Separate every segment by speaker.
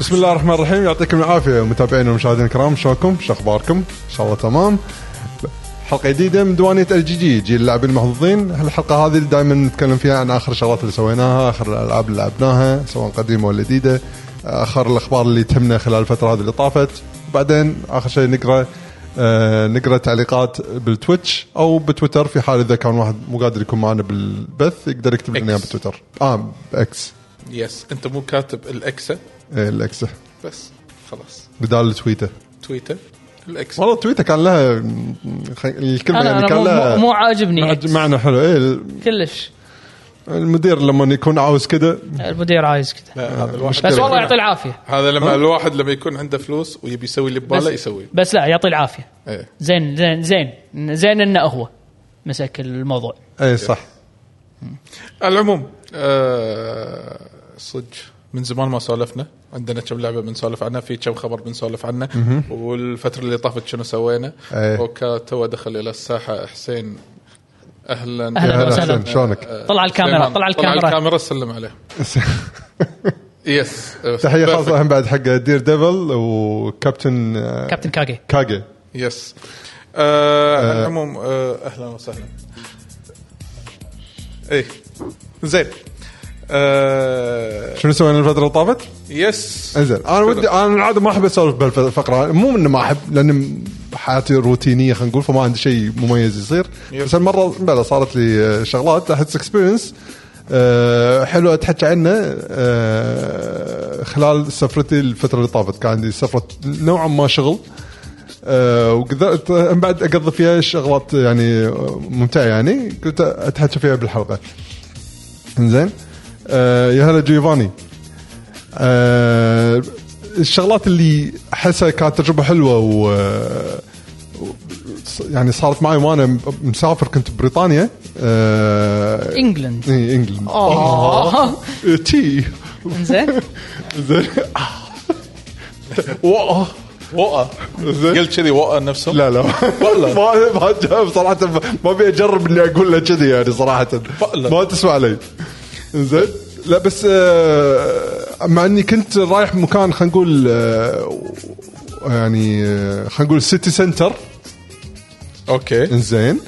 Speaker 1: بسم الله الرحمن الرحيم يعطيكم العافيه متابعينا ومشاهدينا الكرام شلونكم؟ شو اخباركم؟ ان شاء الله تمام. حلقه جديده من ديوانيه ال جي جي جيل اللاعبين المحظوظين، الحلقه هذه اللي دائما نتكلم فيها عن اخر الشغلات اللي سويناها، اخر الالعاب اللي لعبناها سواء قديمه ولا جديده، اخر الاخبار اللي تهمنا خلال الفتره هذه اللي طافت، بعدين اخر شيء نقرا آه نقرا تعليقات بالتويتش او بتويتر في حال اذا كان واحد مو قادر يكون معنا بالبث يقدر يكتب لنا إياه
Speaker 2: إكس.
Speaker 1: بالتويتر. اه اكس
Speaker 2: يس انت مو كاتب الاكسه
Speaker 1: الاكس
Speaker 2: بس خلاص
Speaker 1: إيه، بدال تويته.
Speaker 2: تويتر الاكسه
Speaker 1: والله تويتر كان لها خ- الكلمه
Speaker 3: انا
Speaker 1: يعني
Speaker 3: انا
Speaker 1: كان
Speaker 3: مو-
Speaker 1: لها
Speaker 3: مو, مو عاجبني
Speaker 1: مع-
Speaker 3: عكس.
Speaker 1: معنى حلو ايه ال-
Speaker 3: كلش
Speaker 1: المدير لما يكون عاوز كده
Speaker 3: المدير عايز كذا
Speaker 2: لا آه، هذا الواحد
Speaker 1: مشكلة.
Speaker 3: بس
Speaker 1: كذا.
Speaker 3: والله يعطي العافيه
Speaker 2: هذا لما الواحد لما يكون عنده فلوس ويبي يسوي اللي
Speaker 3: بس
Speaker 2: بباله يسوي
Speaker 3: بس لا يعطي العافيه
Speaker 2: ايه
Speaker 3: زين زين زين زين انه هو مسك الموضوع
Speaker 1: اي إيه، صح
Speaker 2: على العموم آه صدق من زمان ما سولفنا عندنا كم لعبه بنسولف عنها في كم خبر بنسولف عنه والفتره اللي طافت شنو سوينا
Speaker 1: إيه.
Speaker 2: وكتو دخل الى الساحه حسين اهلا
Speaker 3: أهلاً
Speaker 1: يا هلا
Speaker 3: وسهلاً. أه.
Speaker 1: حسين، شلونك؟
Speaker 3: طلع الكاميرا
Speaker 2: سليمان،
Speaker 3: طلع
Speaker 2: طلع
Speaker 3: الكاميرا
Speaker 2: الكاميرا سلم عليه يس
Speaker 1: تحيه خاصه هم بعد حق دير ديفل وكابتن آه،
Speaker 3: كابتن كاكي
Speaker 1: كاجي
Speaker 2: يس آه
Speaker 1: Uh,
Speaker 2: على العموم آه اهلا وسهلا ايه زين آه
Speaker 1: شنو سوينا الفتره اللي طافت؟
Speaker 2: يس
Speaker 1: انزل انا ودي انا العاده ما احب اسولف بالفقره مو انه ما احب لان حياتي روتينيه خلينا نقول فما عندي شيء مميز يصير
Speaker 2: يب.
Speaker 1: بس هالمره بلا صارت لي آه، شغلات احس اكسبيرينس حلو اتحكى عنه آه، خلال سفرتي الفتره اللي طافت كان عندي سفره نوعا ما شغل آه، وقدرت آه، من بعد اقضي فيها شغلات يعني آه، ممتعه يعني قلت اتحكى فيها بالحلقه انزين آه، يا هلا جيوفاني آه، الشغلات اللي احسها كانت تجربه حلوه و و- يعني صارت معي وانا م- مسافر كنت بريطانيا آه،
Speaker 3: انجلند
Speaker 1: إيه، انجلند
Speaker 3: آه.
Speaker 1: تي
Speaker 3: زين
Speaker 1: زين واه
Speaker 2: وقع
Speaker 1: زين
Speaker 2: قلت كذي وقع نفسه
Speaker 1: لا لا
Speaker 2: والله.
Speaker 1: ما ما جاب صراحه ما ابي اجرب اني اقول له كذي يعني صراحه
Speaker 2: والله.
Speaker 1: ما تسمع علي زين لا بس آه، مع اني كنت رايح مكان خلينا نقول آه، يعني آه، خلينا نقول سيتي سنتر
Speaker 2: اوكي
Speaker 1: انزين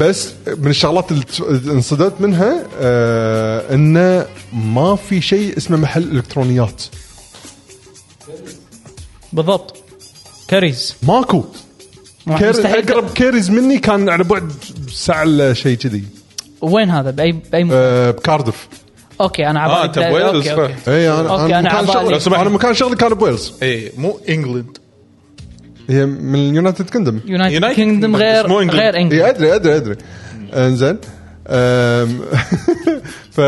Speaker 1: بس من الشغلات اللي ت- انصدمت منها آه انه ما في شيء اسمه محل الكترونيات
Speaker 3: بالضبط كاريز
Speaker 1: ماكو كير
Speaker 3: مستحيل.
Speaker 1: اقرب كيريز مني كان على بعد ساعه الا شيء كذي
Speaker 3: وين هذا باي باي م...
Speaker 1: آه، بكاردف
Speaker 3: اوكي انا
Speaker 2: إيه. آه،
Speaker 3: عبالي
Speaker 2: أنت بويلز.
Speaker 3: اوكي اوكي
Speaker 1: اي انا
Speaker 3: أوكي،
Speaker 1: انا
Speaker 3: أنا
Speaker 1: مكان
Speaker 3: عبالي.
Speaker 1: شغلي
Speaker 3: لو
Speaker 2: سمحت.
Speaker 1: انا مكان شغلي كان بويلز
Speaker 2: ايه مو انجلند
Speaker 1: هي من اليونايتد كندم
Speaker 3: يونايتد
Speaker 2: United
Speaker 3: كينجدم
Speaker 2: Kingdom،
Speaker 3: غير
Speaker 2: بس مو إنجلند. إيه.
Speaker 3: غير انجلند
Speaker 1: اي ادري ادري ادري انزين أم، ف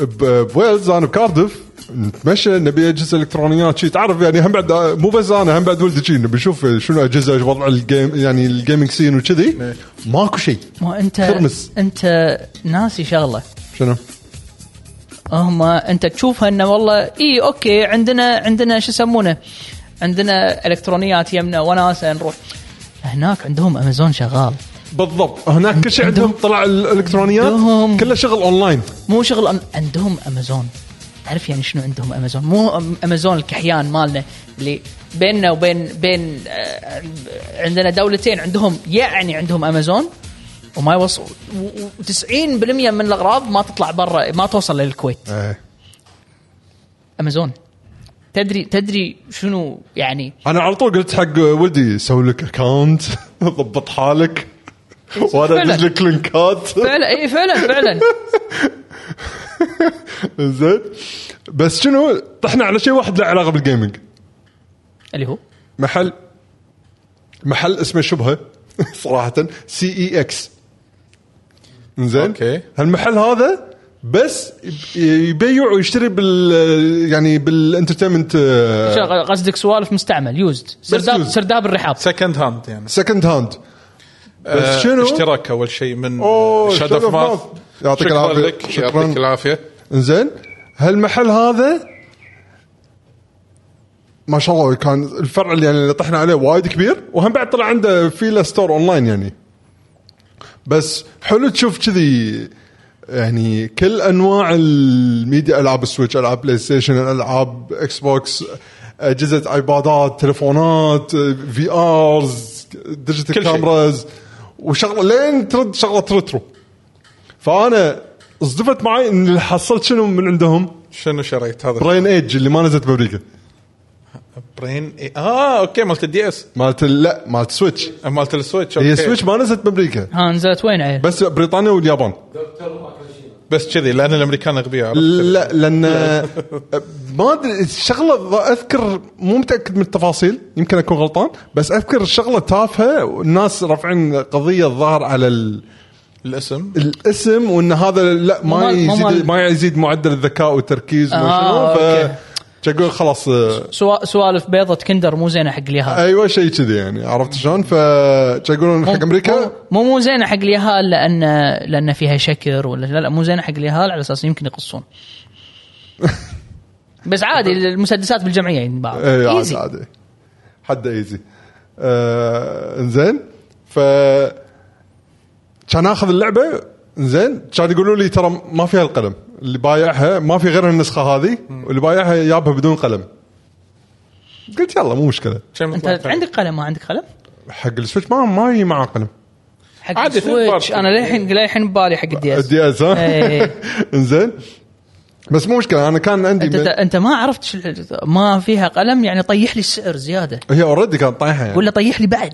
Speaker 1: ب- بويلز انا بكاردف نتمشى نبي اجهزه الكترونيات شي تعرف يعني هم بعد مو بس انا هم بعد ولدي شي نبي نشوف شنو اجهزه شو وضع الجيم يعني الجيمنج سين وكذي ماكو شيء
Speaker 3: ما انت
Speaker 1: خرمس.
Speaker 3: انت ناسي شغله
Speaker 1: شنو؟
Speaker 3: هم انت تشوفها انه والله اي اوكي عندنا عندنا شو يسمونه عندنا الكترونيات يمنا وناسه نروح هناك عندهم امازون شغال
Speaker 1: بالضبط هناك كل شيء عندهم طلع ال- الالكترونيات
Speaker 3: عندهم.
Speaker 1: كله شغل اونلاين
Speaker 3: مو شغل أم... عندهم امازون تعرف يعني شنو عندهم امازون مو أم- امازون الكحيان مالنا اللي بيننا وبين بين آه، عندنا دولتين عندهم يعني عندهم امازون وما يوصل و90% من الاغراض ما تطلع برا ما توصل للكويت
Speaker 1: إيه.
Speaker 3: امازون تدري تدري شنو يعني
Speaker 1: انا على طول قلت حق ولدي سوي لك اكونت ضبط حالك وانا
Speaker 3: فعلا.
Speaker 1: ادز لك لينكات
Speaker 3: فعلا اي فعلا فعلا
Speaker 1: زين بس شنو طحنا على شيء واحد له علاقه بالجيمنج
Speaker 3: اللي هو
Speaker 1: محل محل اسمه شبهه صراحه سي اي اكس زين
Speaker 2: أوكي.
Speaker 1: هالمحل هذا بس يب- يبيع ويشتري بال يعني آه، بالانترتينمنت
Speaker 3: شغل- قصدك سوالف مستعمل يوزد سرداب
Speaker 1: used.
Speaker 3: سرداب الرحاب
Speaker 2: سكند هاند يعني
Speaker 1: سكند هاند
Speaker 2: آه،
Speaker 1: بس شنو
Speaker 2: اشتراك اول شيء من
Speaker 1: أوه،
Speaker 2: شاد
Speaker 1: Shadow
Speaker 2: اوف
Speaker 1: of
Speaker 2: ماث
Speaker 1: Mouth. يعطيك
Speaker 2: شكراً
Speaker 1: العافية.
Speaker 2: لك
Speaker 1: شكراً.
Speaker 2: يعطيك العافيه
Speaker 1: انزين هالمحل هذا ما شاء الله كان الفرع اللي يعني اللي طحنا عليه وايد كبير وهم بعد طلع عنده في له ستور اونلاين يعني بس حلو تشوف كذي يعني كل انواع الميديا العاب السويتش العاب بلاي ستيشن العاب اكس بوكس اجهزه ايبادات تليفونات في ارز ديجيتال
Speaker 2: كل شيء.
Speaker 1: كاميراز وشغله لين ترد شغله ريترو فانا صدفت معي ان اللي حصلت شنو من عندهم
Speaker 2: شنو شريت هذا
Speaker 1: برين ايج اللي ما نزلت بامريكا
Speaker 2: برين إيه؟ اه اوكي مالت الدي اس
Speaker 1: مالت ال- لا مالت سويتش
Speaker 2: مالت السويتش
Speaker 1: هي
Speaker 2: أوكي.
Speaker 1: سويتش ما نزلت بامريكا
Speaker 3: ها نزلت وين عيل؟
Speaker 1: بس بريطانيا واليابان
Speaker 2: بس كذي لان الامريكان اغبياء عرفت؟
Speaker 1: لا لان ما ادري الشغله ض- اذكر مو متاكد من التفاصيل يمكن اكون غلطان بس اذكر الشغله تافهه والناس رافعين قضيه الظاهر على ال-
Speaker 2: الاسم
Speaker 1: الاسم وان هذا لا ما
Speaker 3: مال- مو
Speaker 1: يزيد
Speaker 3: مال-
Speaker 1: ما يزيد معدل الذكاء والتركيز
Speaker 3: آه،
Speaker 1: وشنو
Speaker 3: أوكي.
Speaker 1: ف يقول خلاص آه،
Speaker 3: سوا- سوالف بيضة كندر مو زينة حق اليهال
Speaker 1: ايوه شيء كذي يعني عرفت شلون ف يقولون حق امريكا
Speaker 3: مو- مو مو زينة حق اليهال لان لان فيها شكر ولا لا لا مو زينة حق اليهال على اساس يمكن يقصون بس عادي المسدسات بالجمعية ينباع
Speaker 1: اي عادي
Speaker 3: Easy.
Speaker 1: إيه، عادي حد ايزي آه انزين ف كان اخذ اللعبه انزين كان يقولوا لي ترى ما فيها القلم اللي بايعها ما في غير النسخه هذه واللي بايعها يابها بدون قلم قلت يلا مو مشكله
Speaker 2: كم يطلع
Speaker 3: انت
Speaker 2: فيه؟
Speaker 3: عندك قلم ما عندك قلم؟
Speaker 1: حق السويتش ما ما يجي معاه قلم
Speaker 3: حق
Speaker 2: عادي، في
Speaker 3: السويتش
Speaker 2: بارتي.
Speaker 3: انا للحين للحين ببالي حق الدي اس
Speaker 1: الدي اس ها
Speaker 3: إي.
Speaker 1: انزين بس مو مشكله انا كان عندي
Speaker 3: انت
Speaker 1: من...
Speaker 3: انت ما عرفت شل- ما فيها قلم يعني طيح لي السعر زياده
Speaker 1: هي اوريدي كانت طايحه يعني
Speaker 3: ولا طيح لي بعد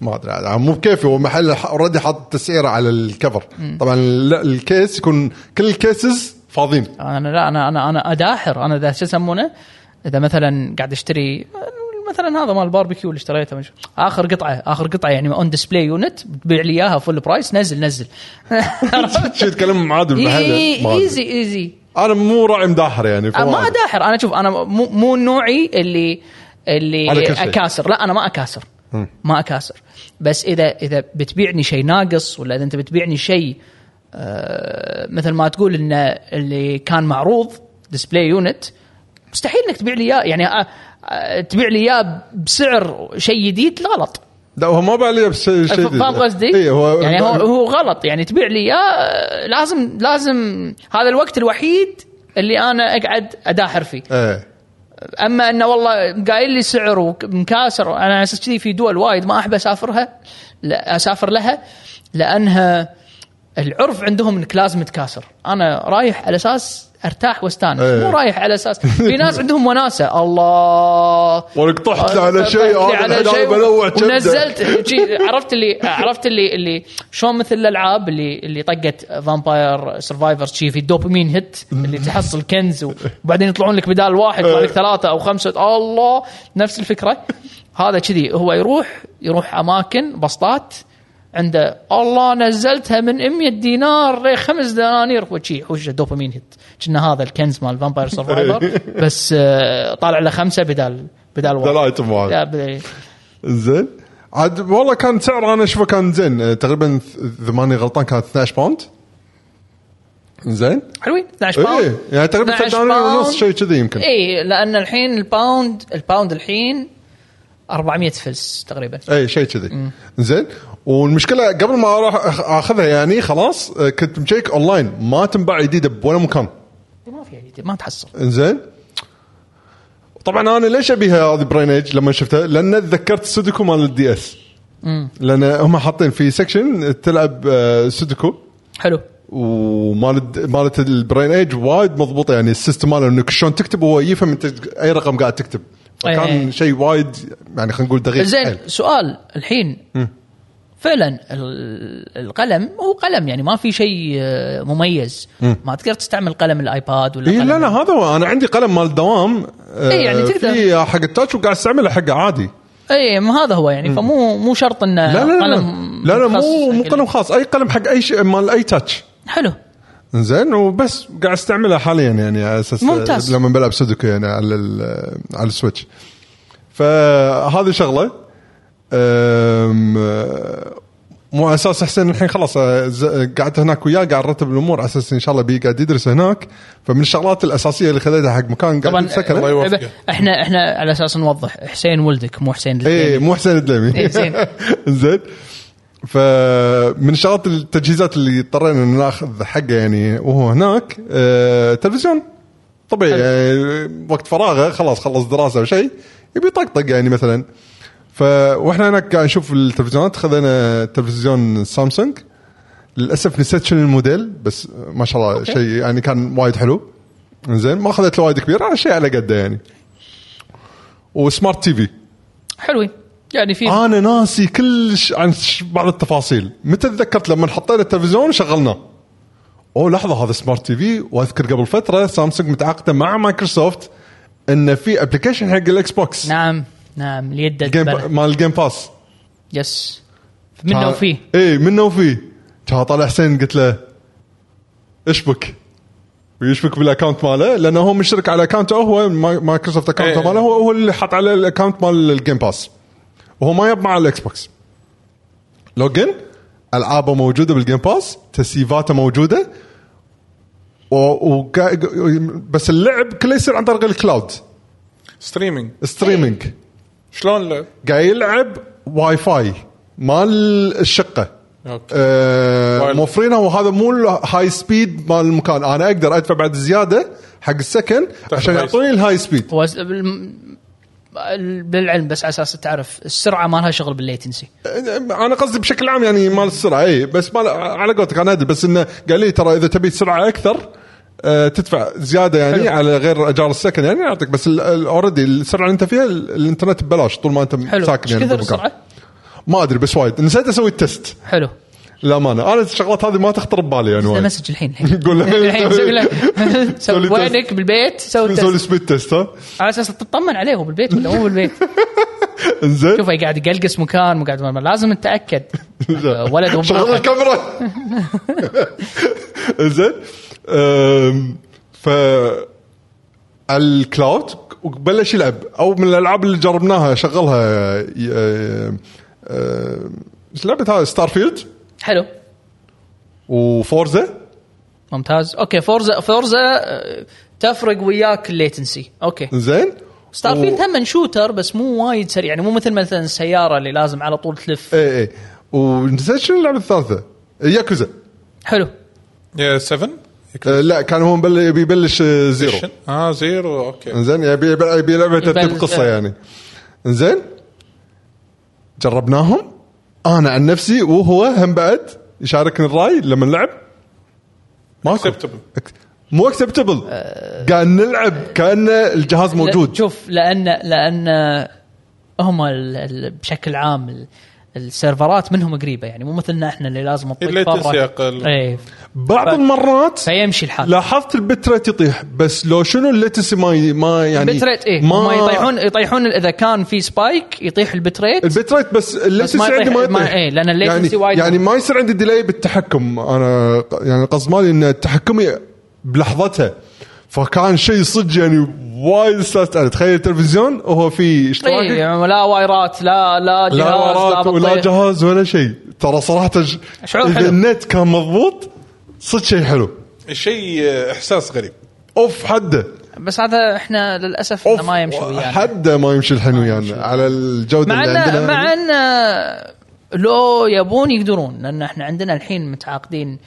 Speaker 1: ما ادري عاد مو بكيفي هو محل اوريدي حاط تسعيره على الكفر طبعا ال- الكيس يكون كل الكيسز فاضيين
Speaker 3: انا لا انا انا انا اداحر انا اذا شو يسمونه اذا مثلا قاعد اشتري مثلا هذا مال الباربيكيو اللي اشتريته من شو- اخر قطعه اخر قطعه يعني اون ديسبلاي يونت بتبيع لي اياها فول برايس نزل نزل
Speaker 1: شو يتكلم معادل بالمحل ما أدري.
Speaker 3: ايزي ايزي
Speaker 1: انا مو راعي مداحر يعني
Speaker 3: أنا
Speaker 1: فما
Speaker 3: ما
Speaker 1: أدري.
Speaker 3: اداحر انا شوف انا مو مو نوعي اللي
Speaker 1: على
Speaker 3: اللي
Speaker 1: كل شيء.
Speaker 3: اكاسر لا انا ما اكاسر ما اكاسر بس اذا اذا بتبيعني شيء ناقص ولا اذا انت بتبيعني شيء آه، مثل ما تقول ان اللي كان معروض ديسبلاي يونت مستحيل انك تبيع لي اياه يعني آه، آه، تبيع لي اياه بسعر شيء جديد غلط
Speaker 1: لا هو ما بعلي بس شيء
Speaker 3: ف- فاهم قصدي؟
Speaker 1: اي هو
Speaker 3: يعني هو, هو غلط يعني تبيع لي اياه لازم لازم هذا الوقت الوحيد اللي انا اقعد اداحر فيه
Speaker 1: ايه
Speaker 3: اما انه والله قايل لي سعر ومكاسر انا على اساس كذي في دول وايد ما احب اسافرها لا اسافر لها لانها العرف عندهم انك لازم تكاسر انا رايح على اساس ارتاح واستانس
Speaker 1: إيه.
Speaker 3: مو رايح على اساس في ناس عندهم وناسه الله
Speaker 1: ولك طحت على شيء
Speaker 3: طحت لي
Speaker 1: هذا
Speaker 3: آه، طيب، على
Speaker 1: الحين
Speaker 3: شيء
Speaker 1: أنا بنوع كبدة.
Speaker 3: ونزلت شي- عرفت اللي عرفت اللي اللي شلون مثل الالعاب اللي اللي طقت فامباير سرفايفر شي في الدوبامين هيت اللي تحصل كنز وبعدين يطلعون لك بدال واحد يطلع لك ثلاثه او خمسه الله نفس الفكره هذا كذي هو يروح يروح اماكن بسطات عنده الله نزلتها من 100 دينار لي خمس دنانير وشي حوشه دوبامين هيت كنا هذا الكنز مال فامباير سرفايفر بس آه، طالع له خمسه بدال بدال
Speaker 1: ده
Speaker 3: واحد
Speaker 1: الايتم واحد
Speaker 3: لا، بدال-
Speaker 1: زين عاد والله كان سعر انا اشوفه كان زين آه، تقريبا ث- اذا ماني غلطان كان 12 باوند زين
Speaker 3: حلوين 12 باوند
Speaker 1: ايه يعني تقريبا
Speaker 3: 12
Speaker 1: دولار ونص
Speaker 3: باوند.
Speaker 1: شيء كذي يمكن
Speaker 3: اي لان إيه، الحين الباوند الباوند الحين 400 فلس تقريبا
Speaker 1: اي شيء كذي زين والمشكله قبل ما اروح أخ- اخذها يعني خلاص آه، كنت مشيك اونلاين ما تنباع جديده بولا مكان
Speaker 3: ما في جديد ما تحصل
Speaker 1: زين طبعا انا ليش ابيها هذه برين ايج لما شفتها؟ لان تذكرت سودوكو مال الدي اس لان هم حاطين في سكشن تلعب آه، سودوكو
Speaker 3: حلو
Speaker 1: ومالت مالت البرين ايج وايد مضبوطه يعني السيستم ماله انك شلون تكتب هو يفهم انت اي رقم قاعد تكتب
Speaker 3: إيه.
Speaker 1: فكان شيء وايد يعني خلينا نقول دقيق حيل.
Speaker 3: زين سؤال الحين فعلا ال- القلم هو قلم يعني ما في شيء آه، مميز ما تقدر تستعمل قلم الايباد ولا
Speaker 1: اي
Speaker 3: قلم
Speaker 1: إيه، لا لا هذا هو انا عندي قلم مال دوام آه،
Speaker 3: إي، يعني تقدر.
Speaker 1: في حق التاتش وقاعد استعمله حقه عادي
Speaker 3: اي ما هذا هو يعني فمو مو شرط انه
Speaker 1: لا لا لا
Speaker 3: آه، قلم
Speaker 1: لا, لا مو
Speaker 3: متخصص
Speaker 1: مو
Speaker 3: حق-
Speaker 1: قلم خاص اي قلم حق اي شيء مال اي تاتش
Speaker 3: حلو
Speaker 1: زين وبس قاعد استعمله حاليا يعني على اساس
Speaker 3: ممتاز.
Speaker 1: لما بلعب سودوكو يعني على ال- آه، على السويتش فهذه شغله أم، آه، مو على اساس حسين الحين خلاص أه، ز- قعدت هناك وياه قاعد ارتب الامور على اساس ان شاء الله بي قاعد يدرس هناك فمن الشغلات الاساسيه اللي خذيتها حق مكان قاعد
Speaker 3: طبعا
Speaker 1: سكن
Speaker 2: الله يوفقه.
Speaker 3: احنا احنا على اساس نوضح حسين ولدك مو حسين
Speaker 1: اي
Speaker 3: الدليمي.
Speaker 1: مو حسين الدلمي
Speaker 3: إيه، زين.
Speaker 1: زين فمن شغلات التجهيزات اللي اضطرينا إن ناخذ حقه يعني وهو هناك آه، تلفزيون طبيعي يعني وقت فراغه خلاص خلص دراسه او شيء يبي يطقطق يعني مثلا ف واحنا هناك قاعد نشوف التلفزيونات خذينا تلفزيون سامسونج للاسف نسيت شنو الموديل بس ما شاء الله شيء يعني كان وايد حلو زين ما اخذت له وايد كبير على شيء على قده يعني وسمارت تي في
Speaker 3: حلوين يعني في
Speaker 1: انا ناسي كل ش... عن ش- بعض التفاصيل متى تذكرت لما حطينا التلفزيون وشغلناه اوه لحظه هذا سمارت تي في واذكر قبل فتره سامسونج متعاقده مع مايكروسوفت ان في ابلكيشن حق الاكس بوكس
Speaker 3: نعم نعم اليد
Speaker 1: الجيم
Speaker 3: تبنى.
Speaker 1: مال الجيم باس
Speaker 3: يس منه
Speaker 1: طيب.
Speaker 3: وفيه
Speaker 1: اي منه وفيه كان طالع حسين قلت له اشبك ويشبك بالاكونت ماله لانه هو مشترك على اكونته هو ما- مايكروسوفت اكونت
Speaker 2: إيه.
Speaker 1: ماله هو هو اللي حط على الاكونت مال الجيم باس وهو ما يب مع الاكس بوكس لوجن العابه موجوده بالجيم باس تسييفاته موجوده و... و... بس اللعب كله يصير عن طريق الكلاود
Speaker 2: ستريمينج
Speaker 1: ستريمينج
Speaker 2: شلون لا
Speaker 1: قاعد يلعب واي فاي مال الشقه
Speaker 2: اوكي
Speaker 1: آه
Speaker 2: وايل.
Speaker 1: موفرينها وهذا مو الهاي سبيد مال المكان انا اقدر ادفع بعد زياده حق السكن عشان
Speaker 2: الهاي
Speaker 1: يعطوني الهاي سبيد
Speaker 3: هو س- بالم- ال- بالعلم بس على اساس تعرف السرعه ما لها شغل بالليتنسي
Speaker 1: آه، انا قصدي بشكل عام يعني مال السرعه اي بس مال على قولتك انا ادري بس انه قال لي ترى اذا تبي سرعه اكثر آه، تدفع زياده يعني حلو.
Speaker 3: حلو.
Speaker 1: على غير اجار السكن يعني يعطيك بس اوريدي السرعه اللي انت فيها ال- الانترنت ببلاش طول ما انت
Speaker 3: حلو
Speaker 1: ساكن
Speaker 3: ايش
Speaker 1: يعني
Speaker 3: كثر
Speaker 1: بالمكان.
Speaker 3: السرعه؟
Speaker 1: ما ادري بس وايد نسيت اسوي التست
Speaker 3: حلو
Speaker 1: للامانه انا الشغلات هذه ما تخطر ببالي يعني
Speaker 3: له
Speaker 1: وايد
Speaker 3: مسج الحين الحين
Speaker 1: قول له-
Speaker 3: الحين سوي له
Speaker 1: سوي لي
Speaker 3: سوي
Speaker 1: تست.
Speaker 3: وينك بالبيت سوي
Speaker 1: نسوي
Speaker 3: تست
Speaker 1: سبيد تيست ها
Speaker 3: على اساس تطمن عليه هو بالبيت ولا مو بالبيت
Speaker 1: انزين
Speaker 3: شوف هي قاعد يقلقس مكان مو قاعد ما- لازم نتاكد ولد
Speaker 1: شغل
Speaker 3: ومضحك.
Speaker 1: الكاميرا زين أم، ف الكلاود وبلش يلعب او من الالعاب اللي جربناها شغلها ي- أم، أم، ايش لعبه هذا ستار فيلد
Speaker 3: حلو
Speaker 1: وفورزا
Speaker 3: ممتاز اوكي فورزا فورزا آه، تفرق وياك الليتنسي اوكي
Speaker 1: زين
Speaker 3: ستار فيلد
Speaker 1: و-
Speaker 3: هم شوتر بس مو وايد سريع يعني مو مثل مثلا السياره اللي لازم على طول تلف
Speaker 1: اي اي ونسيت إيه. شنو اللعبه الثالثه ياكوزا
Speaker 3: حلو
Speaker 2: يا 7
Speaker 1: أه، لا كان هو مبل- يبي يبلش أه، زيرو
Speaker 2: اه زيرو اوكي
Speaker 1: انزين يبي يبي يبي لعبه ترتب
Speaker 3: يبلش-
Speaker 1: قصه يعني انزين جربناهم انا عن نفسي وهو هم بعد يشاركني الراي لما نلعب ماكو
Speaker 2: Acceptable.
Speaker 1: أك- مو اكسبتبل قاعد نلعب كان الجهاز
Speaker 3: آه. لا-
Speaker 1: موجود
Speaker 3: شوف لان لان هم ال- ال- بشكل عام ال- السيرفرات منهم قريبه يعني مو مثلنا احنا اللي لازم نطق
Speaker 2: الليتنسي
Speaker 3: برا.
Speaker 2: أقل.
Speaker 3: ايه
Speaker 1: بعض المرات
Speaker 3: فيمشي الحال
Speaker 1: لاحظت البت ريت يطيح بس لو شنو الليتسي ما ما يعني
Speaker 3: البت ريت ايه ما يطيحون يطيحون اذا كان في سبايك يطيح البت ريت
Speaker 1: البيت ريت بس الليتنسي
Speaker 3: ما
Speaker 1: عندي
Speaker 3: يطيح-
Speaker 1: ما
Speaker 3: ما-
Speaker 1: يطيح
Speaker 3: إيه، لأن الليتنسي
Speaker 1: يعني
Speaker 3: وايد-
Speaker 1: يعني ما يصير عندي ديلي بالتحكم انا ق- يعني قصد مالي ان تحكمي بلحظتها فكان شيء صدق يعني وايد استانست عليه تخيل التلفزيون وهو في اشتراك
Speaker 3: إيه يعني لا وايرات لا لا جهاز
Speaker 1: لا ورات ولا
Speaker 3: بطيء.
Speaker 1: جهاز ولا شيء ترى صراحه ج-
Speaker 3: طيب. شعور
Speaker 1: اذا
Speaker 3: حلو.
Speaker 1: النت كان مضبوط صدق شيء حلو
Speaker 2: شيء آه، احساس غريب
Speaker 1: اوف حده
Speaker 3: بس هذا احنا للاسف إنه
Speaker 1: اوف
Speaker 3: ما يمشي ويانا
Speaker 1: حده ما يمشي الحين ويانا على الجوده
Speaker 3: مع
Speaker 1: اللي عندنا
Speaker 3: ان مع ان لو يبون يقدرون لان احنا عندنا الحين متعاقدين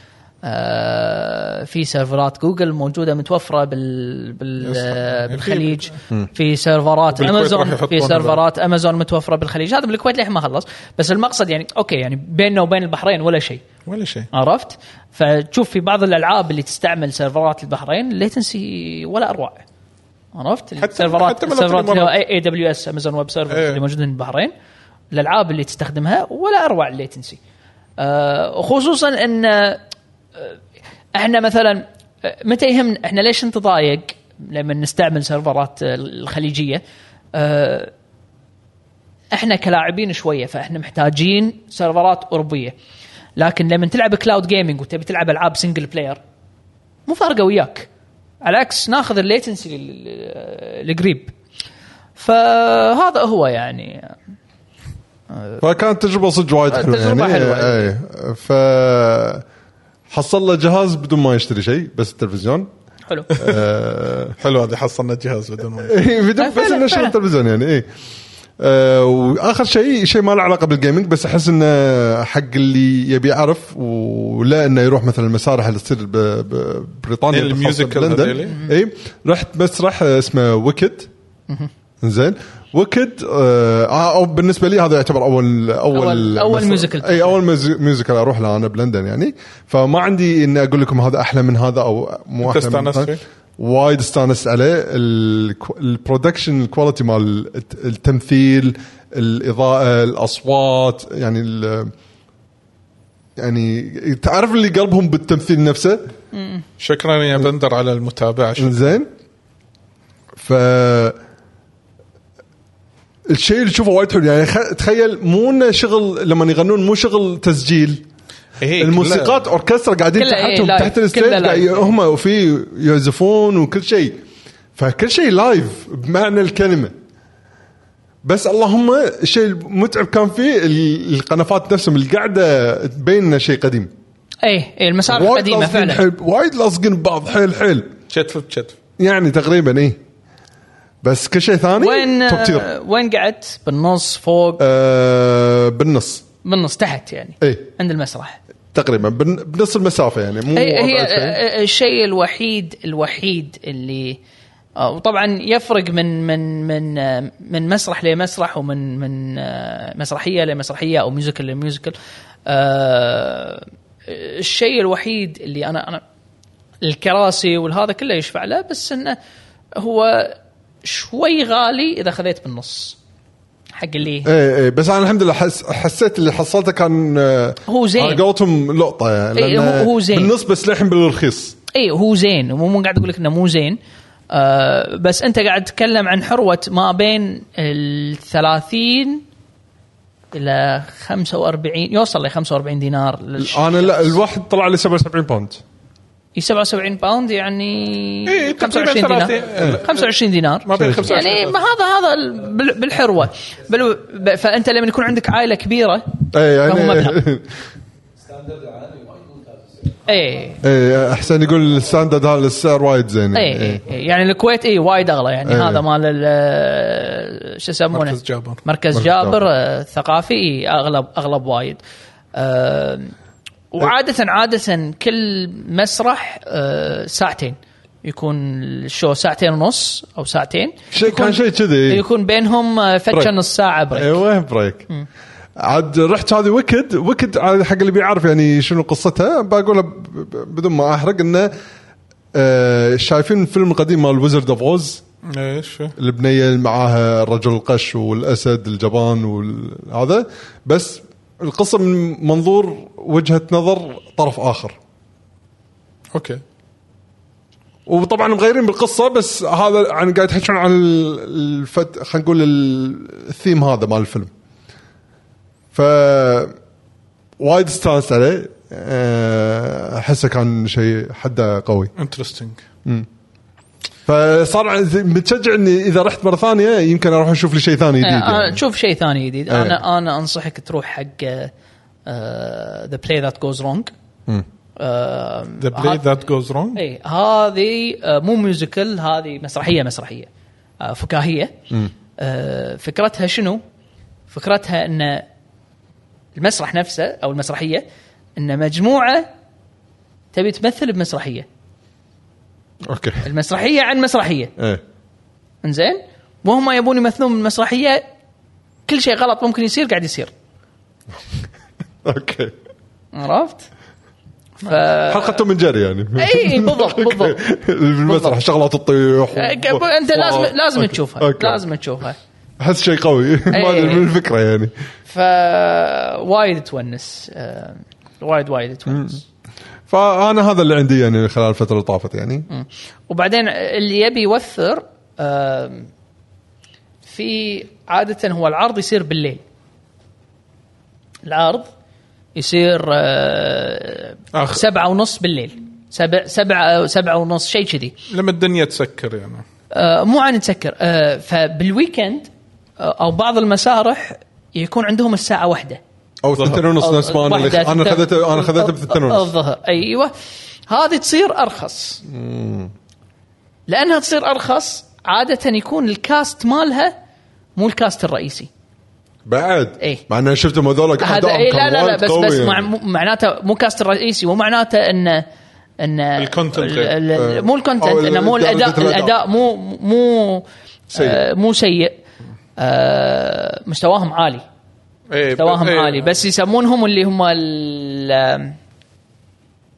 Speaker 3: آه، في سيرفرات جوجل موجوده متوفره بال بال
Speaker 2: يس.
Speaker 3: آه،
Speaker 2: في-
Speaker 3: بالخليج في سيرفرات
Speaker 2: بالكويت راح
Speaker 3: امازون
Speaker 2: يحطون
Speaker 3: في سيرفرات امازون متوفره بالخليج هذا بالكويت للحين ما خلص بس المقصد يعني اوكي يعني بيننا وبين البحرين ولا شيء
Speaker 2: ولا شيء
Speaker 3: عرفت فتشوف في بعض الالعاب اللي تستعمل سيرفرات البحرين ليتنسي ولا اروع عرفت
Speaker 2: حتى-
Speaker 3: السيرفرات
Speaker 2: حتى
Speaker 3: حتى
Speaker 2: من
Speaker 3: السيرفرات اللي هو
Speaker 2: الأبريد.
Speaker 3: اي دبليو اس امازون ويب سيرفرز
Speaker 2: إيه.
Speaker 3: اللي موجودين بالبحرين الالعاب اللي تستخدمها ولا اروع الليتنسي آه خصوصا ان آه، احنا مثلا آه، متى يهمنا احنا ليش نتضايق لما نستعمل سيرفرات آه، الخليجيه آه، احنا كلاعبين شويه فاحنا محتاجين سيرفرات اوروبيه لكن لما تلعب كلاود جيمنج وتبي تلعب العاب سنجل بلاير مو فارقه وياك على العكس ناخذ آه، الليتنسي القريب فهذا هو يعني
Speaker 1: فكانت تجربه صدق وايد حلوه
Speaker 3: تجربة
Speaker 1: يعني
Speaker 3: حلوة.
Speaker 1: اي ف حصل له جهاز بدون ما يشتري شيء بس التلفزيون
Speaker 3: حلو
Speaker 1: آه،
Speaker 2: حلو هذا حصلنا جهاز بدون ما
Speaker 1: إي، بدون بس
Speaker 3: فعلاً،
Speaker 1: انه شغل
Speaker 3: فعلاً.
Speaker 1: التلفزيون يعني اي آه، واخر شيء شيء ما له علاقه بالجيمنج بس احس انه حق اللي يبي يعرف ولا انه يروح مثلا المسارح اللي تصير ب- ببريطانيا
Speaker 2: إيه،
Speaker 1: بالخاصة
Speaker 2: الميوزيكال هذيلي.
Speaker 1: بلندن
Speaker 3: يعني؟
Speaker 1: اي رحت مسرح آه، اسمه ويكد زين ويكد آه او بالنسبه لي هذا يعتبر اول اول
Speaker 3: أول- أول
Speaker 1: مسرح- إيه،
Speaker 3: ميوزيكال.
Speaker 1: اي اول ميوز- ميوزيكال اروح له انا بلندن يعني فما عندي اني اقول لكم هذا احلى من هذا او مو
Speaker 2: أنت
Speaker 1: احلى من
Speaker 2: استانست
Speaker 1: هذا.
Speaker 2: فيه؟
Speaker 1: وايد استانست عليه الكو- البرودكشن الكواليتي مال الت- التمثيل الاضاءه الاصوات يعني ال- يعني تعرف اللي قلبهم بالتمثيل نفسه
Speaker 2: شكرا يا بندر على المتابعه شكراً.
Speaker 1: زين ف الشيء اللي تشوفه وايد حلو يعني خ... تخيل مو انه شغل لما يغنون مو شغل تسجيل
Speaker 2: إيه،
Speaker 1: الموسيقات اوركسترا قاعدين
Speaker 3: كلها إيه
Speaker 1: تحتهم
Speaker 3: لايف،
Speaker 1: تحت الستيج
Speaker 3: كلها
Speaker 1: قاعد-
Speaker 3: لايف.
Speaker 1: هم وفي يعزفون وكل شيء فكل شيء لايف بمعنى الكلمه بس اللهم الشيء المتعب كان فيه ال- القنفات نفسهم اللي قاعده تبين انه شيء قديم
Speaker 3: ايه ايه المسارح
Speaker 1: وايد
Speaker 3: قديمه
Speaker 1: لاصقين
Speaker 3: فعلا
Speaker 1: حيل- وايد لاصقين ببعض حيل حيل
Speaker 2: شتف بشتف
Speaker 1: يعني تقريبا ايه بس كل شيء ثاني
Speaker 3: وين
Speaker 1: توب تير
Speaker 3: آه، وين قعدت؟ بالنص فوق
Speaker 1: آه بالنص
Speaker 3: بالنص تحت يعني
Speaker 1: ايه
Speaker 3: عند المسرح
Speaker 1: تقريبا بن- بنص المسافه يعني مو
Speaker 3: إيه، هي هي
Speaker 1: أبعد شوي.
Speaker 3: آه، آه، الشيء الوحيد الوحيد اللي آه، وطبعا يفرق من من من آه، من مسرح لمسرح ومن من آه، مسرحيه لمسرحيه او ميوزيكال لميوزيكال آه، الشيء الوحيد اللي انا انا الكراسي والهذا كله يشفع له بس انه هو شوي غالي اذا خذيت بالنص حق اللي
Speaker 1: ايه ايه بس انا الحمد لله حس حسيت اللي حصلته كان آه،
Speaker 3: هو زين.
Speaker 1: على قولتهم لقطه يعني
Speaker 3: إيه،
Speaker 1: لأن
Speaker 3: هو- هو زين.
Speaker 1: بالنص بس لحم بالرخيص
Speaker 3: اي إيه، هو زين مو مو قاعد اقول لك انه مو زين آه بس انت قاعد تتكلم عن حروه ما بين ال 30 الى 45 يوصل ل 45 دينار للش- إيه،
Speaker 1: انا لا الواحد طلع لي 77 باوند
Speaker 3: إي 77 باوند يعني
Speaker 2: إيه، تقريباً
Speaker 3: 25 دينار
Speaker 2: ثلاثين.
Speaker 3: 25 دينار
Speaker 2: ما بين 25
Speaker 3: يعني ما هذا هذا ال- بال- بالحروه بل ب- فانت لما يكون عندك عائله كبيره
Speaker 1: ايه
Speaker 3: فهو مبلغ.
Speaker 1: يعني
Speaker 3: اي
Speaker 1: ايه احسن يقول الستاندرد هذا السعر وايد زين يعني.
Speaker 3: اي يعني الكويت اي وايد اغلى يعني
Speaker 1: إيه.
Speaker 3: هذا مال ال- شو يسمونه
Speaker 2: مركز جابر.
Speaker 3: مركز
Speaker 1: مركز
Speaker 3: جابر
Speaker 1: جابر.
Speaker 3: آه، الثقافي إي، اغلب اغلب وايد آه، وعاده عاده كل مسرح آه، ساعتين يكون الشو ساعتين ونص او ساعتين
Speaker 1: شيء كان شيء كذي
Speaker 3: يكون بينهم آه، فتشه
Speaker 1: بريك.
Speaker 3: نص ساعه بريك آه،
Speaker 1: ايوه بريك عاد رحت هذه ويكد ويكد عاد حق اللي بيعرف يعني شنو قصتها بقولها ب- ب- بدون ما احرق انه آه، شايفين الفيلم القديم مال ويزرد اوف اوز
Speaker 3: إيه؟
Speaker 2: ايش
Speaker 1: البنيه اللي معاها الرجل القش والاسد الجبان وهذا بس القصه من منظور وجهه نظر طرف اخر
Speaker 2: اوكي
Speaker 1: وطبعا مغيرين بالقصه بس هذا عن قاعد يحكون عن ال- الفت خلينا نقول ال- الثيم هذا مال الفيلم ف وايد استانست عليه أه، احسه كان شيء حده قوي
Speaker 2: انترستنج
Speaker 1: فصار عندي- متشجع اني اذا رحت مره ثانيه يمكن اروح اشوف لي شيء ثاني جديد
Speaker 3: آه،
Speaker 1: يعني.
Speaker 3: تشوف شيء ثاني جديد
Speaker 1: إيه.
Speaker 3: انا انا انصحك تروح حق آه، ذا بلاي ذات جوز رونج آه،
Speaker 2: ذا بلاي ذات جوز رونج
Speaker 3: اي إيه، هذه آه، مو ميوزيكال هذه مسرحيه مسرحيه آه، فكاهيه آه، فكرتها شنو؟ فكرتها ان المسرح نفسه او المسرحيه ان مجموعه تبي تمثل بمسرحيه،
Speaker 1: اوكي
Speaker 3: المسرحيه عن مسرحيه،
Speaker 1: ايه
Speaker 3: انزين؟ وهم يبون يمثلون بالمسرحيه كل شيء غلط ممكن يصير قاعد يصير،
Speaker 1: اوكي
Speaker 3: عرفت؟ ف
Speaker 1: حلقته من جري يعني
Speaker 3: إي، بالضبط، بالضبط.
Speaker 1: المسرح شغلات تطيح و-
Speaker 3: آه، انت لازم لازم
Speaker 1: أوكي،
Speaker 3: تشوفها،
Speaker 1: أوكي.
Speaker 3: لازم تشوفها.
Speaker 1: احس شيء قوي ما ادري من الفكره يعني
Speaker 3: فوايد تونس آه، وايد وايد تونس
Speaker 1: فانا هذا اللي عندي يعني خلال الفتره اللي طافت يعني
Speaker 3: وبعدين اللي يبي يوفر آم، في عاده هو العرض يصير بالليل العرض يصير آه،
Speaker 2: آخر.
Speaker 3: سبعة ونص بالليل سبع سبعة سبعة ونص شيء كذي
Speaker 2: لما الدنيا تسكر يعني
Speaker 3: آه، مو عن تسكر آه، فبالويكند آه، او بعض المسارح يكون عندهم الساعة واحدة
Speaker 1: او ثنتين ونص
Speaker 3: أو-
Speaker 1: نفس ما انا اللي
Speaker 3: واحدة
Speaker 1: انا
Speaker 3: تت-
Speaker 1: خذته انا خذته
Speaker 3: الظ-
Speaker 1: بثنتين ونص
Speaker 3: الظهر ايوه هذه تصير ارخص لانها تصير ارخص عاده يكون الكاست مالها مو الكاست الرئيسي
Speaker 1: بعد
Speaker 3: إيه.
Speaker 1: مع ان شفتهم هذول قاعد
Speaker 3: هذا اي لا لا لا بس بس مع
Speaker 1: يعني.
Speaker 3: مو- معناته مو كاست الرئيسي مو معناته ان ان
Speaker 2: الكونتنت غير.
Speaker 3: ال- ال-
Speaker 1: آه.
Speaker 3: مو الكونتنت
Speaker 1: أو
Speaker 3: انه مو
Speaker 1: ال-
Speaker 3: الاداء
Speaker 1: الأداء.
Speaker 3: الاداء مو مو
Speaker 1: سيء.
Speaker 3: آه، مو سيء آه، مستواهم عالي
Speaker 2: إيه،
Speaker 3: مستواهم
Speaker 2: إيه.
Speaker 3: عالي بس يسمونهم اللي هم ال-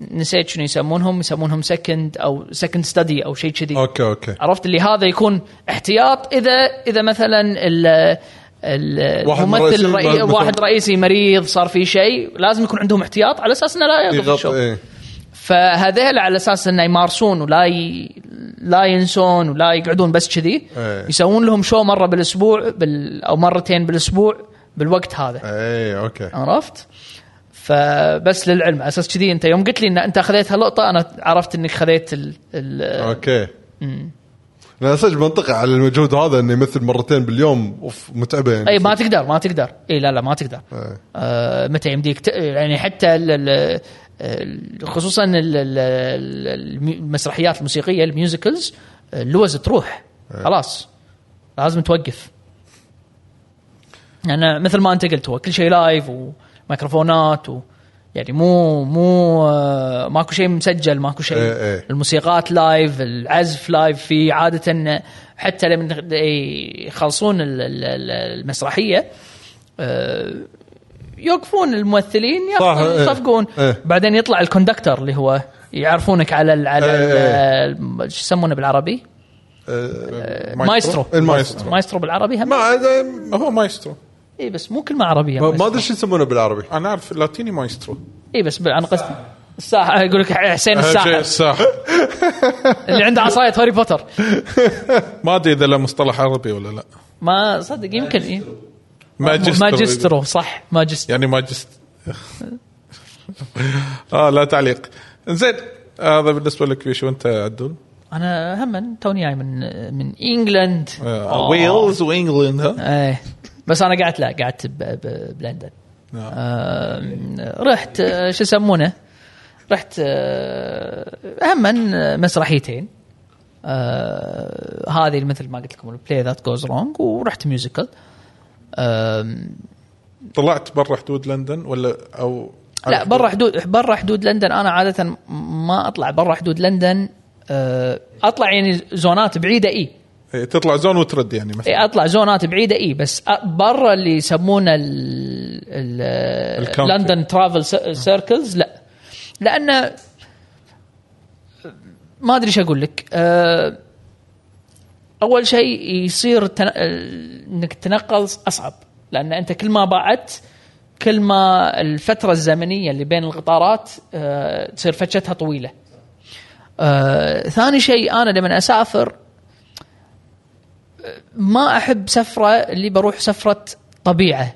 Speaker 3: نسيت شنو يسمونهم يسمونهم سكند او سكند ستدي او شيء كذي
Speaker 1: اوكي اوكي
Speaker 3: عرفت اللي هذا يكون احتياط اذا اذا مثلا ال ال-
Speaker 1: واحد
Speaker 3: الممثل
Speaker 1: رئيسي
Speaker 3: الرئي-
Speaker 1: مثلاً-
Speaker 3: واحد رئيسي مريض صار في شيء لازم يكون عندهم احتياط على اساس انه لا يقف
Speaker 1: يغطي
Speaker 3: الشغل
Speaker 1: إيه.
Speaker 3: فهذيل على اساس انه يمارسون ولا ي... لا ينسون ولا يقعدون بس كذي
Speaker 1: إيه.
Speaker 3: يسوون لهم شو مره بالاسبوع بال... او مرتين بالاسبوع بالوقت هذا
Speaker 1: اي اوكي
Speaker 3: عرفت؟ فبس للعلم على اساس كذي انت يوم قلت لي ان انت خذيت هاللقطه انا عرفت انك خذيت ال... ال...
Speaker 1: اوكي لا صدق منطقي على المجهود هذا انه يمثل مرتين باليوم اوف متعبه يعني
Speaker 3: اي ما تقدر ما تقدر اي لا لا ما تقدر
Speaker 1: إيه.
Speaker 3: آه متى يمديك ت... يعني حتى ال... ال... ال- خصوصا ال... ال... ال- المسرحيات الموسيقيه الميوزيكلز اللوز تروح خلاص لازم توقف يعني مثل ما انت قلت هو كل شيء لايف وميكروفونات و يعني مو مو آه، ماكو شيء مسجل ماكو شيء
Speaker 1: إيه، إيه.
Speaker 3: الموسيقات لايف العزف لايف في عاده حتى لما يخلصون ال- ال- ال- المسرحيه آه، يوقفون الممثلين
Speaker 1: صح، إيه.
Speaker 3: يصفقون
Speaker 1: إيه.
Speaker 3: بعدين يطلع الكوندكتور اللي هو يعرفونك على ال على
Speaker 1: إيه، إيه.
Speaker 3: ال- شو يسمونه بالعربي؟ مايسترو
Speaker 1: المايسترو
Speaker 3: مايسترو بالعربي هم
Speaker 1: ما هذا-
Speaker 2: هو مايسترو
Speaker 3: اي بس مو كلمه عربيه
Speaker 1: ما ما ادري شو يسمونه بالعربي
Speaker 2: انا اعرف لاتيني مايسترو
Speaker 3: اي إيه، بس بال- انا قصدي الساحر يقول لك حسين الساحر
Speaker 2: الساحه
Speaker 3: اللي عنده عصايه هاري بوتر
Speaker 2: ما ادري اذا له مصطلح عربي ولا لا
Speaker 3: ما صدق يمكن إيه.
Speaker 2: ماجسترو
Speaker 3: ماجسترو صح ماجسترو
Speaker 2: يعني ماجست اه لا تعليق زين هذا بالنسبه لك شو انت عدول
Speaker 3: انا هم توني جاي من من انجلند
Speaker 2: آه، ويلز وانجلند ها
Speaker 3: ايه بس انا قعدت لا قعدت ب- ب- بلندن
Speaker 2: نعم.
Speaker 3: آم، رحت آه، شو يسمونه رحت آه، هم مسرحيتين آه، هذه اللي مثل ما قلت لكم البلاي ذات جوز رونج ورحت ميوزيكال آم،
Speaker 2: طلعت برا حدود لندن ولا او
Speaker 3: لا برا حدود برا حدود لندن انا عاده ما اطلع برا حدود لندن آه، اطلع يعني زونات بعيده اي
Speaker 2: إيه، تطلع زون وترد يعني مثلا
Speaker 3: إيه، اطلع زونات بعيده اي بس أ- برا اللي يسمونه ال- ال-
Speaker 2: الكاونتي.
Speaker 3: لندن ترافل س- سيركلز لا لان ما ادري ايش اقول لك أه، اول شيء يصير تن... انك تنقل اصعب لان انت كل ما بعدت كل ما الفتره الزمنيه اللي بين القطارات أه، تصير فتشتها طويله أه، ثاني شيء انا لما اسافر ما احب سفره اللي بروح سفره طبيعه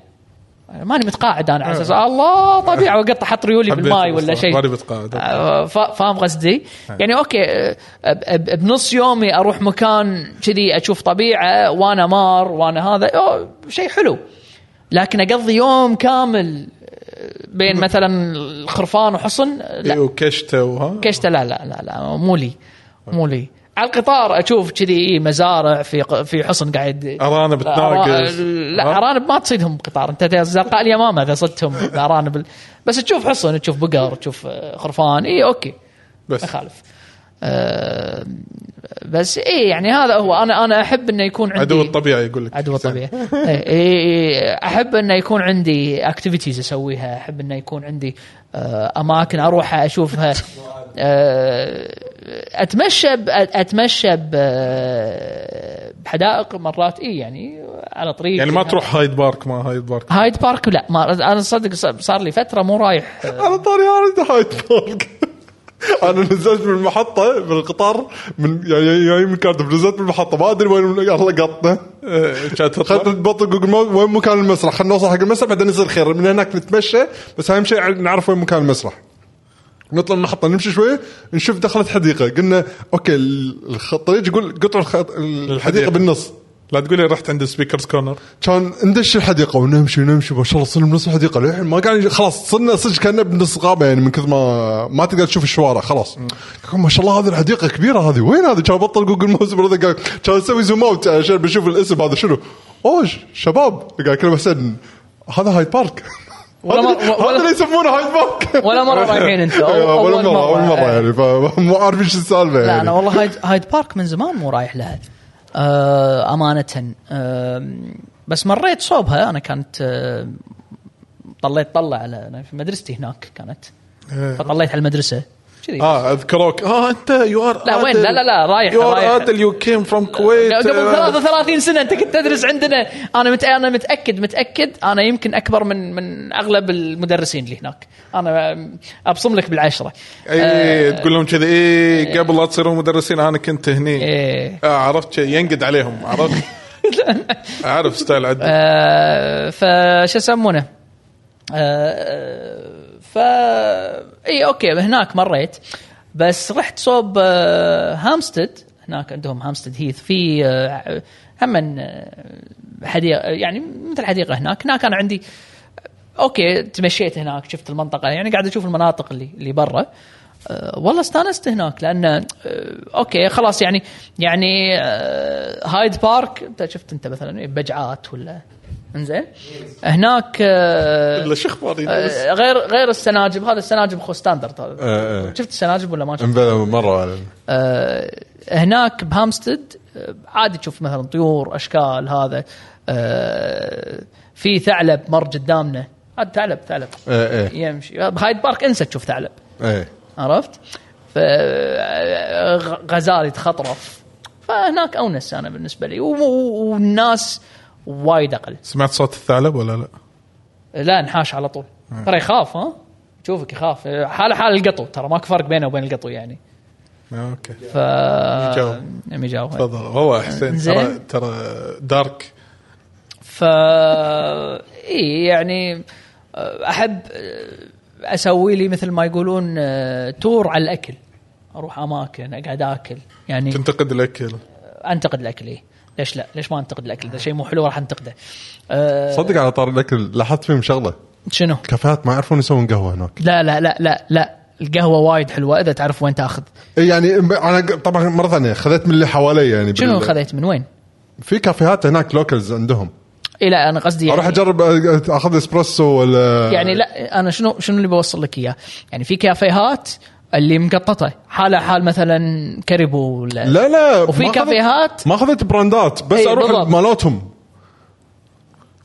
Speaker 3: ماني متقاعد انا على اساس الله طبيعه وقط احط ريولي
Speaker 2: آه. حبيت
Speaker 3: بالماي ولا
Speaker 2: الصراحة،
Speaker 3: شيء
Speaker 2: ماني نعم. متقاعد.
Speaker 3: آه، فا- فاهم قصدي؟ يعني اوكي آه، ب- ب- بنص يومي اروح مكان كذي اشوف طبيعه وانا مار وانا هذا أوه، شيء حلو لكن اقضي يوم كامل آه، بين
Speaker 2: نعم.
Speaker 3: مثلا الخرفان وحصن آه،
Speaker 2: إيه،
Speaker 3: لا
Speaker 2: وكشته وها
Speaker 3: كشته لا لا لا لا مو لي مو لي على القطار اشوف كذي إيه، مزارع في ق- في حصن قاعد
Speaker 2: ارانب تناقص
Speaker 3: آه، لا آه،
Speaker 2: ها؟
Speaker 3: ارانب ما تصيدهم بقطار انت الزرقاء اليمامه اذا صدتهم الارانب ال- بس تشوف حصن تشوف بقر تشوف آه، خرفان اي اوكي ما
Speaker 2: بس
Speaker 3: يخالف آه، بس اي يعني هذا هو انا انا احب انه يكون عندي
Speaker 2: عدو الطبيعه يقول لك
Speaker 3: عدو الطبيعه إي- إي- إي، احب انه إيه، يكون عندي اكتيفيتيز اسويها احب انه يكون عندي آه، اماكن اروح اشوفها آه، اتمشى ب- اتمشى ب- بحدائق مرات اي يعني على طريق
Speaker 2: يعني ما تروح هايد بارك ما هايد بارك
Speaker 3: هايد بارك لا ما انا صدق ص- صار لي فتره مو رايح
Speaker 1: على طاري هذا هايد بارك انا نزلت من المحطه من القطار من يعني جاي من كاردف نزلت من المحطه ما ادري وين الله قطنا
Speaker 2: إيه، كانت
Speaker 1: خلت
Speaker 2: تطلع
Speaker 1: تبطل جوجل ماب وين مكان المسرح خلنا نوصل حق المسرح بعدين نصير خير من هناك نتمشى بس اهم شيء نعرف وين مكان المسرح نطلع المحطه نمشي شوي نشوف دخلت حديقه قلنا اوكي ال- الخ- الطريق يقول قطع الخ- الحديقه
Speaker 2: الحديقة.
Speaker 1: بالنص
Speaker 2: لا تقولي رحت عند سبيكرز كورنر
Speaker 1: كان ندش الحديقه ونمشي ونمشي ما شاء الله صرنا بنص الحديقه للحين ما قاعد خلاص صرنا صدق كنا بنص غابه يعني من كثر ما ما تقدر تشوف الشوارع خلاص ما شاء الله هذه الحديقه كبيره هذه وين هذه كان بطل جوجل ماوس برضه قال كان اسوي زوم اوت عشان بشوف الاسم هذا شنو اوه ش- شباب قاعد اكلم حسين هذا هايد بارك
Speaker 3: ولا مرة-
Speaker 1: هذا
Speaker 3: ولا-
Speaker 1: اللي يسمونه هايد بارك
Speaker 3: ولا مرة رايحين أنت، أو-
Speaker 1: إيه،
Speaker 3: أول
Speaker 1: ولا مره
Speaker 3: مرة.
Speaker 1: اول مره
Speaker 3: إيه.
Speaker 1: يعني فمو عارفين شو السالفه
Speaker 3: لا انا
Speaker 1: يعني
Speaker 3: والله هايد هايد بارك من زمان مو رايح لها آه امانه آه بس مريت صوبها انا كانت آه طليت طلع على أنا في مدرستي هناك كانت فطليت على المدرسه كذي
Speaker 2: اه اذكروك اه انت يو ار
Speaker 3: لا، وين؟ لا، لا، لا، رايح-
Speaker 2: يو
Speaker 3: رايح.
Speaker 2: ار ادل يو كيم فروم كويت
Speaker 3: قبل 33 سنه انت كنت تدرس عندنا انا مت... انا متاكد متاكد انا يمكن اكبر من من اغلب المدرسين اللي هناك انا ابصم لك بالعشره
Speaker 2: اي إيه،
Speaker 3: آه.
Speaker 2: تقول لهم كذي اي قبل لا تصيرون مدرسين انا كنت هني
Speaker 3: إيه.
Speaker 2: آه، عرفت شي، ينقد عليهم عرفت اعرف ستايل عدل
Speaker 3: آه، فشو يسمونه آه، ف اي اوكي هناك مريت بس رحت صوب آه، هامستد هناك عندهم هامستد هيث في آه، هم آه، حديقه يعني مثل حديقه هناك هناك انا عندي اوكي تمشيت هناك شفت المنطقه يعني قاعد اشوف المناطق اللي اللي برا أه والله استانست هناك لان أه اوكي خلاص يعني يعني أه هايد بارك انت شفت انت مثلا إيه، بجعات ولا انزين هناك أه
Speaker 2: ولا شو اخباري بس؟
Speaker 3: أه غير غير السناجب هذا السناجب خو ستاندرد
Speaker 1: إيه، إيه.
Speaker 3: هذا شفت السناجب ولا ما شفت؟
Speaker 1: انبلى مره
Speaker 3: آه، هناك بهامستد آه، عادي تشوف مثلا طيور اشكال هذا آه، في ثعلب مر قدامنا عاد ثعلب ثعلب
Speaker 1: ايه ايه
Speaker 3: يمشي بهايد بارك انسى تشوف ثعلب
Speaker 1: ايه
Speaker 3: عرفت؟ ف غ- غزال يتخطرف فهناك اونس انا بالنسبه لي و- و- والناس وايد اقل
Speaker 2: سمعت صوت الثعلب ولا لا؟
Speaker 3: لا انحاش على طول ترى يخاف ها شوفك يخاف حاله حال القطو ترى ماكو فرق بينه وبين القطو يعني
Speaker 2: آه، اوكي
Speaker 3: ف
Speaker 2: يجاوب.
Speaker 3: لم يجاوب يعني
Speaker 2: تفضل هو حسين ترى
Speaker 3: زين.
Speaker 2: ترى دارك
Speaker 3: ف اي يعني آه، احب آه، اسوي لي مثل ما يقولون آه، تور على الاكل اروح اماكن اقعد اكل يعني
Speaker 2: تنتقد الاكل
Speaker 3: انتقد الاكل إيه. ليش لا؟ ليش ما انتقد الاكل؟ اذا شيء مو حلو راح انتقده. أه
Speaker 1: صدق على طار الاكل لاحظت فيهم شغله
Speaker 3: شنو؟
Speaker 1: كافيهات ما يعرفون يسوون قهوه هناك
Speaker 3: لا لا لا لا لا القهوه وايد حلوه اذا تعرف وين تاخذ.
Speaker 1: إيه يعني ب- انا ق- طبعا مره ثانيه خذيت من اللي حوالي يعني
Speaker 3: شنو
Speaker 1: بال-
Speaker 3: خذيت من وين؟
Speaker 1: في كافيهات هناك لوكلز عندهم
Speaker 3: اي لا انا قصدي يعني
Speaker 1: اروح اجرب أ- اخذ اسبريسو ولا
Speaker 3: يعني لا انا شنو شنو اللي بوصل لك اياه؟ يعني في كافيهات اللي مقططه حاله حال مثلا كريبو ولا
Speaker 1: لا لا
Speaker 3: وفي
Speaker 1: ما أخذت-
Speaker 3: كافيهات؟
Speaker 1: ما اخذت براندات بس
Speaker 3: إيه،
Speaker 1: اروح
Speaker 3: بالضبط.
Speaker 1: مالاتهم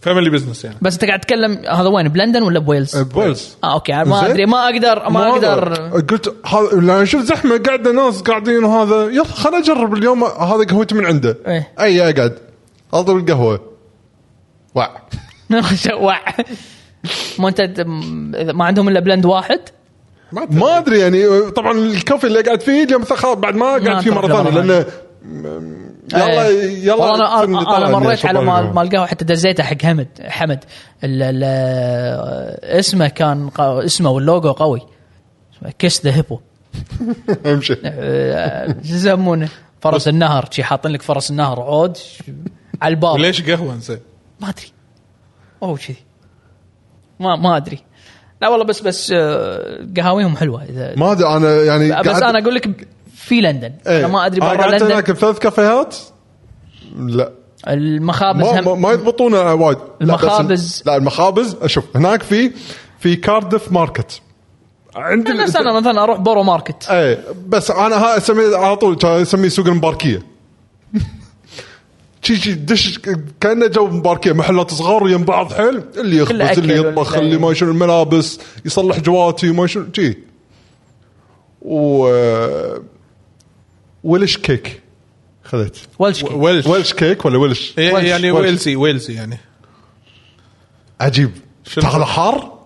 Speaker 2: فاميلي بزنس يعني
Speaker 3: بس انت قاعد تتكلم هذا وين بلندن ولا بويلز؟
Speaker 1: بويلز
Speaker 3: اه اوكي ما
Speaker 1: زين.
Speaker 3: ادري ما اقدر ما اقدر
Speaker 1: قلت هذا يعني لان شفت زحمه قاعده ناس قاعدين وهذا يلا خليني اجرب اليوم هذا قهوتي من عنده
Speaker 3: إيه.
Speaker 1: اي اقعد اضرب القهوه وع
Speaker 3: شوع ما انت إذا ما عندهم الا بلند واحد
Speaker 1: ما ادري يعني طبعا الكافي اللي قاعد فيه اليوم خلاص بعد ما قاعد فيه مره
Speaker 3: تروح
Speaker 1: ثانيه
Speaker 3: مرة
Speaker 1: لانه يلا
Speaker 3: إيه.
Speaker 1: يلا
Speaker 3: والله انا
Speaker 1: سن
Speaker 3: انا,
Speaker 1: طلع
Speaker 3: أنا
Speaker 1: إني
Speaker 3: مريت
Speaker 1: أشرب
Speaker 3: على مال
Speaker 1: القهوة.
Speaker 3: مال قهوه حتى دزيته حق حمد حمد ال ال آه، اسمه كان قا- اسمه واللوجو قوي كيس ذا هيبو
Speaker 1: امشي
Speaker 3: شو يسمونه فرس النهر شي حاطين لك فرس النهر عود ش- على الباب
Speaker 2: وليش قهوه انزين؟
Speaker 3: ما ادري او كذي ما ما ادري لا والله بس بس آه، قهاويهم حلوه اذا
Speaker 1: ما ادري انا يعني إيه.
Speaker 3: بس انا اقول لك في لندن انا ما ادري برا
Speaker 1: قعدت
Speaker 3: لندن
Speaker 1: هناك بثلاث كافيهات لا
Speaker 3: المخابز
Speaker 1: ما, ما,
Speaker 3: هم
Speaker 1: ما يضبطون وايد لا، بس-
Speaker 3: المخابز.
Speaker 1: لا المخابز اشوف هناك في في كاردف ماركت عند ال-
Speaker 3: نفس انا مثلا اروح بورو ماركت
Speaker 1: اي إيه، بس انا ها اسميه على طول كان اسميه سوق المباركيه شي شي دش كانه جو مباركيه محلات صغار يم بعض حيل اللي
Speaker 3: كله
Speaker 1: يخبز
Speaker 3: أكل
Speaker 1: اللي يطبخ
Speaker 3: ولا-
Speaker 1: اللي ما يشيل الملابس يصلح جواتي ما يشيل شي و ولش كيك خذيت
Speaker 3: ولش كيك.
Speaker 2: ويلش
Speaker 1: ولش كيك ولا ولش؟
Speaker 2: إيه، يعني
Speaker 1: ولش.
Speaker 2: ويلزي ويلزي يعني
Speaker 1: عجيب
Speaker 2: شنو؟
Speaker 1: تاخذ حار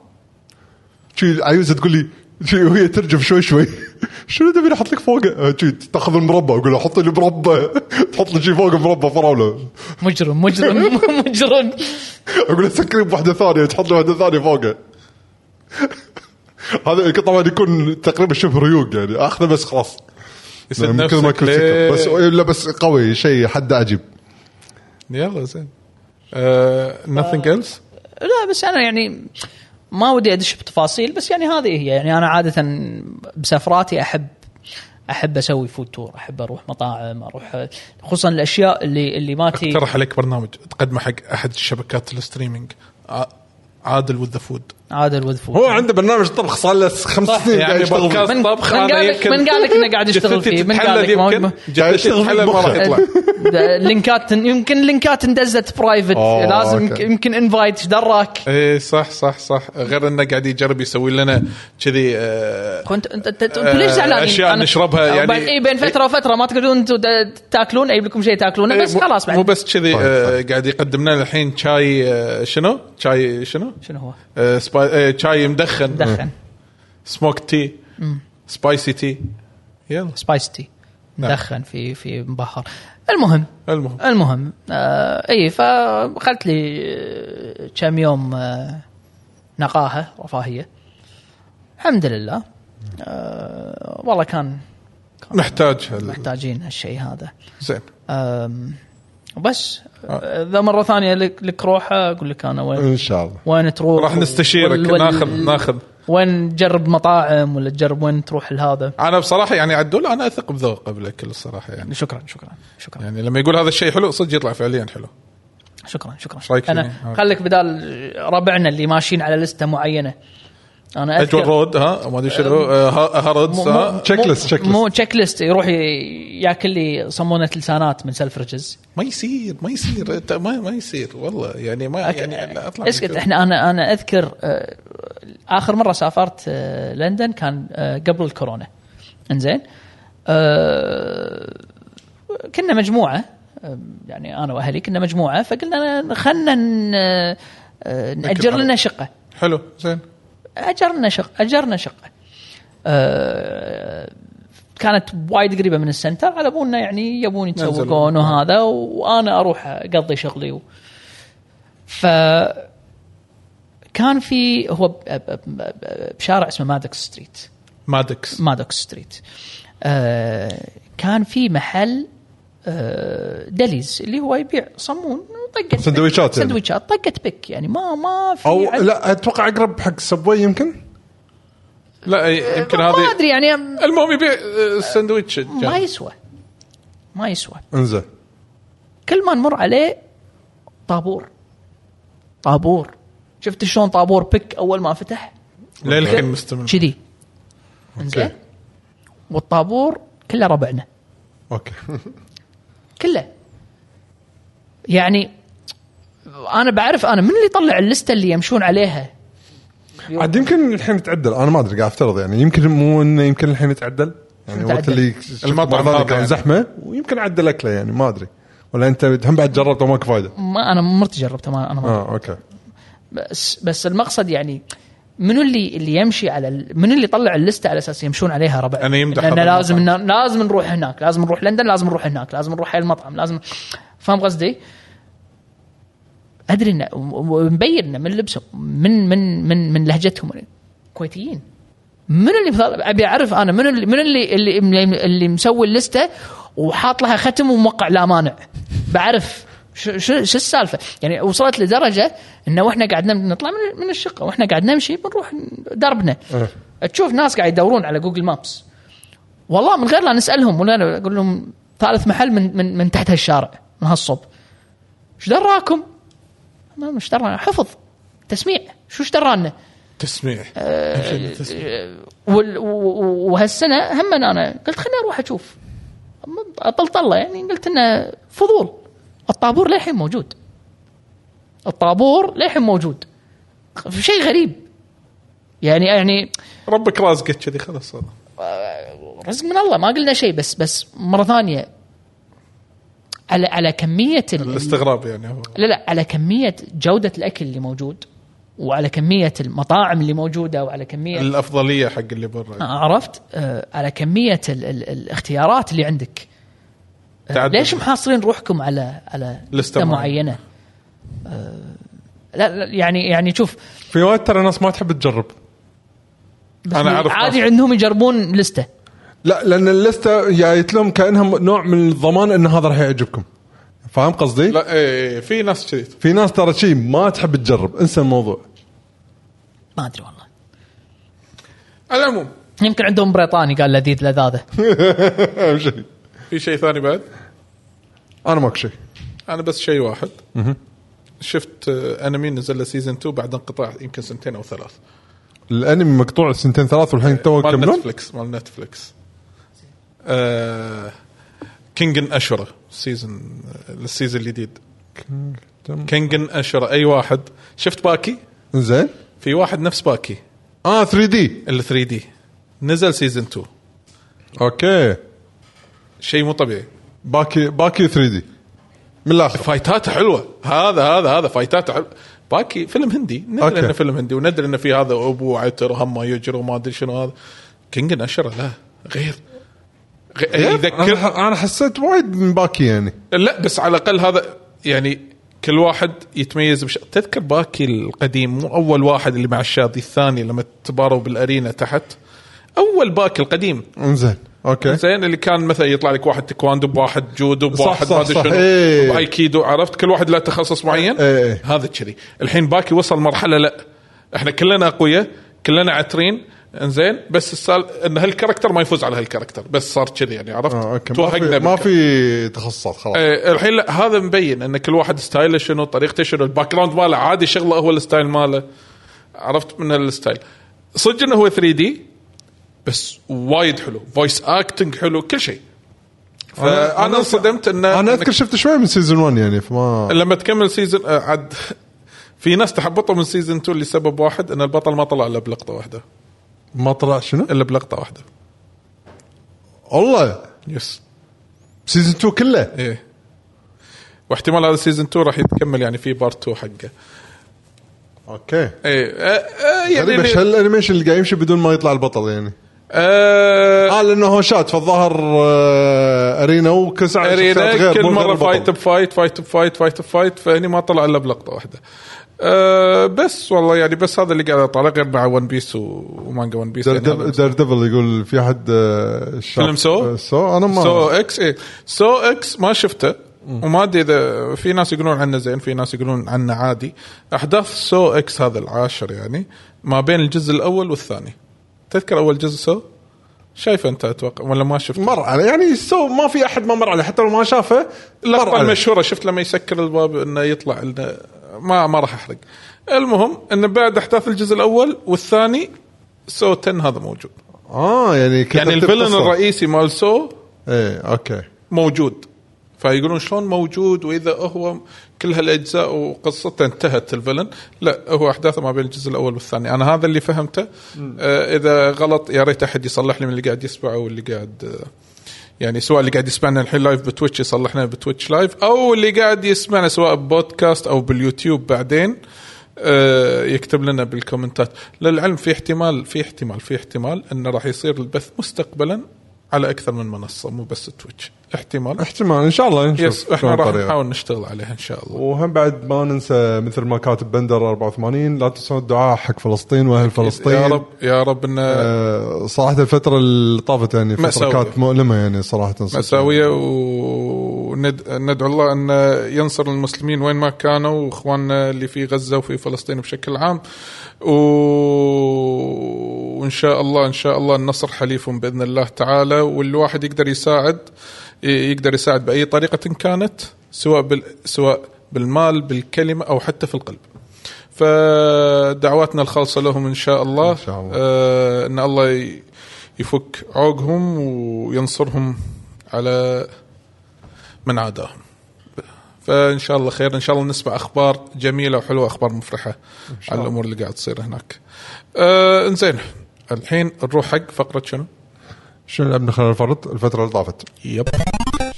Speaker 1: شي عيوزه تقول لي شي وهي ترجف شوي شوي شنو تبي احط لك فوقه؟ آه، شي تاخذ المربى اقول له حط لي مربى تحط لي شي فوق مربى فراوله
Speaker 3: مجرم مجرم مجرم
Speaker 1: اقول له سكري بوحده ثانيه تحط لي واحده ثانيه فوقه هذا طبعا يكون تقريبا شبه ريوق يعني اخذه بس خلاص
Speaker 2: يسد
Speaker 1: من كثر ما
Speaker 2: نفسك
Speaker 1: اكل سكر بس
Speaker 2: ليه؟
Speaker 1: لا بس قوي شيء حده عجيب
Speaker 2: يلا زين آه، nothing
Speaker 3: آه،
Speaker 2: else
Speaker 3: لا بس انا يعني ما ودي ادش بتفاصيل بس يعني هذه هي يعني انا عاده بسفراتي احب احب اسوي فود تور احب اروح مطاعم اروح خصوصا الاشياء اللي اللي ما تي
Speaker 2: اقترح عليك برنامج تقدمه حق احد شبكات الستريمينج ع- عادل وذ فود
Speaker 3: عادل وذ
Speaker 1: هو
Speaker 3: فود
Speaker 1: عنده برنامج طبخ صار له خمس
Speaker 3: صح،
Speaker 1: سنين قاعد
Speaker 2: يعني
Speaker 1: يشتغل فيه.
Speaker 2: بودكاست
Speaker 3: من-
Speaker 2: طبخ
Speaker 3: من
Speaker 2: انا
Speaker 3: قال لك-
Speaker 2: يمكن
Speaker 3: من قال لك إنه قاعد يشتغل
Speaker 2: جثتي
Speaker 3: فيه، من قال
Speaker 2: تتحلل
Speaker 3: لك ما-
Speaker 2: يمكن
Speaker 3: ما-
Speaker 1: قاعد
Speaker 2: جثتي
Speaker 1: يشتغل
Speaker 2: تتحلل ما
Speaker 1: بالمخ.
Speaker 2: راح يطلع
Speaker 3: لينكات يمكن لينكات اندزت برايفت
Speaker 1: أوه،
Speaker 3: لازم
Speaker 1: أوكي.
Speaker 3: يمكن انفايت ايش دراك
Speaker 2: ايه صح صح صح غير انه قاعد يجرب يسوي لنا كذي آه،
Speaker 3: كنت انت انت انت ليش زعلانين؟
Speaker 2: أشياء
Speaker 3: أنا-
Speaker 2: نشربها يعني-
Speaker 3: بعد اي بين فتره وفتره ما تقدرون انتم د- تاكلون اجيب لكم شيء تاكلونه بس
Speaker 2: إيه، مو-
Speaker 3: خلاص
Speaker 2: مو
Speaker 3: بعد
Speaker 2: بس كذي
Speaker 1: طيب،
Speaker 2: آه،
Speaker 1: طيب.
Speaker 2: قاعد يقدم لنا الحين شاي آه، شنو؟ شاي شنو؟
Speaker 3: شنو هو؟
Speaker 2: آه، سبا- آه، شاي مدخن
Speaker 3: دخن
Speaker 2: سموك تي سبايسي تي يلا
Speaker 3: سبايس تي
Speaker 2: نعم.
Speaker 3: مدخن في في مبهر المهم
Speaker 2: المهم
Speaker 3: المهم آه اي فاخذت لي آه، كم يوم آه نقاهه رفاهيه الحمد لله آه والله كان
Speaker 2: نحتاج هال-
Speaker 3: محتاجين هالشيء هذا
Speaker 2: زين
Speaker 3: أم، وبس
Speaker 2: آه.
Speaker 3: اذا مره ثانيه لك لك روحه اقول لك انا وين
Speaker 1: ان شاء الله
Speaker 3: وين تروح
Speaker 2: راح نستشيرك
Speaker 3: وال- وال-
Speaker 2: ناخذ ناخذ
Speaker 3: وين تجرب مطاعم ولا تجرب وين تروح لهذا
Speaker 2: انا بصراحه يعني عدول انا اثق بذوقه بالكل الصراحه يعني
Speaker 3: شكرا شكرا شكرا
Speaker 2: يعني لما يقول هذا الشيء حلو صدق يطلع فعليا حلو
Speaker 3: شكرا شكرا
Speaker 2: رايك
Speaker 3: انا
Speaker 2: فيني؟
Speaker 3: خليك بدال ربعنا اللي ماشيين على لسته معينه انا
Speaker 2: اجول
Speaker 3: اذكر
Speaker 2: رود ها ما ادري شنو آه، ها- هاردز
Speaker 3: مو- مو-
Speaker 2: ها
Speaker 1: تشيك
Speaker 3: مو-
Speaker 1: ليست، تشيك ليست.
Speaker 3: مو تشيك ليست يروح ي- ياكل لي صمونه لسانات من سلفرجز
Speaker 2: ما يصير ما يصير أنت ما ما يصير والله يعني ما يعني لا، اطلع من
Speaker 3: اسكت
Speaker 2: كذا.
Speaker 3: احنا انا انا اذكر آه، اخر مره سافرت آه، لندن كان آه، قبل الكورونا انزين آه، كنا مجموعه آه، يعني انا واهلي كنا مجموعه فقلنا خلنا ن- آه، آه، ناجر
Speaker 2: على-
Speaker 3: لنا شقه
Speaker 2: حلو زين
Speaker 3: اجرنا شقه اجرنا شقه آه، كانت وايد قريبه من السنتر على ابونا يعني يبون يتسوقون
Speaker 2: ننزل.
Speaker 3: وهذا وانا اروح اقضي شغلي و... ف كان في هو ب- ب- ب- بشارع اسمه مادوكس ستريت
Speaker 2: مادكس
Speaker 3: مادوكس ستريت آه، كان في محل آه، دليز اللي هو يبيع صمون طقه
Speaker 1: سندويشات يعني.
Speaker 3: سندويشات طقه بك يعني ما ما في
Speaker 1: او
Speaker 3: عد-
Speaker 1: لا اتوقع اقرب حق سبوي يمكن
Speaker 2: لا يمكن
Speaker 3: ما
Speaker 2: هذه
Speaker 3: ادري يعني
Speaker 2: المهم يبيع آه، السندويتش
Speaker 3: ما
Speaker 2: جاهز.
Speaker 3: يسوى ما يسوى
Speaker 1: انزين
Speaker 3: كل ما نمر عليه طابور طابور شفت شلون طابور بك اول ما فتح
Speaker 2: للحين مستمر
Speaker 3: كذي انزين والطابور كله ربعنا
Speaker 1: اوكي
Speaker 3: كله يعني انا بعرف انا من اللي طلع اللسته اللي يمشون عليها
Speaker 1: عاد يمكن الحين يتعدل انا ما ادري قاعد افترض يعني يمكن مو انه يمكن الحين يتعدل يعني وقت
Speaker 3: يتعدل؟
Speaker 1: اللي
Speaker 2: المطعم
Speaker 1: بعض
Speaker 2: هذا
Speaker 1: كان
Speaker 2: يعني.
Speaker 1: زحمه ويمكن عدل اكله يعني ما ادري ولا انت هم بعد جربته وماك فايده
Speaker 3: ما انا مرت جربتها ما انا ما
Speaker 1: اه اوكي
Speaker 3: بس بس المقصد يعني منو اللي اللي يمشي على ال- منو اللي يطلع اللسته على اساس يمشون عليها ربع
Speaker 2: أنا يمدح
Speaker 3: لان
Speaker 2: هذا
Speaker 3: لازم
Speaker 2: المطعم.
Speaker 3: إن- لازم نروح هناك لازم نروح لندن لازم نروح هناك لازم نروح على المطعم لازم فاهم قصدي؟ ادري انه مبين إنه من لبسهم من من من من لهجتهم كويتيين من اللي بطلع- ابي اعرف انا من اللي من اللي اللي, اللي, اللي مسوي اللسته وحاط لها ختم وموقع لا مانع بعرف شو شو شو السالفه يعني وصلت لدرجه انه واحنا قاعد نم- نطلع من من الشقه واحنا قاعد نمشي بنروح دربنا
Speaker 1: إيه.
Speaker 3: تشوف ناس قاعد يدورون على جوجل مابس والله من غير لا نسالهم ولا أنا اقول لهم ثالث محل من من من تحت هالشارع من هالصوب ايش دراكم؟ ما ايش درانا حفظ تسميع شو ايش درانا؟
Speaker 2: تسميع
Speaker 3: وال- و- و- وهالسنه هم انا قلت خليني اروح اشوف طل طله يعني قلت انه فضول الطابور للحين موجود الطابور للحين موجود شيء غريب يعني يعني
Speaker 2: ربك رازقك كذي خلاص والله.
Speaker 3: رزق من الله ما قلنا شيء بس بس مره ثانيه على على كميه ال-
Speaker 2: الاستغراب يعني هو
Speaker 3: لا لا على كميه جوده الاكل اللي موجود وعلى كميه المطاعم اللي موجوده وعلى كميه
Speaker 2: الافضليه حق اللي برا
Speaker 3: عرفت آه، على كميه ال ال الاختيارات اللي عندك آه،
Speaker 2: تعدد.
Speaker 3: ليش محاصرين روحكم على على لسته
Speaker 2: معينة.
Speaker 3: معينه آه، لا لا، يعني يعني شوف
Speaker 1: في وايد ترى ناس ما تحب تجرب
Speaker 3: بس
Speaker 2: أنا أعرف
Speaker 3: عادي
Speaker 2: ناس.
Speaker 3: عندهم يجربون لسته
Speaker 1: لا لان اللسته جايت لهم كانها نوع من الضمان ان هذا راح يعجبكم فاهم قصدي؟
Speaker 2: لا ايه إيه، في ناس كذي
Speaker 1: في ناس ترى شيء ما تحب تجرب انسى الموضوع
Speaker 3: ما ادري والله
Speaker 2: على العموم
Speaker 3: يمكن عندهم بريطاني قال لذيذ لذاذه
Speaker 1: اهم شيء
Speaker 2: في شيء ثاني بعد
Speaker 1: انا ماكو شيء
Speaker 2: انا بس شيء واحد شفت آه، انمي نزل له سيزون 2 بعد انقطاع يمكن سنتين او ثلاث
Speaker 1: الانمي مقطوع سنتين ثلاث والحين تو
Speaker 2: إيه، مال
Speaker 1: يكملون
Speaker 2: نتفلكس مال نتفلكس آه كينجن اشره سيزون السيزون آه، الجديد كينجن اشره اي واحد شفت باكي
Speaker 1: زين
Speaker 2: في واحد نفس باكي
Speaker 1: اه 3 دي
Speaker 2: ال 3 دي نزل سيزون 2
Speaker 1: اوكي
Speaker 2: شيء مو طبيعي
Speaker 1: باكي باكي 3 دي من الاخر
Speaker 2: فايتاته حلوه هذا هذا هذا فايتاته حلوه باكي فيلم هندي ندري
Speaker 1: أوكي.
Speaker 2: انه فيلم هندي وندري انه في هذا ابو عتر هم يجر وما ادري شنو هذا كينجن اشره لا غير غ- يذكر
Speaker 1: إيه؟ أنا- انا حسيت وايد من باكي يعني
Speaker 2: لا بس على الاقل هذا يعني كل واحد يتميز بش... تذكر باكي القديم مو اول واحد اللي مع الشاذي الثاني لما تباروا بالارينا تحت اول باكي القديم
Speaker 1: انزين اوكي
Speaker 2: زين اللي كان مثلا يطلع لك واحد تيكواندو بواحد جودو
Speaker 1: صح،
Speaker 2: بواحد
Speaker 1: صح،
Speaker 2: ما ادري
Speaker 1: صح،
Speaker 2: شنو
Speaker 1: إيه.
Speaker 2: بايكيدو عرفت كل واحد له تخصص معين
Speaker 1: إيه، إيه.
Speaker 2: هذا كذي الحين باكي وصل مرحله لا احنا كلنا اقوياء كلنا عترين انزين بس السال ان هالكاركتر ما يفوز على هالكاركتر بس صار كذي يعني عرفت
Speaker 1: آه، اوكي ما في,
Speaker 2: بالك-
Speaker 1: ما في تخصصات خلاص
Speaker 2: إيه، الحين لا هذا مبين ان كل واحد ستايله شنو طريقته شنو الباك جراوند ماله عادي شغله هو الستايل ماله عرفت من الستايل صدق انه هو 3 دي بس وايد حلو فويس اكتنج حلو كل شيء
Speaker 1: أنا- أنا-
Speaker 2: فانا آه، انصدمت انه
Speaker 1: انا اذكر شفت شوي من سيزون 1 يعني فما
Speaker 2: لما تكمل سيزون آه، عاد في ناس تحبطوا من سيزون 2 لسبب واحد ان البطل ما طلع الا بلقطه واحده
Speaker 1: ما طلع شنو؟
Speaker 2: الا بلقطه واحده
Speaker 1: والله
Speaker 2: يس
Speaker 1: سيزون 2 كله
Speaker 2: ايه واحتمال هذا سيزون 2 راح يتكمل يعني في بارت 2 حقه
Speaker 1: اوكي
Speaker 2: ايه آه، آه، يعني
Speaker 1: غريب ايش هالانيميشن اللي قاعد يمشي بدون ما يطلع البطل يعني
Speaker 2: آه
Speaker 1: اه لانه هوشات فالظاهر آه، ارينا وكسع شخصيات
Speaker 2: ارينا
Speaker 1: غير،
Speaker 2: كل
Speaker 1: مو غير
Speaker 2: مره
Speaker 1: البطل.
Speaker 2: فايت بفايت فايت بفايت فايت بفايت فهني ما طلع الا بلقطه واحده آه بس والله يعني بس هذا اللي قاعد اطالع غير مع ون بيس و- ومانجا ون بيس
Speaker 1: دير
Speaker 2: يعني
Speaker 1: ديفل
Speaker 2: هذا بس.
Speaker 1: دير ديفل يقول في احد آه، الشاب-
Speaker 2: فيلم سو؟
Speaker 1: آه، سو انا ما
Speaker 2: سو اكس ايه سو اكس ما شفته وما ادري اذا في ناس يقولون عنه زين في ناس يقولون عنه عادي احداث سو اكس هذا العاشر يعني ما بين الجزء الاول والثاني تذكر اول جزء سو شايفه انت اتوقع ولا ما شفته
Speaker 1: مر عليه يعني سو ما في احد ما مر عليه حتى لو ما شافه مر
Speaker 2: اللقطه
Speaker 1: عليه.
Speaker 2: المشهوره شفت لما يسكر الباب انه يطلع إنه ما ما راح احرق المهم انه بعد احداث الجزء الاول والثاني سو 10 هذا موجود
Speaker 1: اه يعني
Speaker 2: يعني
Speaker 1: كتبت
Speaker 2: الفيلن
Speaker 1: القصة.
Speaker 2: الرئيسي مال سو
Speaker 1: ايه اوكي
Speaker 2: موجود فيقولون شلون موجود واذا هو كل هالاجزاء وقصته انتهت الفيلن لا هو احداثه ما بين الجزء الاول والثاني انا هذا اللي فهمته آه اذا غلط يا ريت احد يصلح لي من اللي قاعد يسمع او اللي قاعد آه يعني سواء اللي قاعد يسمعنا الحين لايف بتويتش يصلحنا بتويتش لايف او اللي قاعد يسمعنا سواء ببودكاست او باليوتيوب بعدين آه، يكتب لنا بالكومنتات للعلم في احتمال في احتمال في احتمال انه راح يصير البث مستقبلا على اكثر من منصه مو بس تويتش احتمال
Speaker 1: احتمال ان شاء الله نشوف
Speaker 2: يس احنا
Speaker 1: شلون
Speaker 2: راح
Speaker 1: طريقة.
Speaker 2: نحاول نشتغل عليها ان شاء الله
Speaker 1: وهم بعد ما ننسى مثل ما كاتب بندر 84 لا تنسون الدعاء حق فلسطين واهل فلسطين
Speaker 2: يا رب يا رب ان
Speaker 1: آه، صراحه الفتره اللي طافت يعني فتره
Speaker 2: مأساوية.
Speaker 1: كانت مؤلمه يعني صراحه صدق.
Speaker 2: مساويه وندعو الله ان ينصر المسلمين وين ما كانوا واخواننا اللي في غزه وفي فلسطين بشكل عام و... وان شاء الله ان شاء الله النصر حليف باذن الله تعالى والواحد يقدر يساعد ي- يقدر يساعد باي طريقه كانت سواء بال... سواء بالمال بالكلمه او حتى في القلب فدعواتنا الخالصه لهم ان شاء الله, إن,
Speaker 1: شاء الله.
Speaker 2: آه ان الله ي- يفك عوقهم وينصرهم على من عاداهم فان شاء الله خير ان شاء الله نسمع اخبار جميله وحلوه اخبار مفرحه على الامور اللي قاعد تصير هناك آه انزين الحين نروح حق فقره شنو
Speaker 1: شنو لعبنا خلال الفرد الفتره اللي طافت
Speaker 2: يب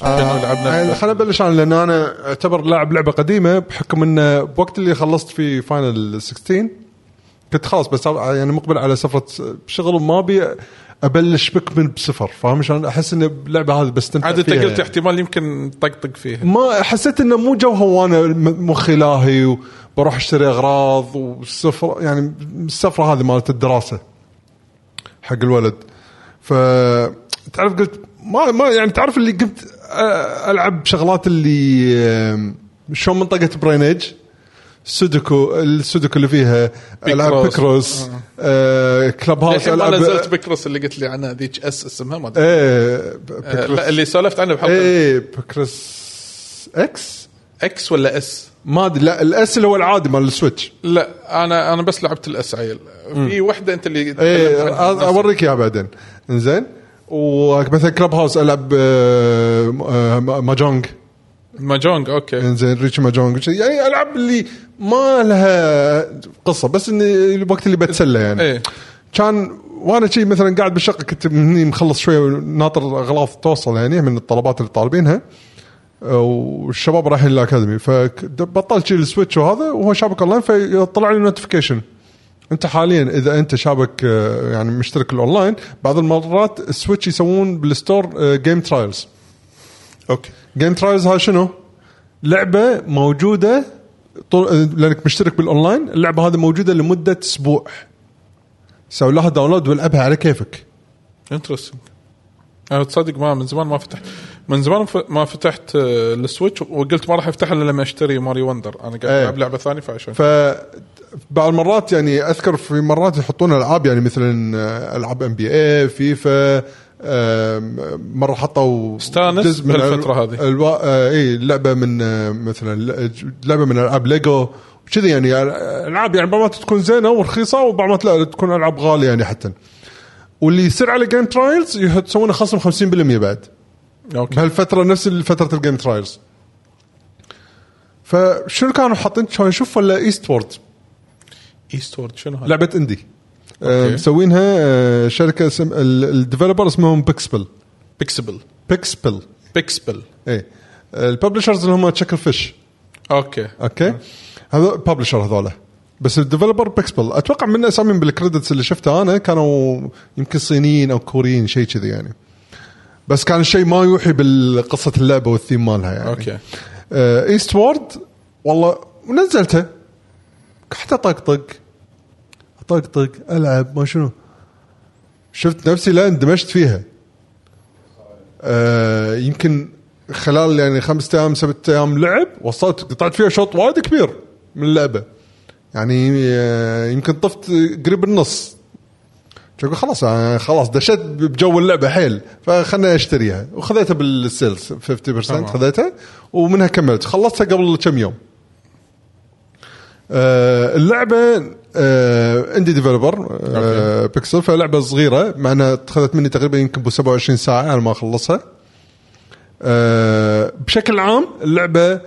Speaker 1: آه،
Speaker 2: لعبنا
Speaker 1: يعني خليني ابلش انا لان انا اعتبر لاعب لعبه قديمه بحكم انه بوقت اللي خلصت فيه فاينل 16 كنت خلاص بس يعني مقبل على سفره شغل وما ابي ابلش بك من بصفر فاهم شلون احس ان اللعبه هذه بستمتع
Speaker 2: عاد انت
Speaker 1: فيها
Speaker 2: قلت
Speaker 1: يعني.
Speaker 2: احتمال يمكن طقطق فيها
Speaker 1: ما حسيت انه مو جوها وانا م- مخي لاهي وبروح اشتري اغراض والسفره يعني السفره هذه مالت الدراسه حق الولد ف تعرف قلت ما ما يعني تعرف اللي قمت أ- العب شغلات اللي أم، شلون منطقه برينج سودوكو السودوكو اللي فيها العاب بيكروس آه كلاب هاوس
Speaker 2: الحين ما
Speaker 1: العاب
Speaker 2: نزلت بكرس اللي قلت لي عنها ذيك اس اسمها ما ادري
Speaker 1: ايه
Speaker 2: آه،
Speaker 1: بيكروس
Speaker 2: لا، اللي سولفت عنه بحلقه
Speaker 1: ايه بيكروس اكس
Speaker 2: اكس ولا اس؟
Speaker 1: ما ادري لا الاس اللي هو العادي مال السويتش
Speaker 2: لا انا انا بس لعبت الاس عيل في وحده انت اللي إيه، آه،
Speaker 1: ايه
Speaker 2: تكلمت عنها.
Speaker 1: أ- اوريك اياها بعدين انزين ومثلا كلاب هاوس العب آه، م- آه، ماجونج
Speaker 2: ماجونج اوكي
Speaker 1: انزين ريتش ماجونج شي- يعني العاب اللي ما لها قصه بس ان الوقت اللي بتسلى يعني
Speaker 2: ايه
Speaker 1: كان وانا شي مثلا قاعد بالشقه كنت مني مخلص شويه وناطر اغلاط توصل يعني من الطلبات اللي طالبينها أه، والشباب رايحين الاكاديمي فبطلت شي السويتش وهذا وهو شابك اونلاين فطلع لي نوتيفيكيشن انت حاليا اذا انت شابك أه، يعني مشترك الاونلاين بعض المرات السويتش يسوون بالستور آه، جيم ترايلز
Speaker 2: اوكي
Speaker 1: جيم ترايلز هاي شنو؟ لعبه موجوده طول لانك مشترك بالاونلاين اللعبه هذه موجوده لمده اسبوع سوي لها داونلود والعبها على كيفك
Speaker 2: انترستنج انا تصدق ما من زمان ما فتحت من زمان ف- ما فتحت آه، السويتش وقلت ما راح افتحها الا لما اشتري ماري وندر انا قاعد
Speaker 1: إيه.
Speaker 2: العب لعبه ثانيه فعشان
Speaker 1: ف بعض المرات يعني اذكر في مرات يحطون العاب يعني مثلا آه، العاب ام بي اي فيفا آم، مره حطوا
Speaker 2: استانس
Speaker 1: جزء من
Speaker 2: بالفترة
Speaker 1: الو-
Speaker 2: هذه.
Speaker 1: الوا... آه، اي لعبه من آه، مثلا ل- لعبه من العاب ليجو كذي يعني آه، العاب يعني بعض المرات تكون زينه ورخيصه وبعض المرات لا تكون العاب غاليه يعني حتى واللي يصير على جيم ترايلز يسوون خصم 50% بعد
Speaker 2: اوكي
Speaker 1: بهالفتره نفس فتره الجيم ترايلز فشنو كانوا حاطين كانوا يشوف ولا ايست وورد
Speaker 2: ايست وورد شنو هذا؟
Speaker 1: لعبه اندي آه، مسوينها آه، شركه اسم ال- الديفلوبر اسمهم بيكسبل
Speaker 2: بيكسبل
Speaker 1: بيكسبل
Speaker 2: بيكسبل
Speaker 1: اي الببلشرز إيه. اللي هم تشكل فيش
Speaker 2: اوكي
Speaker 1: اوكي هذا ببلشر هذولا بس الديفلوبر بيكسبل اتوقع من اساميهم بالكريدتس اللي شفتها انا كانوا يمكن صينيين او كوريين شيء كذي يعني بس كان شيء ما يوحي بالقصه اللعبه والثيم مالها يعني
Speaker 2: اوكي
Speaker 1: ايست وورد آه، والله نزلته قعدت اطقطق اطقطق العب ما شنو شفت نفسي لا اندمجت فيها آه يمكن خلال يعني خمسة ايام سبعة ايام لعب وصلت قطعت فيها شوط وايد كبير من اللعبه يعني آه يمكن طفت قريب النص اقول خلاص أنا خلاص دشيت بجو اللعبه حيل فخلنا اشتريها وخذيتها بالسيلز 50% خذيتها ومنها كملت خلصتها قبل كم يوم آه، اللعبه آه، اندي ديفلوبر آه، بيكسل فلعبه صغيره مع انها خذت مني تقريبا يمكن بو 27 ساعه على ما اخلصها آه، بشكل عام اللعبه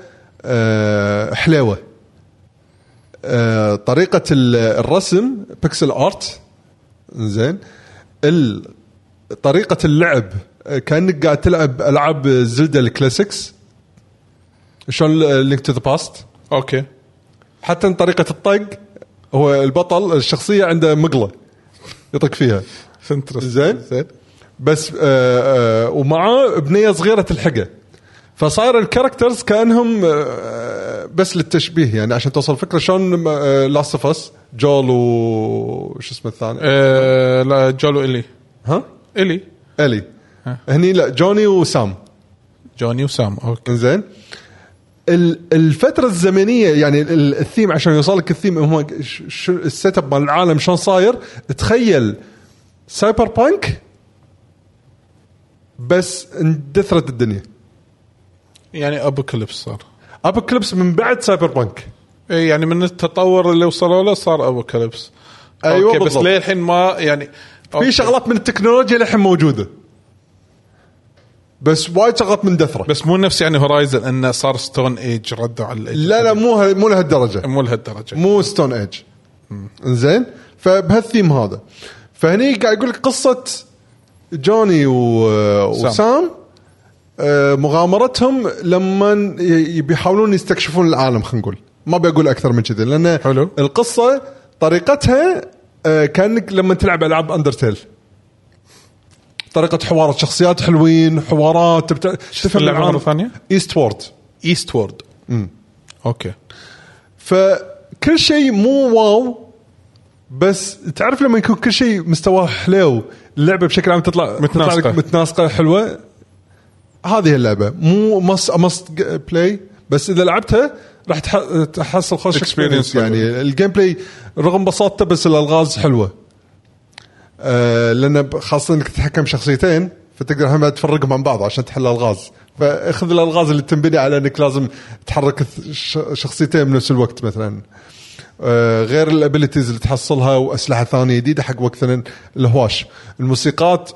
Speaker 1: آه، حليوه آه، طريقه ال- الرسم بيكسل ارت زين ال- طريقه اللعب آه، كانك قاعد تلعب العاب زلدا الكلاسيكس شلون لينك تو ذا باست
Speaker 2: اوكي
Speaker 1: حتى طريقه الطق هو البطل الشخصيه عنده مقله يطق فيها
Speaker 2: انترستنج
Speaker 1: زين زين بس آه آه ومعاه بنيه صغيره تلحقه فصاير الكاركترز كانهم آه بس للتشبيه يعني عشان توصل فكره شلون آه، لاست اوف اس جول وش اسمه الثاني
Speaker 2: آه، لا جولو الي
Speaker 1: ها
Speaker 2: الي
Speaker 1: الي
Speaker 2: ها.
Speaker 1: هني لا جوني وسام
Speaker 2: جوني وسام اوكي
Speaker 1: انزين ال- الفترة الزمنية يعني ال- ال- الثيم عشان يوصلك الثيم هم ش- ش- السيت اب مال العالم شلون صاير تخيل سايبر بانك بس اندثرت الدنيا
Speaker 2: يعني ابوكاليبس صار
Speaker 1: ابوكليبس من بعد سايبر بانك
Speaker 2: إيه يعني من التطور اللي وصلوا له صار ابوكاليبس
Speaker 1: أيوة
Speaker 2: أوكي، بس
Speaker 1: بالضبط.
Speaker 2: ليه الحين ما يعني
Speaker 1: في
Speaker 2: أوكي.
Speaker 1: شغلات من التكنولوجيا للحين موجودة بس وايد شغلات مندثرة بس
Speaker 2: بس مو نفس يعني هورايزن انه صار ستون ايج ردوا على الإيج.
Speaker 1: لا لا مو ه- مو لهالدرجة
Speaker 2: مو لهالدرجه
Speaker 1: مو ستون ايج زين فبهالثيم هذا فهني قاعد يقول لك قصه جوني و...
Speaker 2: سام.
Speaker 1: وسام آه، مغامرتهم لما ي- بيحاولون يستكشفون العالم خلينا نقول ما بقول اكثر من كذا لان
Speaker 2: حلو.
Speaker 1: القصه طريقتها آه، كانك لما تلعب العاب اندرتيل طريقه حوارات شخصيات حلوين حوارات تبت... تفهم
Speaker 2: اللعبة مرة ثانية؟
Speaker 1: ايست وورد
Speaker 2: ايست وورد اوكي
Speaker 1: فكل شيء مو واو بس تعرف لما يكون كل شيء مستواه حلو اللعبه بشكل عام تطلع
Speaker 2: متناسقة.
Speaker 1: تطلع لك متناسقه حلوه هذه اللعبه مو ماست ماست بلاي بس اذا لعبتها راح تح- تحصل خوش
Speaker 2: Experience
Speaker 1: اكسبيرينس يعني الجيم بلاي رغم بساطته بس الالغاز حلوه آه لان ب- خاصه انك تتحكم شخصيتين فتقدر هم تفرقهم عن بعض عشان تحل الغاز فاخذ الالغاز اللي تنبني على انك لازم تحرك الث- ش- شخصيتين بنفس الوقت مثلا آه، غير الابيلتيز اللي تحصلها واسلحه ثانيه جديده حق وقتنا الهواش الموسيقات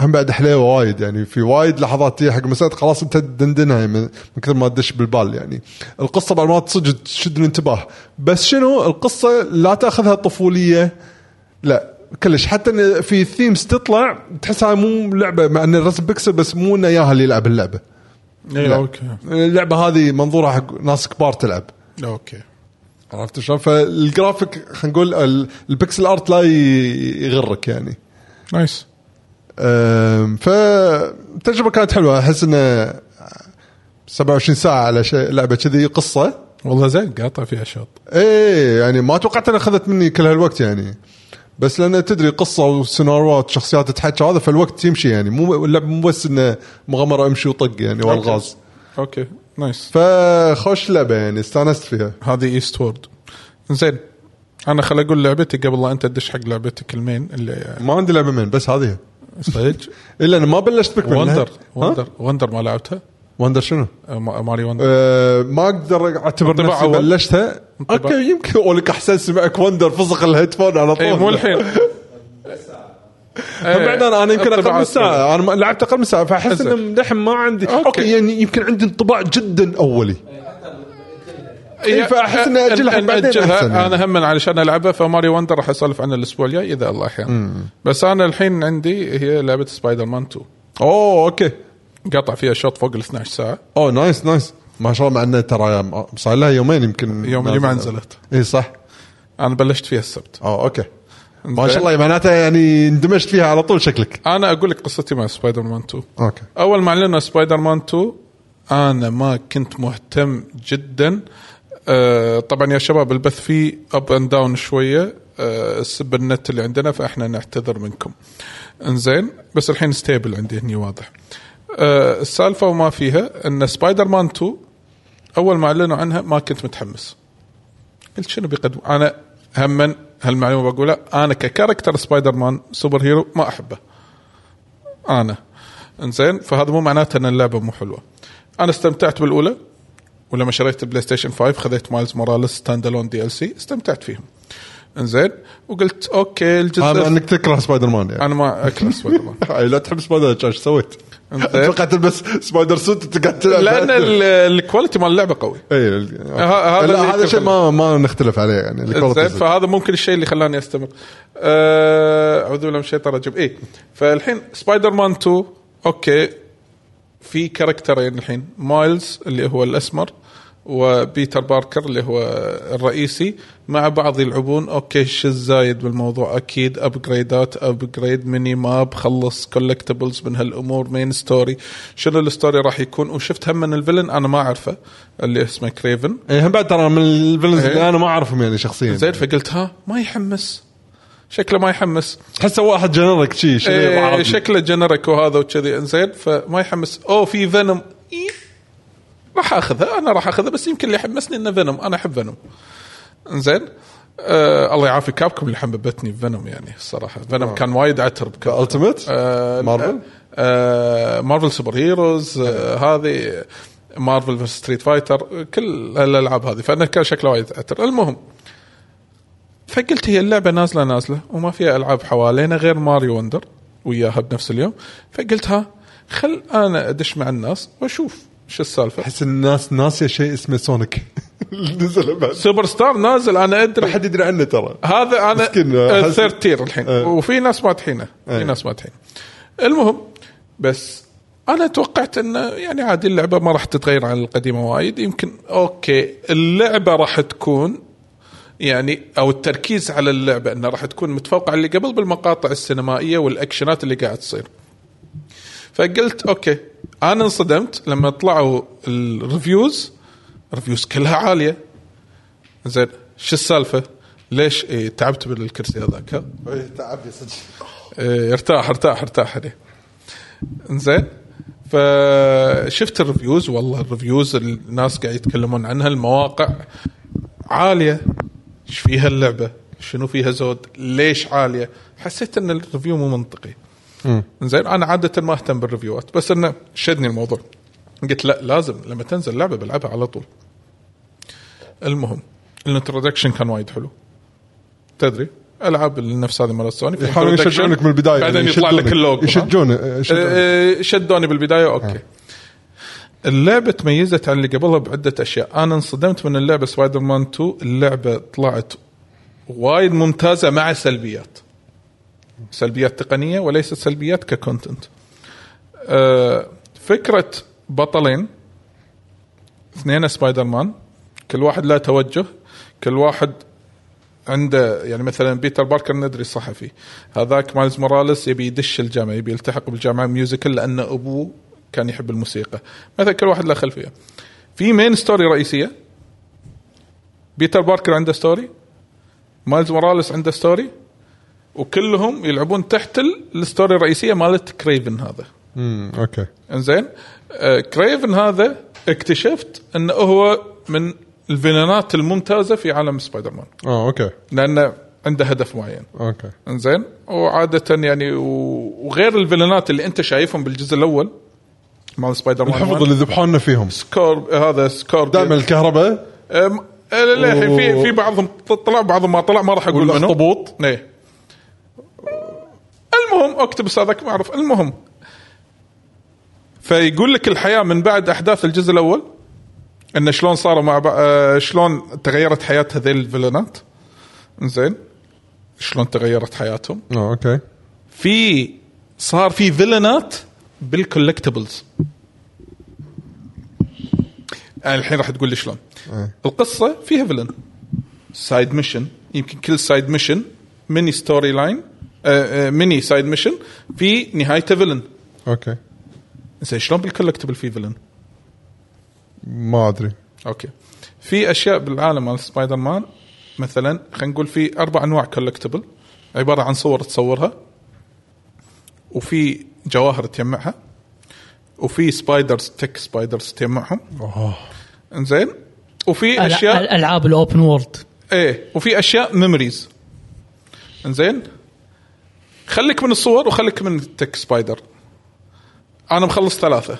Speaker 1: هم بعد حليوه وايد يعني في وايد لحظات تجي حق مسات خلاص انت تدندنها يعني من من كثر ما تدش بالبال يعني القصه بعد ما تصج تشد الانتباه بس شنو القصه لا تاخذها طفوليه لا كلش حتى إن في ثيمز تطلع تحسها مو لعبه مع ان الرسم بيكسل بس مو انه ياها اللي يلعب اللعبه
Speaker 2: اي اوكي
Speaker 1: اللعبه هذه منظورها حق ناس كبار تلعب
Speaker 2: اوكي
Speaker 1: عرفت شلون فالجرافيك خلينا نقول ال- البكسل ارت لا ي- يغرك يعني
Speaker 2: نايس
Speaker 1: أم، فالتجربه كانت حلوه احس انه 27 ساعه على شيء لعبه كذي قصه
Speaker 2: والله زين قاطع فيها شوط
Speaker 1: ايه يعني ما توقعت انها اخذت مني كل هالوقت يعني بس لان تدري قصه وسيناريوهات شخصيات تتحكى هذا فالوقت يمشي يعني مو اللعبه مو بس انه مغامره امشي وطق يعني والغاز
Speaker 2: اوكي نايس
Speaker 1: فخوش لعبه يعني استانست فيها
Speaker 2: هذه ايست وورد زين انا خل اقول لعبتي قبل لا انت تدش حق لعبتك المين اللي
Speaker 1: ما عندي لعبه من بس هذه
Speaker 2: صدق
Speaker 1: الا انا ما بلشت بيك
Speaker 2: وندر وندر وندر ما لعبتها
Speaker 1: وندر شنو؟
Speaker 2: آه، ما- ماري وندر
Speaker 1: أه، ما اقدر اعتبر
Speaker 2: انطباع
Speaker 1: نفسي
Speaker 2: أول.
Speaker 1: بلشتها
Speaker 2: انطباع.
Speaker 1: اوكي يمكن اولك احسن سمعك وندر فصخ الهيدفون على طول
Speaker 2: اي إيه، مو الحين إيه،
Speaker 1: هم بعد انا انا يمكن اقل
Speaker 2: انطباع
Speaker 1: من ساعه انا ما- لعبت اقل من ساعه فاحس
Speaker 2: انزين.
Speaker 1: ان لحم ما عندي
Speaker 2: اوكي.
Speaker 1: أوكي. يعني يمكن عندي انطباع جدا اولي
Speaker 2: إيه،
Speaker 1: إي، إيه، فأحس إني أأجلها حق بعدين أحسن
Speaker 2: اجلها
Speaker 1: يعني.
Speaker 2: انا هم علشان العبها فماري وندر راح اسولف عنها الاسبوع الجاي اذا الله احيانا بس انا الحين عندي هي لعبه سبايدر مان 2
Speaker 1: اوه اوكي
Speaker 2: قطع فيها شوط فوق ال 12 ساعه
Speaker 1: اوه نايس نايس ما شاء الله مع انه ترى م- صار لها يومين يمكن
Speaker 2: يوم اللي ما نزلت
Speaker 1: اي صح
Speaker 2: انا بلشت فيها السبت
Speaker 1: اوه اوكي ما شاء الله معناته يعني اندمجت فيها على طول شكلك
Speaker 2: انا اقول لك قصتي مع سبايدر مان 2
Speaker 1: اوكي
Speaker 2: اول ما اعلنوا سبايدر مان 2 انا ما كنت مهتم جدا آه، طبعا يا شباب البث فيه اب اند داون شويه آه، السب النت اللي عندنا فاحنا نعتذر منكم انزين بس الحين ستيبل عندي هني واضح آه، السالفه وما فيها ان سبايدر مان 2 اول ما اعلنوا عنها ما كنت متحمس قلت شنو بيقدم انا هما هالمعلومه بقولها انا ككاركتر سبايدر مان سوبر هيرو ما احبه انا انزين فهذا مو معناته ان اللعبه مو حلوه انا استمتعت بالاولى ولما شريت البلاي ستيشن 5 خذيت مايلز موراليس ستاند الون دي ال سي استمتعت فيهم انزين وقلت اوكي
Speaker 1: انا
Speaker 2: الجزء
Speaker 1: انك تكره سبايدر مان يعني
Speaker 2: انا ما اكره سبايدر مان
Speaker 1: أي، لا تحب سبايدر مان، ايش سويت؟
Speaker 2: إنزين.
Speaker 1: اتوقع تلبس سبايدر سوت وتقعد تلعب
Speaker 2: لان ال- الكواليتي مال اللعبه قوي
Speaker 1: اي ال-
Speaker 2: ه- هذا
Speaker 1: لا،
Speaker 2: اللي
Speaker 1: هذا شيء
Speaker 2: يتفق.
Speaker 1: ما ما نختلف عليه يعني
Speaker 2: زين
Speaker 1: الكواليتي زين.
Speaker 2: فهذا ممكن الشيء اللي خلاني استمر آه، اعوذ بالله من الشيطان الرجيم اي فالحين سبايدر مان 2 اوكي في كاركترين الحين مايلز اللي هو الاسمر وبيتر باركر اللي هو الرئيسي مع بعض يلعبون اوكي شو الزايد بالموضوع اكيد ابجريدات ابجريد ميني ماب خلص كولكتبلز من هالامور مين ستوري شنو الستوري راح يكون وشفت هم من الفيلن انا ما اعرفه اللي اسمه كريفن
Speaker 1: اي هم بعد ترى من الفيلنز
Speaker 2: إيه.
Speaker 1: اللي انا ما اعرفهم يعني شخصيا
Speaker 2: زين فقلت ها ما يحمس شكله ما يحمس
Speaker 1: تحسه واحد جنرك شيء شيء
Speaker 2: إيه
Speaker 1: عربي.
Speaker 2: شكله جنرك وهذا وكذي انزين فما يحمس اوه في فينوم إيه. راح اخذها انا راح اخذها بس يمكن اللي حمسني انه فينوم انا احب فينوم انزين آه الله يعافي كابكم اللي حببتني فينوم يعني الصراحه فينوم كان وايد عتر بكابكم
Speaker 1: التيميت مارفل
Speaker 2: آه مارفل سوبر هيروز آه هذه مارفل في ستريت فايتر كل الالعاب هذه فانا كان شكله وايد اتر المهم فقلت هي اللعبه نازله نازله وما فيها العاب حوالينا غير ماريو وندر وياها بنفس اليوم فقلت ها خل انا ادش مع الناس واشوف شو السالفه
Speaker 1: احس إن الناس ناسيه شيء اسمه سونيك نزل بعد
Speaker 2: سوبر ستار نازل انا
Speaker 1: ما
Speaker 2: ادري
Speaker 1: حد يدري عنه ترى
Speaker 2: هذا انا
Speaker 1: مسكين، أحس-
Speaker 2: الثيرد تير الحين
Speaker 1: أه.
Speaker 2: وفي ناس ماتحينه في
Speaker 1: أي.
Speaker 2: ناس ماتحين المهم بس انا توقعت انه يعني عادي اللعبه ما راح تتغير عن القديمه وايد يمكن اوكي اللعبه راح تكون يعني او التركيز على اللعبه انها راح تكون متفوقه على اللي قبل بالمقاطع السينمائيه والاكشنات اللي قاعد تصير فقلت اوكي انا انصدمت لما طلعوا الريفيوز ريفيوز كلها عاليه زين شو السالفه؟ ليش إيه تعبت بالكرسي هذاك؟ ها؟
Speaker 1: تعب يا صدق
Speaker 2: إيه ارتاح ارتاح ارتاح عليه. زين فشفت الريفيوز والله الريفيوز الناس قاعد يتكلمون عنها المواقع عاليه ايش فيها اللعبه؟ شنو فيها زود؟ ليش عاليه؟ حسيت ان الريفيو مو منطقي. زين انا عاده ما اهتم بالريفيوات بس انه شدني الموضوع. قلت لا لازم لما تنزل لعبه بلعبها على طول. المهم الانترودكشن كان وايد حلو. تدري العاب النفس هذه مال سوني في
Speaker 1: يحاولون
Speaker 2: introduction،
Speaker 1: يشجعونك من البدايه
Speaker 2: بعدين
Speaker 1: يعني
Speaker 2: يطلع لك
Speaker 1: يشدونك-
Speaker 2: اللوجو ها؟
Speaker 1: يشجون يشجون.
Speaker 2: آه، شدوني بالبدايه اوكي اللعبه تميزت عن اللي قبلها بعده اشياء انا انصدمت من اللعبه سبايدر مان 2 اللعبه طلعت وايد ممتازه مع سلبيات سلبيات تقنيه وليست سلبيات ككونتنت آه، فكره بطلين اثنين سبايدر مان كل واحد له توجه كل واحد عنده يعني مثلا بيتر باركر ندري صحفي هذاك مايلز موراليس يبي يدش الجامعه يبي يلتحق بالجامعه ميوزيكال لان ابوه كان يحب الموسيقى مثلا كل واحد له خلفيه في مين ستوري رئيسيه بيتر باركر عنده ستوري مايلز موراليس عنده ستوري وكلهم يلعبون تحت ال- الستوري الرئيسيه مالت كريفن هذا
Speaker 1: امم اوكي
Speaker 2: انزين آه كريفن هذا اكتشفت انه هو من الفيلانات الممتازه في عالم سبايدر مان
Speaker 1: اه اوكي
Speaker 2: لانه عنده هدف معين
Speaker 1: اوكي
Speaker 2: انزين وعاده يعني و- وغير الفيلنات اللي انت شايفهم بالجزء الاول مال سبايدر
Speaker 1: الحفظ
Speaker 2: مان
Speaker 1: اللي ذبحونا فيهم
Speaker 2: سكورب هذا سكورب
Speaker 1: دائما الكهرباء
Speaker 2: أم- آه، لا لا الحين في
Speaker 1: و-
Speaker 2: في بعضهم ط- طلع بعضهم ما طلع ما راح اقول منو
Speaker 1: والأخطبوط.
Speaker 2: ايه المهم اكتبس هذاك ما اعرف المهم فيقول لك الحياه من بعد احداث الجزء الاول ان شلون صاروا مع بعض شلون تغيرت حياه هذيل الفيلنات زين شلون تغيرت حياتهم
Speaker 1: اه اوكي
Speaker 2: في صار في فيلنات بالكولكتبلز يعني الحين راح تقول لي شلون القصه فيها فيلن سايد ميشن يمكن كل سايد ميشن ميني ستوري لاين آه، آه، ميني سايد ميشن في نهايته فيلن
Speaker 1: اوكي
Speaker 2: زين شلون بالكولكتبل في فيلن
Speaker 1: ما ادري
Speaker 2: اوكي في اشياء بالعالم مال سبايدر مان مثلا خلينا نقول في اربع انواع كولكتبل عباره عن صور تصورها وفي جواهر تجمعها وفي سبايدرز تك سبايدرز تجمعهم Oh.
Speaker 1: اه
Speaker 2: انزين وفي اشياء
Speaker 3: ألع- العاب الاوبن وورلد
Speaker 2: ايه وفي اشياء ميموريز انزين خليك من الصور وخليك من التك سبايدر انا مخلص ثلاثه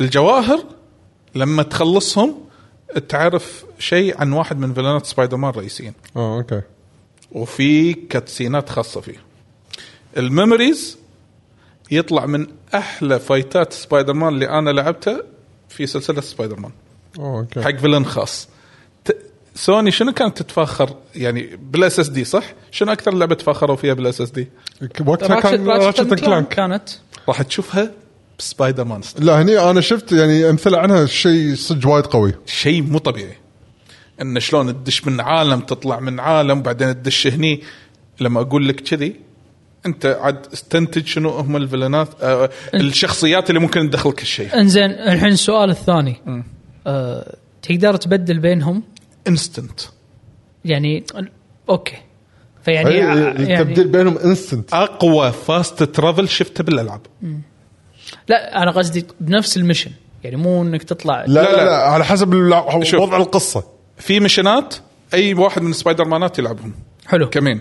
Speaker 2: الجواهر لما تخلصهم تعرف شيء عن واحد من فيلانات سبايدر مان الرئيسيين
Speaker 1: اه اوكي
Speaker 2: وفي كاتسينات خاصه فيه الميموريز يطلع من احلى فايتات سبايدر مان اللي انا لعبتها في سلسله سبايدر مان
Speaker 1: اه اوكي
Speaker 2: حق فيلن خاص ت... سوني شنو كانت تتفاخر يعني بالاس اس دي صح؟ شنو اكثر لعبه تفاخروا فيها بالاس اس دي؟
Speaker 1: وقتها كان راتشت كلانك
Speaker 3: كانت
Speaker 2: راح تشوفها بسبايدر مان
Speaker 1: لا هني انا شفت يعني امثله عنها شيء صدق وايد قوي
Speaker 3: يعني
Speaker 2: شيء مو طبيعي ان شلون تدش من عالم تطلع من عالم بعدين تدش هني لما اقول لك كذي انت عاد استنتج شنو هم الفلنات آه الشخصيات اللي ممكن تدخلك الشيء
Speaker 3: انزين الحين السؤال الثاني أه تقدر تبدل بينهم
Speaker 2: انستنت
Speaker 3: يعني اوكي فيعني
Speaker 1: هي-
Speaker 3: يعني
Speaker 1: التبديل بينهم
Speaker 2: آه.
Speaker 1: انستنت
Speaker 2: اقوى فاست ترافل شفته بالالعاب
Speaker 3: لا انا قصدي بنفس المشن يعني مو انك تطلع
Speaker 1: لا
Speaker 2: لا،
Speaker 1: لا,
Speaker 2: لا.
Speaker 1: لا, لا على حسب الع-
Speaker 2: شوف.
Speaker 1: وضع القصه
Speaker 2: في مشنات اي واحد من سبايدر مانات يلعبهم
Speaker 3: حلو
Speaker 2: كمين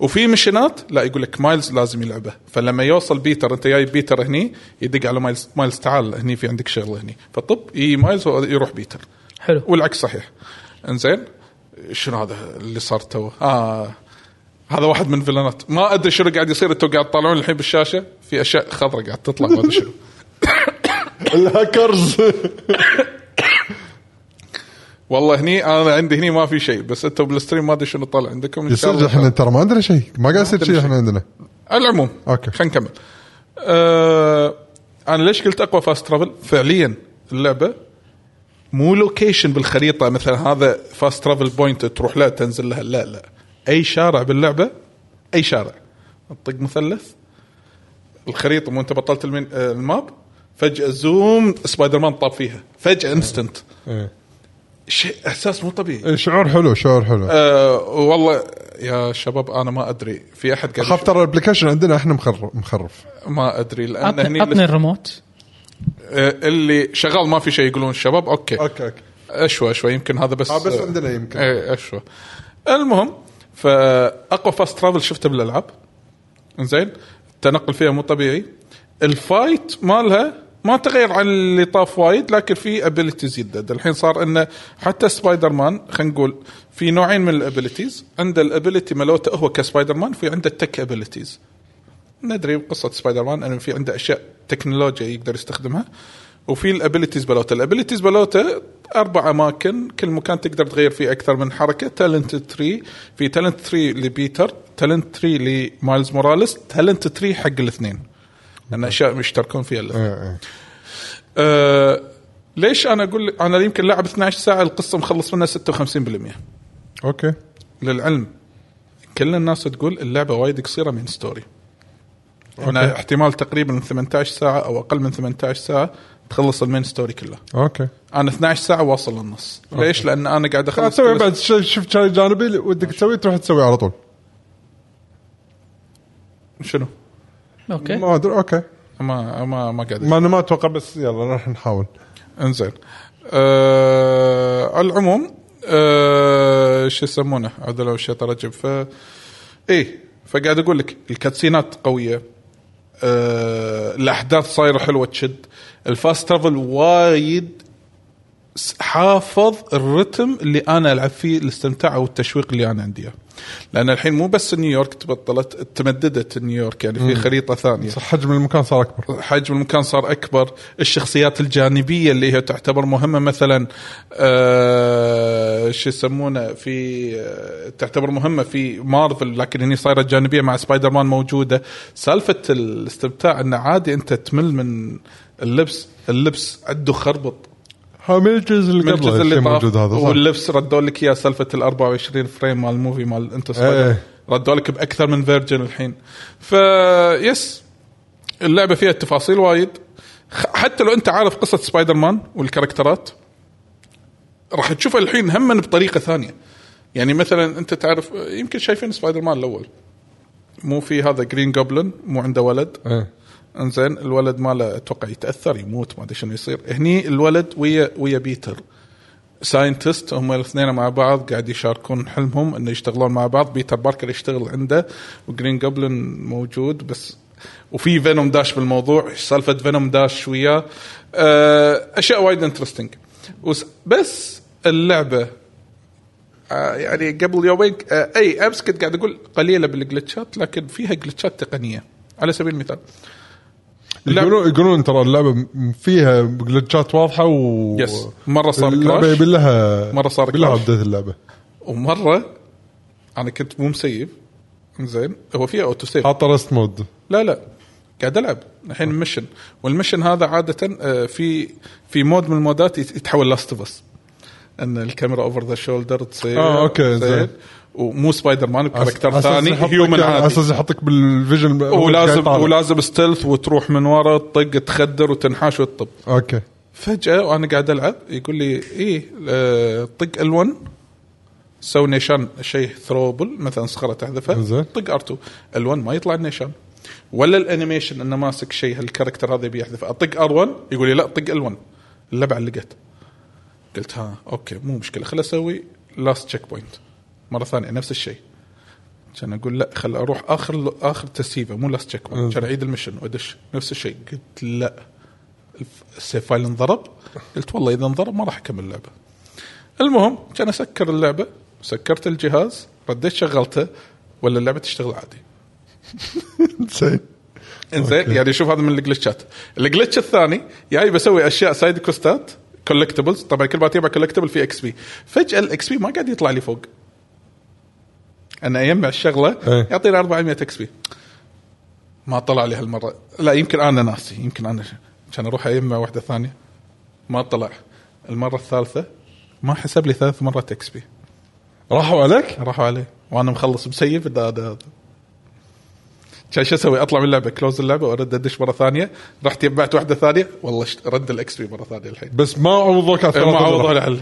Speaker 2: وفي مشينات لا يقول لك مايلز لازم يلعبه فلما يوصل بيتر انت جايب بيتر هني يدق على مايلز مايلز تعال هني في عندك شغله هني فطب اي مايلز هو يروح بيتر
Speaker 3: حلو
Speaker 2: والعكس صحيح انزين شنو هذا اللي صار تو اه هذا واحد من فيلانات ما ادري شنو قاعد يصير انتم قاعد تطالعون الحين بالشاشه في اشياء خضراء قاعد تطلع ما ادري شنو
Speaker 1: الهاكرز
Speaker 2: والله هني انا عندي هني ما في شيء بس انتم بالستريم ما ادري شنو طالع عندكم إن
Speaker 1: يصير
Speaker 2: شاء الله
Speaker 1: احنا ترى ما عندنا شيء ما قاعد يصير
Speaker 2: عندنا
Speaker 1: شيء
Speaker 2: شيء.
Speaker 1: احنا عندنا
Speaker 2: على العموم
Speaker 1: أوكي.
Speaker 2: خلينا نكمل أه انا ليش قلت اقوى فاست ترافل فعليا اللعبه مو لوكيشن بالخريطه مثلا هذا فاست ترافل بوينت تروح له تنزل لها لا لا اي شارع باللعبه اي شارع تطق مثلث الخريطه مو انت بطلت المين- آه، الماب فجاه زوم سبايدر مان طاب فيها فجاه انستنت
Speaker 1: إيه.
Speaker 2: شيء احساس مو طبيعي
Speaker 1: شعور حلو شعور حلو
Speaker 2: أه والله يا شباب انا ما ادري في احد قاعد
Speaker 1: اخاف
Speaker 2: يشوف؟
Speaker 1: ترى الابلكيشن عندنا احنا مخرب مخرف
Speaker 2: ما ادري لان
Speaker 4: عطني
Speaker 2: هني
Speaker 4: عطني
Speaker 2: لس-
Speaker 4: الريموت
Speaker 2: آه، اللي شغال ما في شيء يقولون الشباب اوكي
Speaker 1: اوكي اوكي
Speaker 2: اشوى شوي يمكن هذا بس
Speaker 1: آه، بس عندنا يمكن.
Speaker 2: ايه اشوى المهم فاقوى فاست ترافل شفته بالالعاب زين التنقل فيها مو طبيعي الفايت مالها ما تغير عن اللي طاف وايد لكن في ابيلتيز يدد الحين صار انه حتى سبايدر مان خلينا نقول في نوعين من الابيلتيز عنده الابيلتي مالته هو كسبايدر مان في عنده التك ابيلتيز ندري بقصه سبايدر مان انه في عنده اشياء تكنولوجيا يقدر يستخدمها وفي الابيلتيز بلوتا الابيلتيز بلوتا اربع اماكن كل مكان تقدر تغير فيه اكثر من حركه تالنت تري في تالنت تري لبيتر تالنت تري لمايلز موراليس تالنت تري حق الاثنين لان اشياء مشتركون فيها الاثنين
Speaker 1: إيه، إيه.
Speaker 2: أه ليش انا اقول انا يمكن لعب 12 ساعه القصه مخلص منها 56%
Speaker 1: اوكي
Speaker 2: للعلم كل الناس تقول اللعبه وايد قصيره من ستوري هنا احتمال تقريبا من 18 ساعه او اقل من 18 ساعه تخلص المين ستوري كله
Speaker 1: اوكي
Speaker 2: انا 12 ساعه واصل للنص ليش لان انا
Speaker 1: قاعد
Speaker 2: قاعد اخلص
Speaker 1: تسوي
Speaker 2: كل-
Speaker 1: بعد شيء شفت شيء جانبي اللي ودك تسويه تروح تسويه على طول
Speaker 2: شنو
Speaker 3: اوكي
Speaker 1: ما ادري اوكي
Speaker 2: ما ما ما قاعد
Speaker 1: ما انا ما اتوقع بس يلا راح نحاول
Speaker 2: انزين آه على العموم آه شو يسمونه هذا لو الشيط رجب ف ايه فقاعد اقول لك الكاتسينات قويه آه الاحداث صايره حلوه تشد الفاست ترافل وايد س- حافظ الرتم اللي انا العب فيه الاستمتاع او التشويق اللي انا عندي إياه. لان الحين مو بس نيويورك تبطلت تمددت نيويورك يعني في خريطه ثانيه
Speaker 1: صح حجم المكان صار اكبر
Speaker 2: حجم المكان صار اكبر، الشخصيات الجانبيه اللي هي تعتبر مهمه مثلا آه شو يسمونه في آه، تعتبر مهمه في مارفل لكن هني صايره جانبيه مع سبايدر مان موجوده، سالفه الاستمتاع انه عادي انت تمل من اللبس، اللبس عنده خربط
Speaker 1: ها من الجزء اللي
Speaker 2: من الجزء
Speaker 1: قبله
Speaker 2: اللي
Speaker 1: الشيء
Speaker 2: طاف
Speaker 1: موجود هذا صح
Speaker 2: واللبس ردوا لك اياه سالفه ال 24 فريم مال الموفي مال انت سبايدر
Speaker 1: إيه.
Speaker 2: ردوا لك باكثر من فيرجن الحين فيس اللعبه فيها تفاصيل وايد خ- حتى لو انت عارف قصه سبايدر مان والكاركترات راح تشوفها الحين هم بطريقه ثانيه يعني مثلا انت تعرف يمكن شايفين سبايدر مان الاول مو في هذا جرين جوبلن مو عنده ولد
Speaker 1: إيه.
Speaker 2: انزين الولد ماله اتوقع يتاثر يموت ما ادري شنو يصير هني الولد ويا ويا بيتر ساينتست هم الاثنين مع بعض قاعد يشاركون حلمهم انه يشتغلون مع بعض بيتر باركر يشتغل عنده وجرين جوبلن موجود بس وفي فينوم داش بالموضوع إيش سالفه فينوم داش وياه آه، اشياء وايد انترستنج بس اللعبه آه، يعني قبل يومين آه، اي امس كنت قاعد اقول قليله بالجلتشات لكن فيها جلتشات تقنيه على سبيل المثال اللعبة-
Speaker 1: يقولون يقولون ترى اللعبه م- فيها جلتشات واضحه و
Speaker 2: يس. مرة صار
Speaker 1: اللعبه
Speaker 2: كراش.
Speaker 1: يبي لها
Speaker 2: مرة صار
Speaker 1: يبي لها
Speaker 2: كراش.
Speaker 1: بدايه اللعبه
Speaker 2: ومره انا كنت مو مسيف زين هو فيها اوتو سيف
Speaker 1: حاطه رست مود
Speaker 2: لا لا قاعد العب الحين
Speaker 1: آه.
Speaker 2: ميشن والمشن هذا عاده آه، في في مود من المودات يت- يتحول لاست اوف اس ان الكاميرا اوفر ذا شولدر تصير
Speaker 1: آه، أوكي،
Speaker 2: تصير.
Speaker 1: زين.
Speaker 2: ومو سبايدر
Speaker 1: أس-
Speaker 2: مان بكاركتر
Speaker 1: أساس
Speaker 2: ثاني
Speaker 1: يحطك- يعني،
Speaker 2: هيومن
Speaker 1: على
Speaker 2: عادي
Speaker 1: اساس يحطك بالفيجن
Speaker 2: ولازم
Speaker 1: طالع.
Speaker 2: ولازم ستيلث وتروح من ورا تطق تخدر وتنحاش وتطب
Speaker 1: اوكي
Speaker 2: فجاه وانا قاعد العب يقول لي ايه آه، طق ال1 سوي نيشان شيء ثروبل مثلا صخره تحذفها
Speaker 1: زين.
Speaker 2: طق ار2 ال1 ما يطلع النيشان ولا الانيميشن انه ماسك شيء هالكاركتر هذا يبي يحذفه اطق ار1 يقول لي لا طق ال1 اللعبه علقت قلت ها اوكي مو مشكله خل اسوي لاست تشيك بوينت مره ثانيه نفس الشيء كان اقول لا خل اروح اخر اخر تسييفه مو لاست تشيك بوينت كان اعيد المشن وادش نفس الشيء قلت لا السيف فايل انضرب قلت والله اذا انضرب ما راح اكمل اللعبه المهم كان اسكر اللعبه سكرت الجهاز رديت شغلته ولا اللعبه تشتغل عادي
Speaker 1: زين
Speaker 2: انزين
Speaker 1: أوكي.
Speaker 2: يعني شوف هذا من الجلتشات الجلتش الثاني جاي بسوي اشياء سايد كوستات كولكتبلز طبعا كل ما تجمع كولكتبل في اكس بي فجاه الاكس بي ما قاعد يطلع لي فوق انا اجمع الشغله
Speaker 1: إيه.
Speaker 2: يعطيني 400 اكس بي ما طلع لي هالمره لا يمكن انا ناسي يمكن انا كان اروح اجمع واحده ثانيه ما طلع المره الثالثه ما حسب لي ثلاث مرات اكس بي
Speaker 1: راحوا عليك
Speaker 2: راحوا عليه وانا مخلص مسيف هذا هذا كان شو اسوي اطلع من اللعبه كلوز اللعبه وارد ادش مره ثانيه رحت يبعت واحده ثانيه والله شت- رد الاكس بي مره ثانيه الحين
Speaker 1: بس ما عوضوك على
Speaker 2: إيه، ما
Speaker 1: الثلاثة
Speaker 2: عوض
Speaker 1: دولار.
Speaker 2: ولا حل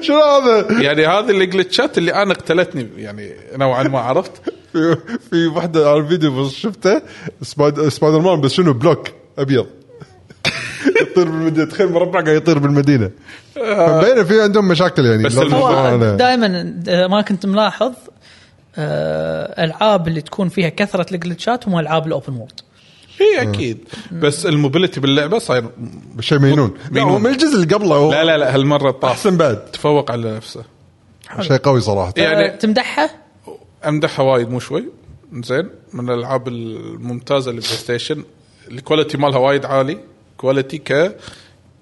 Speaker 1: شنو هذا؟
Speaker 2: يعني هذه الجلتشات اللي انا اقتلتني يعني نوعا ما عرفت
Speaker 1: في في وحده على الفيديو بس شفته سبايد- سبايدر مان بس شنو بلوك ابيض يطير بالمدينه تخيل مربع قاعد يطير بالمدينه فمبينه في عندهم مشاكل يعني
Speaker 2: بس
Speaker 1: لا
Speaker 2: الموضوع-
Speaker 1: تقول أنا-
Speaker 3: دائما ما كنت ملاحظ آه، العاب اللي تكون فيها كثره الجلتشات هم العاب الاوبن وورد
Speaker 2: هي اكيد بس الموبيلتي باللعبه صاير
Speaker 1: شيء مجنون لا
Speaker 2: مجنون.
Speaker 1: هو من الجزء اللي قبله هو
Speaker 2: لا لا لا هالمره طاف
Speaker 1: احسن بعد إيه.
Speaker 2: تفوق على نفسه
Speaker 1: شيء قوي صراحه
Speaker 2: يعني-
Speaker 3: يعني تمدحها
Speaker 2: امدحها وايد مو شوي زين من الالعاب الممتازه للبلاي ستيشن الكواليتي مالها وايد عالي كواليتي ك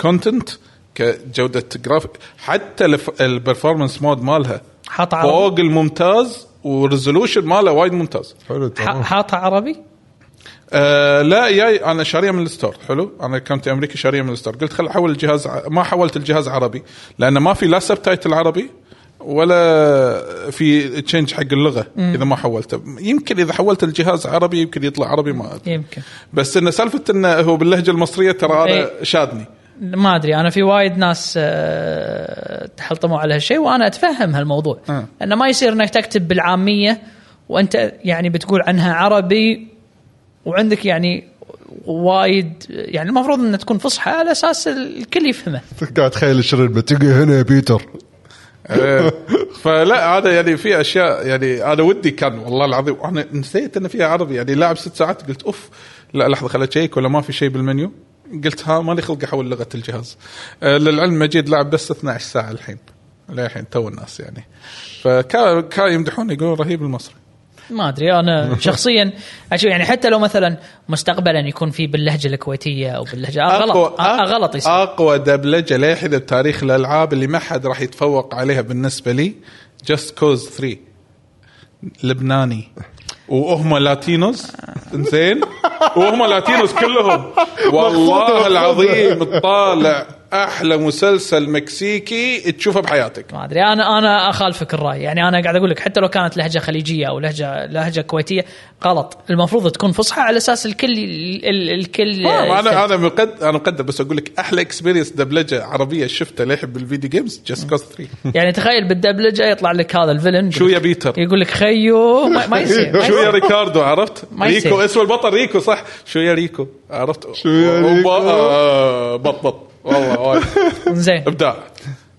Speaker 2: كونتنت كجوده جرافيك حتى الف- البرفورمانس مود مالها
Speaker 3: حاطه عربي
Speaker 2: فوق الممتاز وريزولوشن ماله وايد ممتاز
Speaker 1: حلو
Speaker 3: ح-
Speaker 1: تمام
Speaker 3: حاطه عربي
Speaker 2: آه لا جاي انا شاريه من الستور حلو انا كنت امريكي شاريه من الستور قلت خل احول الجهاز ع- ما حولت الجهاز عربي لان ما في لا سب تايتل عربي ولا في تشينج حق اللغه اذا ما حولته يمكن اذا حولت الجهاز عربي يمكن يطلع عربي ما ادري
Speaker 3: يمكن
Speaker 2: بس انه سالفه انه هو باللهجه المصريه ترى انا
Speaker 3: إيه.
Speaker 2: شادني
Speaker 3: ما ادري انا في وايد ناس آه، تحلطموا على هالشيء وانا اتفهم هالموضوع
Speaker 2: آه.
Speaker 3: انه ما يصير انك تكتب بالعاميه وانت يعني بتقول عنها عربي وعندك يعني وايد يعني المفروض انها تكون فصحى على اساس الكل يفهمه
Speaker 1: قاعد تخيل الشرير بتجي هنا يا بيتر
Speaker 2: إيه. فلا هذا يعني في اشياء يعني انا ودي كان والله العظيم انا نسيت ان فيها عربي يعني لاعب ست ساعات قلت اوف لا لحظه خل اشيك ولا ما في شيء بالمنيو قلت ها مالي خلق احول لغه الجهاز آه، للعلم مجيد لاعب بس 12 ساعه الحين للحين تو الناس يعني فكان كان يمدحون يقولون رهيب المصري
Speaker 3: ما ادري انا شخصيا اشوف يعني حتى لو مثلا مستقبلا يكون في باللهجه الكويتيه او باللهجه آه، غلط آه، آه، غلط يصير
Speaker 2: اقوى دبلجه للحين بتاريخ الالعاب اللي ما حد راح يتفوق عليها بالنسبه لي جاست كوز 3 لبناني وهم لاتينوس زين وهم لاتينوس كلهم والله العظيم طالع احلى مسلسل مكسيكي تشوفه بحياتك
Speaker 3: ما ادري انا انا اخالفك الراي يعني انا قاعد اقول لك حتى لو كانت لهجه خليجيه او لهجه لهجه كويتيه غلط المفروض تكون فصحى على اساس الكل ال- ال- الكل
Speaker 2: ما انا انا مقدر انا مقدر بس اقول لك احلى اكسبيرينس دبلجه عربيه شفتها للحين بالفيديو جيمز جاست كوز 3
Speaker 3: يعني تخيل بالدبلجه يطلع لك هذا الفيلن
Speaker 2: شو يا بيتر
Speaker 3: يقول لك خيو ما, ما يصير ما
Speaker 2: شو يا
Speaker 3: يصير.
Speaker 2: ريكاردو عرفت؟
Speaker 3: ما يصير.
Speaker 2: ريكو اسمه البطل ريكو صح؟ شو يا ريكو عرفت؟
Speaker 1: شو يا
Speaker 2: وب-
Speaker 1: ريكو؟
Speaker 2: آه، بطبط والله وايد.
Speaker 3: زين
Speaker 2: ابداع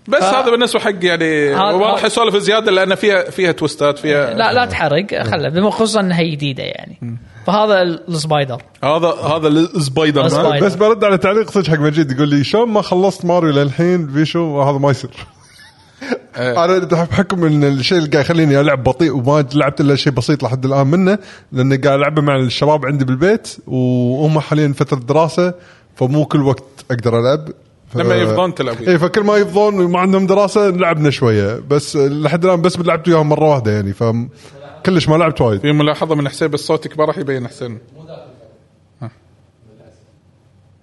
Speaker 2: بس هذا بالنسبه حق يعني
Speaker 3: هذا-
Speaker 2: ما راح
Speaker 3: هذا-
Speaker 2: اسولف زياده لان فيها فيها توستات فيها
Speaker 3: لا لا تحرق خله بما- خصوصا انها جديده يعني فهذا ال- السبايدر
Speaker 2: هذا هذا السبايدر مان
Speaker 3: السبايدر.
Speaker 1: طيب، بس برد على تعليق صدق حق مجيد يقول لي شلون ما خلصت ماريو للحين بيشو هذا ما يصير
Speaker 2: آه.
Speaker 1: انا بحكم ان الشيء اللي قاعد يخليني العب بطيء وما لعبت الا شيء بسيط لحد الان منه لان قاعد العبه مع الشباب عندي بالبيت وهم حاليا فتره دراسه فمو كل وقت اقدر العب ف...
Speaker 2: لما يفضون تلعب وياه.
Speaker 1: اي فكل ما يفضون وما عندهم دراسه لعبنا شويه بس لحد الان بس لعبت وياهم مره واحده يعني ف كلش ما لعبت وايد
Speaker 2: في ملاحظه من حسين بس صوتك ما راح يبين حسين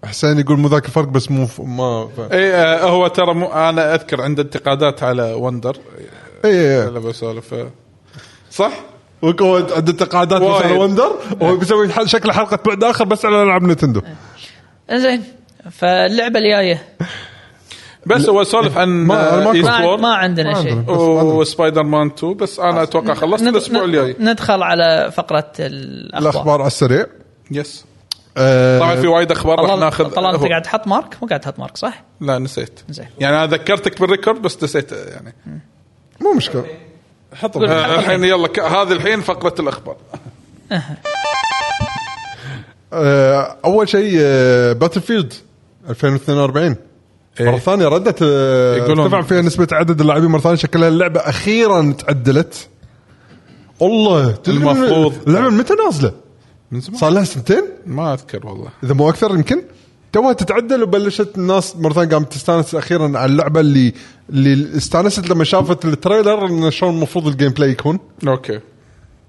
Speaker 1: حسين يقول مو ذاك الفرق بس مو ف... ما ف...
Speaker 2: اي آه، هو ترى مو انا اذكر عنده انتقادات على وندر إيه.
Speaker 1: اي
Speaker 2: انا بسولف آه. صح؟
Speaker 1: وكو عنده تقاعدات
Speaker 2: وايد. إيه.
Speaker 1: مثلا وندر وهو بيسوي حل- شكل حلقه بعد اخر بس على العاب نتندو
Speaker 3: زين فاللعبه الجايه
Speaker 2: بس هو سولف عن آه،
Speaker 1: ما- أنا ما كنت-
Speaker 3: ما,
Speaker 2: Eastward.
Speaker 3: ما عندنا
Speaker 1: ما
Speaker 3: شيء
Speaker 1: عندنا. بس عندنا.
Speaker 2: وسبايدر مان 2 بس انا اتوقع خلصت
Speaker 3: ند-
Speaker 2: الاسبوع الجاي
Speaker 3: ندخل على فقره الاخبار
Speaker 1: الاخبار على السريع
Speaker 2: يس
Speaker 1: آه،
Speaker 2: طبعا في وايد اخبار راح
Speaker 3: Uh, طلال
Speaker 2: ناخذ
Speaker 3: طلال انت
Speaker 2: هو-
Speaker 3: قاعد تحط مارك مو قاعد تحط مارك صح؟
Speaker 2: لا نسيت
Speaker 3: زين.
Speaker 2: يعني انا ذكرتك بالريكورد بس نسيت يعني
Speaker 1: مو مشكله حطوا
Speaker 2: آه، الحين يلا ك- هذه الحين فقره الاخبار
Speaker 1: آه، اول شيء آه، باتل فيلد 2042
Speaker 2: إيه.
Speaker 1: مره ثانيه ردت آه،
Speaker 2: يقولون-
Speaker 1: ارتفع فيها نسبه عدد اللاعبين مره ثانيه شكلها اللعبه اخيرا تعدلت الله تدري من-
Speaker 2: المفروض.
Speaker 1: اللعبه من متى نازله؟
Speaker 2: من زمان
Speaker 1: صار لها سنتين
Speaker 2: ما اذكر والله
Speaker 1: اذا مو اكثر يمكن توها تتعدل وبلشت الناس مره ثانيه قامت تستانس اخيرا على اللعبه اللي اللي استانست لما شافت التريلر ان شلون المفروض الجيم بلاي يكون
Speaker 2: اوكي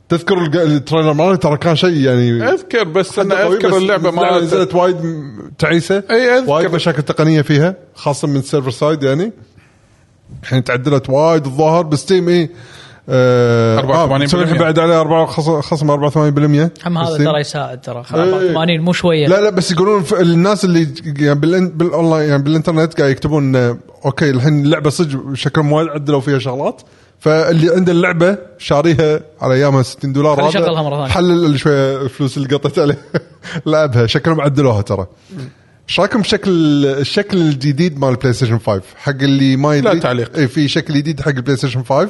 Speaker 1: تذكر الج- التريلر ماله ترى كان شيء يعني
Speaker 2: اذكر بس
Speaker 1: حد
Speaker 2: انا
Speaker 1: قوي،
Speaker 2: اذكر
Speaker 1: بس
Speaker 2: اللعبه ما
Speaker 1: نزلت وايد م- تعيسه
Speaker 2: أي أذكر.
Speaker 1: وايد مشاكل تقنيه فيها خاصه من السيرفر سايد يعني الحين تعدلت وايد الظاهر بستيم اي آه
Speaker 2: 84%
Speaker 1: آه، مسوي الحين بعد عليه 4 خصم 84%
Speaker 3: هم هذا
Speaker 1: بستيم.
Speaker 3: ترى يساعد ترى
Speaker 1: إيه.
Speaker 3: 80 مو شويه
Speaker 1: لا لا بس يقولون ف- الناس اللي ج- يعني بالإن- بالاونلاين يعني بالانترنت قاعد يكتبون إن اوكي الحين اللعبه صدق شكلهم وايد عدلوا فيها شغلات فاللي عنده اللعبه شاريها على ايامها 60 دولار
Speaker 3: خليه
Speaker 1: هذا
Speaker 3: يشغلها مرة ثانية.
Speaker 1: حلل شويه الفلوس اللي قطت عليه لعبها شكلهم عدلوها ترى ايش رايكم بشكل الشكل الجديد مال بلاي ستيشن 5 حق اللي ما يدري
Speaker 2: تعليق.
Speaker 1: إيه، في شكل جديد حق البلاي ستيشن 5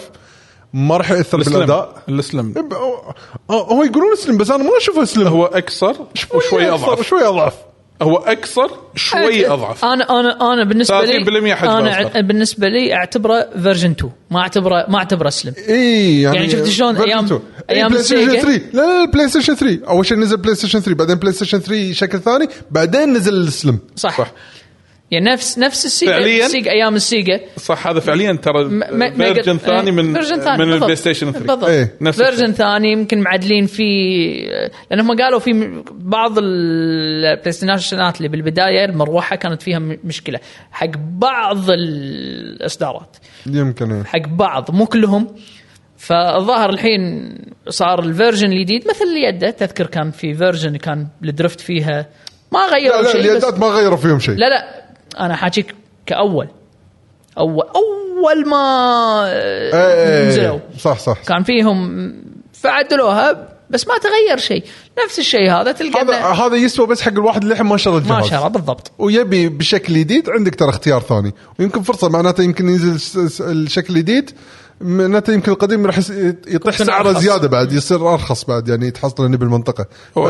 Speaker 1: ما راح ياثر
Speaker 2: السلم
Speaker 1: بالاداء
Speaker 2: السلم
Speaker 1: ب- هو- هو يقولون سلم بس انا ما اشوفه سلم
Speaker 2: هو اقصر وشوي اضعف
Speaker 1: شوي اضعف
Speaker 2: هو اقصر شوي اضعف
Speaker 3: انا انا انا بالنسبه لي
Speaker 2: 30% حجم
Speaker 3: انا
Speaker 2: أصغر.
Speaker 3: أع- بالنسبه لي اعتبره فيرجن 2 ما اعتبره ما اعتبره سلم
Speaker 1: اي يعني
Speaker 3: يعني شفت شلون
Speaker 1: Version
Speaker 3: أيام-
Speaker 1: 2. إيه،
Speaker 3: أيام
Speaker 1: بلاي ستيشن
Speaker 3: السيجا؟
Speaker 1: 3 لا لا لا، بلاي ستيشن 3 اول شيء نزل بلاي ستيشن 3 بعدين بلاي ستيشن 3 شكل ثاني بعدين نزل السلم
Speaker 3: صح,
Speaker 2: صح.
Speaker 3: صح. يعني نفس نفس السيجا
Speaker 2: فعلياً؟
Speaker 3: السيجا ايام السيجا
Speaker 2: صح هذا فعليا ترى فيرجن ثاني من
Speaker 3: آه، إيه،
Speaker 2: من البلاي ستيشن 3
Speaker 1: إيه.
Speaker 2: نفس
Speaker 3: نفس فيرجن
Speaker 2: الشيء.
Speaker 3: ثاني يمكن معدلين فيه لان هم قالوا في م- بعض البلاي ستيشنات اللي بالبدايه المروحه كانت فيها م- مشكله حق بعض الاصدارات
Speaker 1: يمكن إيه.
Speaker 3: حق بعض مو كلهم فالظاهر الحين صار الفيرجن الجديد مثل اللي يده تذكر كان في فيرجن كان الدرفت فيها ما
Speaker 1: لا
Speaker 3: غيروا
Speaker 1: لا
Speaker 3: شيء بس
Speaker 1: اليدات ما غيروا فيهم شيء
Speaker 3: لا لا انا حاجيك كاول اول اول ما
Speaker 1: إيه، إيه،
Speaker 3: نزلوا
Speaker 1: صح صح
Speaker 3: كان فيهم فعدلوها بس ما تغير شيء نفس الشيء هذا تلقى
Speaker 1: هذا
Speaker 3: إنه
Speaker 1: هذا يسوى بس حق الواحد اللي الحين ما شرى
Speaker 3: ما
Speaker 1: الجهاز
Speaker 3: شاء الله بالضبط
Speaker 1: ويبي بشكل جديد عندك ترى اختيار ثاني ويمكن فرصه معناته يمكن ينزل س- س- الشكل الجديد معناته يمكن القديم راح يس- يطيح
Speaker 3: يكون
Speaker 1: سعره
Speaker 3: أرخص.
Speaker 1: زياده بعد يصير ارخص بعد يعني تحصله بالمنطقه
Speaker 2: هو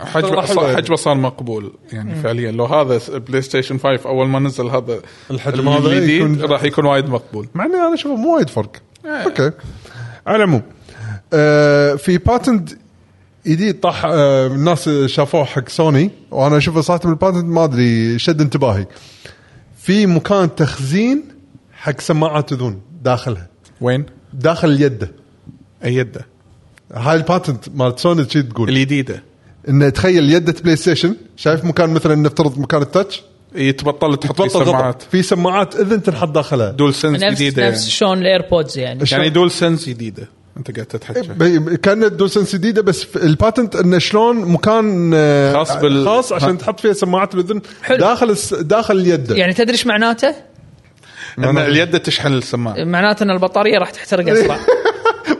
Speaker 1: ف-
Speaker 2: حجمه
Speaker 1: راح
Speaker 2: صار
Speaker 1: يبقى-
Speaker 2: حجمه صار مقبول يعني فعليا لو هذا بلاي ستيشن 5 اول ما نزل هذا
Speaker 1: الحجم
Speaker 2: اللي
Speaker 1: هذا
Speaker 2: جديد
Speaker 1: يكون-
Speaker 2: راح يكون وايد مقبول
Speaker 1: مع اني انا اشوفه مو وايد فرق اوكي على العموم آه في باتنت جديد طاح آه الناس شافوه حق سوني وانا اشوفه صراحه من الباتنت ما ادري شد انتباهي في مكان تخزين حق سماعات اذون داخلها
Speaker 2: وين؟
Speaker 1: داخل اليد
Speaker 2: اي يده
Speaker 1: هاي الباتنت مالت سوني شي تقول
Speaker 2: الجديده
Speaker 1: انه تخيل يدة بلاي ستيشن شايف مكان مثلا نفترض مكان التاتش
Speaker 2: يتبطل تحط فيه
Speaker 1: تبطل غطا.
Speaker 2: سماعات
Speaker 1: في سماعات اذن تنحط داخلها
Speaker 2: دول سنس
Speaker 3: نفس
Speaker 2: جديده
Speaker 3: نفس
Speaker 2: يعني.
Speaker 3: شلون الايربودز يعني
Speaker 2: يعني دول سنس جديده انت قاعد تتحكى
Speaker 1: بي- كانت دوسنس جديده بس في- الباتنت انه شلون مكان آه،
Speaker 2: خاص بال-
Speaker 1: خاص عشان تحط فيها سماعات الاذن
Speaker 3: حلو.
Speaker 1: داخل الس- داخل اليد
Speaker 3: يعني تدري ايش معناته؟
Speaker 2: ان اليد تشحن السماعه
Speaker 3: معناته ان البطاريه راح تحترق اسرع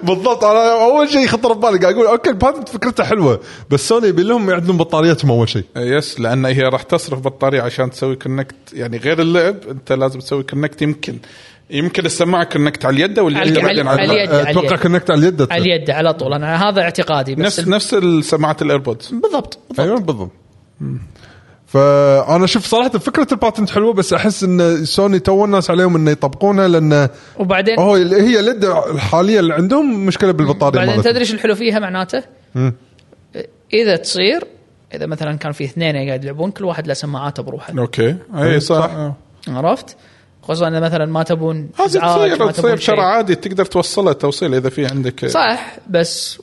Speaker 1: بالضبط انا اول شيء خطر ببالي قاعد اقول اوكي الباتنت فكرته حلوه بس سوني يبي لهم يعدلون بطاريتهم اول شيء
Speaker 2: يس لان هي راح تصرف بطاريه عشان تسوي كونكت يعني غير اللعب انت لازم تسوي كونكت يمكن يمكن السماعه كونكت على اليد
Speaker 3: على-
Speaker 2: واليد
Speaker 3: على-
Speaker 2: بعدين على
Speaker 3: على
Speaker 2: البطارية.
Speaker 3: اليد.
Speaker 1: آه، اتوقع
Speaker 3: اليد.
Speaker 1: كونكت على اليد
Speaker 3: على اليد على طول انا هذا اعتقادي بس
Speaker 2: نفس
Speaker 3: ال-
Speaker 2: نفس السماعه الايربودز
Speaker 3: بالضبط بالضبط
Speaker 1: ايوه بالضبط فانا شوف صراحه فكره الباتنت حلوه بس احس ان سوني تو الناس عليهم انه يطبقونها
Speaker 3: يعني-
Speaker 1: لان
Speaker 3: وبعدين
Speaker 1: هو ال- هي لد الحاليه اللي عندهم مشكله بالبطاريه
Speaker 3: بعدين
Speaker 1: مالتهم.
Speaker 3: تدري ايش الحلو فيها معناته؟ اذا تصير اذا مثلا كان في اثنين قاعد يلعبون كل واحد له سماعاته بروحه
Speaker 2: اوكي اي صح آه.
Speaker 3: عرفت؟ خصوصا اذا مثلا ما تبون
Speaker 2: هذه
Speaker 3: إزعاج،
Speaker 2: تصير
Speaker 3: ما
Speaker 2: تصير
Speaker 3: تبون
Speaker 2: بشرع
Speaker 3: شيء.
Speaker 2: عادي تقدر توصلها توصيل اذا في عندك
Speaker 3: صح بس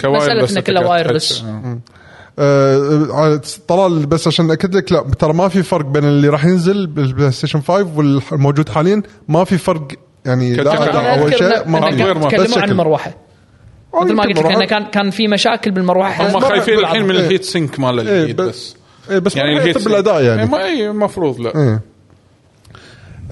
Speaker 2: كوايرلس
Speaker 3: مسألة
Speaker 2: أنت
Speaker 3: إنه كله
Speaker 2: قاعد
Speaker 3: وايرلس.
Speaker 2: تحكي. آه.
Speaker 1: آه، آه، طلال بس عشان اكد لك لا ترى ما في فرق بين اللي راح ينزل بالبلاي ستيشن 5 والموجود حاليا ما في فرق يعني لا
Speaker 2: كشكل.
Speaker 1: أداء
Speaker 3: انا
Speaker 2: أول
Speaker 3: اذكر إن-
Speaker 2: شيء ما-
Speaker 3: إن
Speaker 2: غير
Speaker 3: كان-
Speaker 2: ما-
Speaker 1: بس آه،
Speaker 3: تكلموا عن
Speaker 1: شكل.
Speaker 3: المروحه
Speaker 1: أو
Speaker 3: مثل ما
Speaker 1: يمكن
Speaker 3: قلت لك
Speaker 1: مروحة.
Speaker 3: انه كان كان في مشاكل بالمروحه
Speaker 2: هم خايفين
Speaker 1: مرة-
Speaker 2: الحين من
Speaker 1: إيه.
Speaker 2: الهيت سينك مال
Speaker 1: إيه،
Speaker 2: الجديد
Speaker 1: بس
Speaker 2: بس
Speaker 1: إيه، بس
Speaker 2: يعني
Speaker 1: ما راح
Speaker 2: الهيت
Speaker 1: يطب
Speaker 2: سينك.
Speaker 1: الاداء
Speaker 2: إيه،
Speaker 1: يعني
Speaker 2: ما اي المفروض لا
Speaker 1: إيه.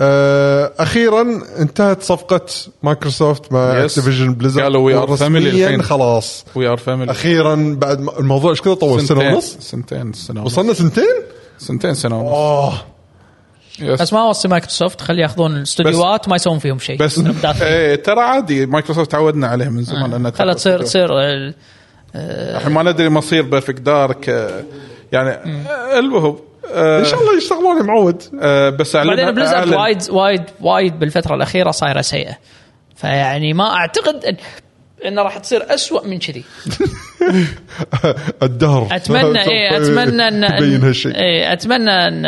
Speaker 1: آه، اخيرا انتهت صفقه مايكروسوفت مع
Speaker 2: Yes.
Speaker 1: اكتيفيجن بليزر
Speaker 2: قالوا we are family الحين.
Speaker 1: خلاص
Speaker 2: وي ار فاميلي
Speaker 1: اخيرا بعد ما- الموضوع ايش كذا طول سنه ونص
Speaker 2: سنتين سنه ونص
Speaker 1: وصلنا سنتين
Speaker 2: سنتين سنه ونص
Speaker 1: اه
Speaker 2: يس.
Speaker 3: بس ما اوصي مايكروسوفت خلي ياخذون الاستديوهات وما يسوون فيهم شيء
Speaker 2: بس ايه ترى عادي مايكروسوفت تعودنا عليه من زمان انه
Speaker 3: خلا تصير تصير ال-
Speaker 2: الحين ما ندري مصير بيرفكت دارك آه، يعني آه، المهم آه،
Speaker 1: ان شاء الله يشتغلون يا معود
Speaker 2: آه، بس
Speaker 3: بعدين
Speaker 2: اعلن
Speaker 3: بليزرد
Speaker 2: أعلن-
Speaker 3: وايد وايد وايد بالفتره الاخيره صايره سيئه فيعني ما اعتقد ان انه راح تصير أسوأ من كذي
Speaker 1: الدهر طيب.
Speaker 3: اتمنى ايه اتمنى ان
Speaker 1: تبين هالشيء
Speaker 3: إيه اتمنى ان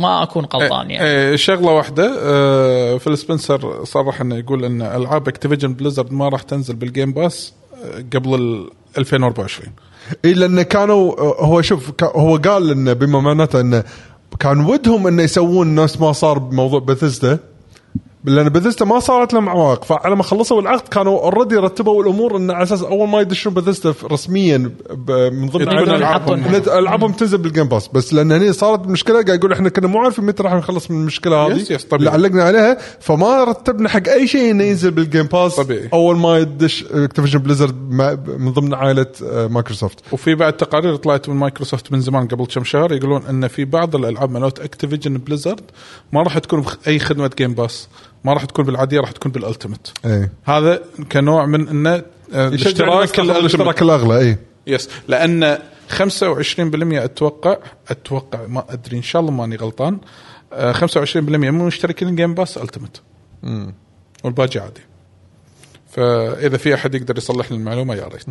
Speaker 3: ما اكون غلطان يعني
Speaker 2: إيه، شغله واحده آه، فيل سبنسر صرح انه يقول ان العاب اكتيفيجن بليزرد ما راح تنزل بالجيم باس آه، قبل ال 2024
Speaker 1: اي لان كانوا هو شوف ك- هو قال انه بما معناته انه كان ودهم انه يسوون نفس ما صار بموضوع بثيستا لان بذزتا ما صارت لهم عوائق فعلى ما خلصوا العقد كانوا اوريدي رتبوا الامور ان على اساس اول ما يدشون بذزتا رسميا ب- من ضمن عدد-
Speaker 2: يطلعون ألعابهم.
Speaker 1: إن العابهم تنزل بالجيم باس بس لان هني صارت مشكله قاعد يقول احنا كنا مو عارفين متى راح نخلص من المشكله هذه
Speaker 2: يس، يس، طبيعي.
Speaker 1: اللي علقنا عليها فما رتبنا حق اي شيء انه ينزل بالجيم باس
Speaker 2: طبيعي.
Speaker 1: اول ما يدش اكتيفيشن بليزرد من ضمن عائله آه، مايكروسوفت
Speaker 2: وفي بعد تقارير طلعت من مايكروسوفت من زمان قبل كم شهر يقولون ان في بعض الالعاب مالت اكتيفيجن بليزرد ما راح تكون باي خدمه جيم باس ما راح تكون بالعاديه راح تكون بالالتيمت
Speaker 1: ايه
Speaker 2: هذا كنوع من انه آه، الاشتراك
Speaker 1: الاشتراك
Speaker 2: الاشتراك
Speaker 1: الاغلى اي
Speaker 2: يس لان 25% اتوقع اتوقع ما ادري ان شاء الله ماني غلطان آه، 25% من مشتركين جيم باس التيمت والباقي عادي فاذا في احد يقدر يصلح لي المعلومه يا ريت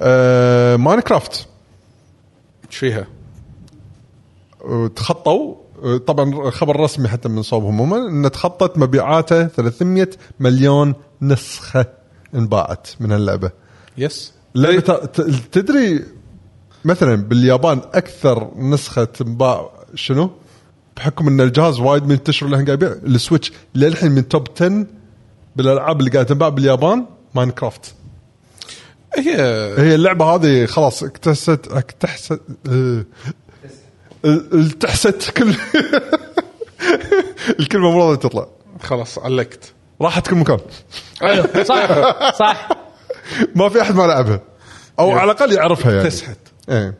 Speaker 1: آه، ماينكرافت
Speaker 2: ايش فيها؟
Speaker 1: آه، تخطوا طبعا خبر رسمي حتى من صوبهم هم ان تخطت مبيعاته 300 مليون نسخه انباعت من هاللعبه
Speaker 2: يس
Speaker 1: لعبة ت- تدري مثلا باليابان اكثر نسخه تنباع شنو؟ بحكم ان الجهاز وايد منتشر لهن قاعد يبيع السويتش للحين من توب 10 بالالعاب اللي قاعد تنباع باليابان ماينكرافت
Speaker 2: هي
Speaker 1: هي اللعبه هذه خلاص اكتست اكتحست اه، ال- التحست كل الكلمه مو راضيه تطلع
Speaker 2: خلاص علقت
Speaker 1: راحت كل مكان إيه،
Speaker 4: حلو صح صح
Speaker 1: ما في احد ما لعبها او على الاقل يعرفها يعني
Speaker 2: تسحت
Speaker 1: ايه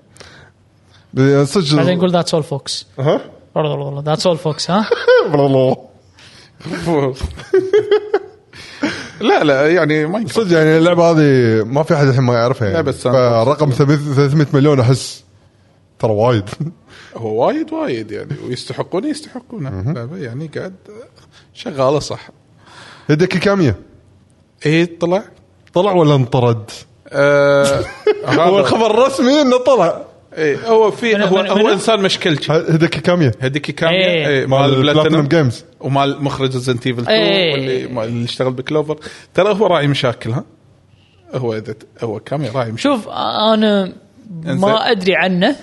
Speaker 4: بعدين
Speaker 1: صدق
Speaker 4: نقول ذاتس اول فوكس
Speaker 1: ها إيه،
Speaker 4: برضو والله ذاتس اول فوكس ها
Speaker 1: والله
Speaker 2: لا لا يعني ما ينفع.
Speaker 1: صدق يعني اللعبه هذه ما في احد الحين ما يعرفها يعني
Speaker 2: لعبة ساند
Speaker 1: فرقم 300 مليون احس ترى وايد
Speaker 2: هو وايد وايد يعني ويستحقون يستحقونه لعبة يعني قاعد شغاله صح
Speaker 1: هيديكي كاميه
Speaker 2: ايه طلع
Speaker 1: طلع ولا انطرد؟
Speaker 2: آه
Speaker 1: هو
Speaker 2: هذا
Speaker 1: الخبر الرسمي انه طلع
Speaker 2: إيه هو في
Speaker 4: منو-
Speaker 2: هو,
Speaker 4: منو-
Speaker 2: هو
Speaker 4: منو؟
Speaker 2: انسان مشكلتي
Speaker 1: هيديكي كاميه
Speaker 2: هذيك كامية
Speaker 4: إيه.
Speaker 2: إيه،
Speaker 1: مال بلاتينوم جيمز
Speaker 2: ومال مخرج ريزنت ايفل 2
Speaker 4: إيه.
Speaker 2: واللي مال- اللي اشتغل بكلوفر ترى هو راعي مشاكل ها هو اذا ت- هو كامية راعي مشاكل
Speaker 4: شوف انا ما ادري عنه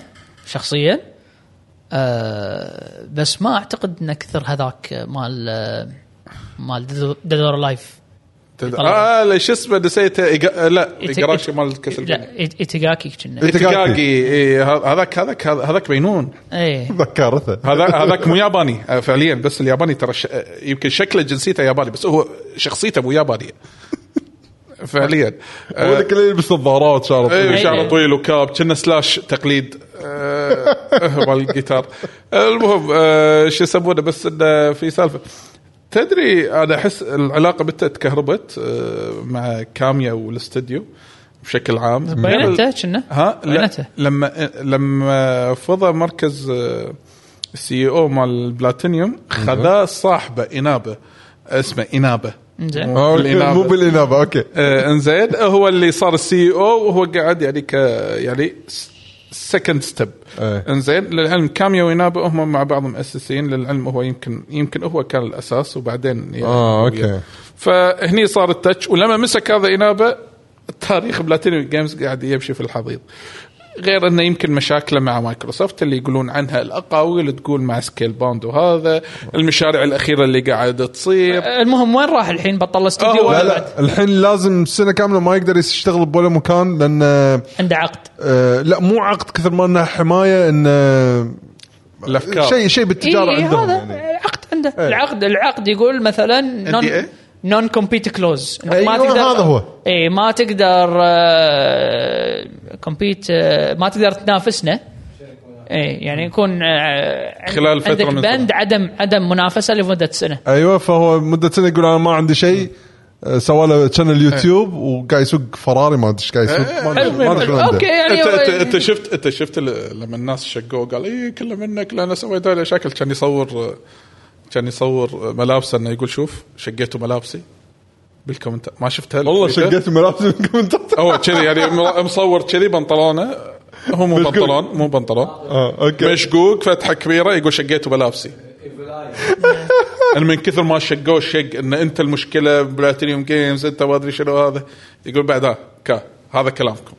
Speaker 4: شخصيا
Speaker 3: آه،
Speaker 4: أه بس ما اعتقد ان كثر هذاك مال آه، مال ديدور لايف
Speaker 2: اه لا، شو اسمه نسيته إيجا- لا
Speaker 4: إيت-
Speaker 2: جراشي
Speaker 4: إيت-
Speaker 2: مال الكسل
Speaker 4: لا إيت- ايتيغاكي كنا
Speaker 1: إيتيغاكي.
Speaker 2: ايتيغاكي إيه، ه- هذاك هذاك هذاك بينون
Speaker 4: ايه
Speaker 1: ذكرته
Speaker 2: هذا هذاك مو ياباني آه، فعليا بس الياباني ترى ش... آه، يمكن شكله جنسيته ياباني بس هو شخصيته مو يابانيه فعليا
Speaker 1: هو اللي كله يلبس نظارات شعره طويل.
Speaker 2: اي شعره
Speaker 4: أيوة.
Speaker 2: إيه، طويل وكاب كنا سلاش تقليد آه، آه، مال الجيتار المهم آه، شو يسمونه بس انه في سالفه تدري انا احس العلاقه بنت تكهربت آه، مع كاميا والاستديو بشكل عام
Speaker 4: بينته كنا
Speaker 2: ها لا
Speaker 4: بينته
Speaker 2: لما لما فضى مركز آه، السي او مال بلاتينيوم خذاه صاحبه انابه اسمه انابه
Speaker 4: إنزين.
Speaker 2: مو
Speaker 1: آه، أوكي، مو بالانابه اوكي
Speaker 2: آه، انزين هو اللي صار السي او وهو قاعد يعني ك يعني سكند ستيب
Speaker 1: إيه.
Speaker 2: انزين للعلم كاميا وينابا هم مع بعض مؤسسين للعلم هو يمكن يمكن هو كان الاساس وبعدين يعني
Speaker 1: آه، أوكي.
Speaker 2: فهني صار التتش ولما مسك هذا انابا تاريخ بلاتينيوم جيمز قاعد يمشي في الحضيض غير انه يمكن مشاكله مع مايكروسوفت اللي يقولون عنها الاقاويل تقول مع سكيل باوند وهذا المشاريع الاخيره اللي قاعد تصير
Speaker 4: المهم وين راح الحين بطل
Speaker 2: آه،
Speaker 4: الاستوديو
Speaker 2: هو-
Speaker 1: لا
Speaker 4: ولا بعد؟
Speaker 1: لا الحين لازم سنه كامله ما يقدر يشتغل بولا مكان لان
Speaker 4: عنده عقد
Speaker 1: آه، لا مو عقد كثر ما انها حمايه ان آه،
Speaker 2: الافكار
Speaker 1: شيء شيء بالتجاره
Speaker 4: إيه
Speaker 1: عندهم
Speaker 4: هذا
Speaker 1: يعني.
Speaker 4: عقد عنده
Speaker 2: إيه.
Speaker 4: العقد العقد يقول مثلا نون
Speaker 2: NDA؟
Speaker 4: نون كومبيت كلوز
Speaker 1: أيوة، هذا هو.
Speaker 4: اي إيه، ما تقدر كومبيت ما تقدر تنافسنا اي يعني يكون آه، عند-
Speaker 2: خلال فترة
Speaker 4: عندك
Speaker 2: من
Speaker 4: بند
Speaker 2: الزمن.
Speaker 4: عدم عدم منافسه لمده سنه
Speaker 1: ايوه فهو مده سنه يقول انا ما عندي شيء آه، سوى له شانل يوتيوب وقاعد يسوق فراري ما ادري ايش قاعد يسوق ما أدري- ما أدري شنو عنده.
Speaker 4: اوكي يعني
Speaker 2: انت انت,
Speaker 4: هو-
Speaker 2: انت شفت انت شفت ال- لما الناس شقوا قال اي كله منك لا انا سويت هذا شكل كان يصور كان يصور ملابسه انه يقول شوف شقيتوا ملابسي بالكومنت ما شفتها
Speaker 1: والله
Speaker 2: الفيديو؟
Speaker 1: شقيت ملابس من كومنتات
Speaker 2: هو كذي يعني مر- مصور كذي بنطلونه هو مو
Speaker 1: مشقوق.
Speaker 2: بنطلون مو بنطلون
Speaker 1: اه
Speaker 2: آه،
Speaker 1: اوكي
Speaker 2: مشقوق فتحه كبيره يقول شقيتوا ملابسي إن من كثر ما شقوه شق ان انت المشكله بلاتينيوم جيمز انت ما ادري شنو هذا يقول بعد آه، كا هذا كلامكم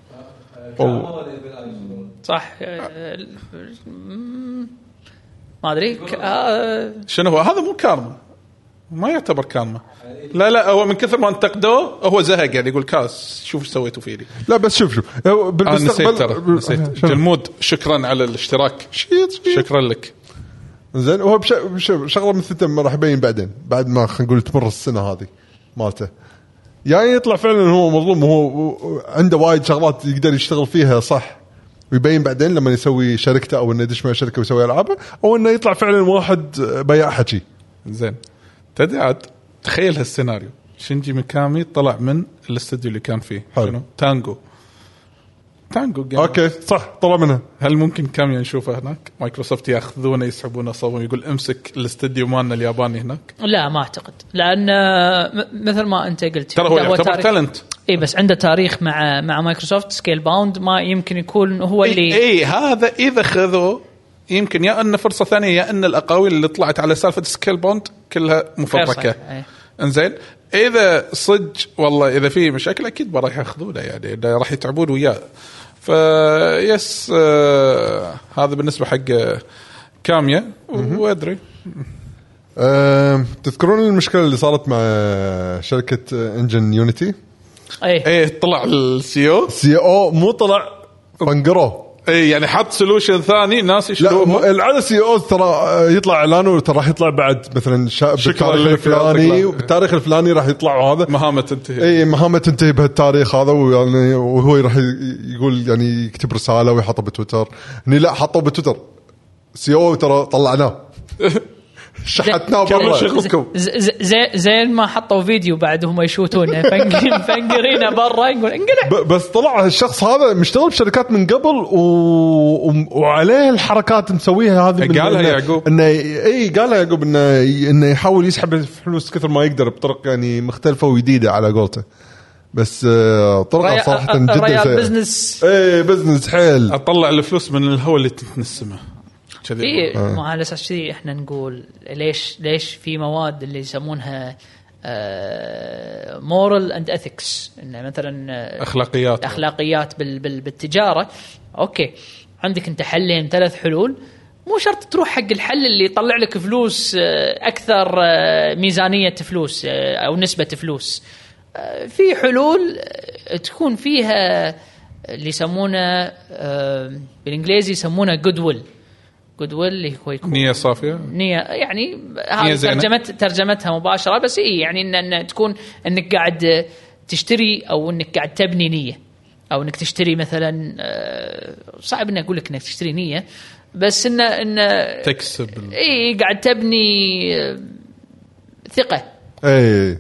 Speaker 4: صح آه، مم، ما ادري ك- آه،
Speaker 3: آه،
Speaker 2: شنو هو هذا مو كارما ما يعتبر كامه لا لا هو من كثر ما انتقدوه هو زهق يعني يقول كاس شوف ايش سويتوا فيني
Speaker 1: لا بس شوف شوف هو
Speaker 2: انا
Speaker 1: بالمستقبل
Speaker 2: آه،
Speaker 1: آه،
Speaker 2: نسيت ترى نسيت
Speaker 1: شنو؟
Speaker 2: جلمود شكرا على الاشتراك
Speaker 1: شيت، شيت.
Speaker 2: شكرا لك
Speaker 1: زين وهو بش... بش... شغله مثل ما راح يبين بعدين بعد ما خلينا نقول تمر السنه هذه مالته يعني يطلع فعلا هو مظلوم وهو عنده وايد شغلات يقدر يشتغل فيها صح ويبين بعدين لما يسوي شركته او انه يدش مع شركه ويسوي العابه او انه يطلع فعلا واحد بياع حكي
Speaker 2: زين تدري عاد تخيل هالسيناريو شنجي ميكامي طلع من الاستوديو اللي كان فيه
Speaker 1: حلو.
Speaker 2: تانجو تانجو جيم.
Speaker 1: اوكي صح طلع منها
Speaker 2: هل ممكن كاميا نشوفه هناك؟ مايكروسوفت ياخذونه يسحبونه صوب يقول امسك الاستديو مالنا الياباني هناك
Speaker 3: لا ما اعتقد لان آه، م- مثل ما انت قلت
Speaker 2: ترى هو يعتبر
Speaker 3: تاريخ-
Speaker 2: تالنت
Speaker 3: اي بس عنده تاريخ مع مع مايكروسوفت سكيل باوند ما يمكن يكون هو
Speaker 2: اي
Speaker 3: اللي
Speaker 2: إيه هذا اذا خذوه يمكن يا انه فرصه ثانيه يا ان الاقاويل اللي طلعت على سالفه سكيل بوند كلها مفبركه
Speaker 3: صحيح، إيه.
Speaker 2: انزين اذا صج والله اذا في مشاكل اكيد راح ياخذونه يعني إنه راح يتعبون وياه فيس آه هذا بالنسبه حق آه، كاميا وادري
Speaker 1: أم، تذكرون المشكله اللي صارت مع شركه انجن يونيتي
Speaker 3: اي
Speaker 2: ايه طلع السيو
Speaker 1: سي او مو طلع بنقروه
Speaker 2: اي يعني حط سولوشن ثاني ناس
Speaker 1: لا م-
Speaker 2: يشلوه
Speaker 1: العاده سي او ترى آه، يطلع اعلانه ترى راح يطلع بعد مثلا شا-
Speaker 2: شكراً
Speaker 1: بالتاريخ
Speaker 2: لك يا
Speaker 1: الفلاني
Speaker 2: أعطيك لا.
Speaker 1: بالتاريخ الفلاني راح يطلع هذا إيه.
Speaker 2: مهامه تنتهي
Speaker 1: اي مهامه تنتهي بهالتاريخ هذا ويعني وهو راح ي- يقول يعني يكتب رساله ويحطها بتويتر هني لا حطوه بتويتر سي او ترى طلعناه شحتناه برا
Speaker 2: شغلكم.
Speaker 3: ز- ز- زي- زين ما حطوا فيديو بعد هم يشوتونه فنق- فنقرينا برا يقول انقلع
Speaker 1: ب- بس طلع الشخص هذا مشتغل بشركات من قبل و... و... وعليه الحركات مسويها هذه من-
Speaker 2: قالها
Speaker 1: إنه-
Speaker 2: يعقوب.
Speaker 1: انه اي قالها يعقوب انه انه يحاول يسحب فلوس كثر ما يقدر بطرق يعني مختلفه وجديده على قولته بس آه، طرقه صراحه جدا
Speaker 3: ريال
Speaker 1: سيئه
Speaker 3: بزنس
Speaker 1: اي بزنس حيل
Speaker 2: اطلع الفلوس من الهواء اللي تتنسمه كذي
Speaker 3: اي إيه، ما على اساس كذي احنا نقول ليش ليش في مواد اللي يسمونها آه، مورال اند اثكس انه مثلا آه،
Speaker 2: اخلاقيات
Speaker 3: الاخلاقيات بال بال بالتجاره اوكي عندك انت حلين ثلاث حلول مو شرط تروح حق الحل اللي يطلع لك فلوس آه، اكثر آه، ميزانيه فلوس آه، او نسبه فلوس آه، في حلول آه، تكون فيها آه، اللي يسمونه آه، بالانجليزي يسمونه جود ويل جود ويل اللي هو يكون
Speaker 2: نيه صافيه
Speaker 3: نية يعني هذه
Speaker 2: زينة.
Speaker 3: ترجمت ترجمتها مباشرة بس اي يعني ان, إن تكون انك قاعد تشتري او انك قاعد تبني نية او انك تشتري مثلا آه، صعب اني اقول لك انك تشتري نية بس ان ان
Speaker 2: تكسب ال-
Speaker 3: اي قاعد تبني آه، ثقة
Speaker 1: اي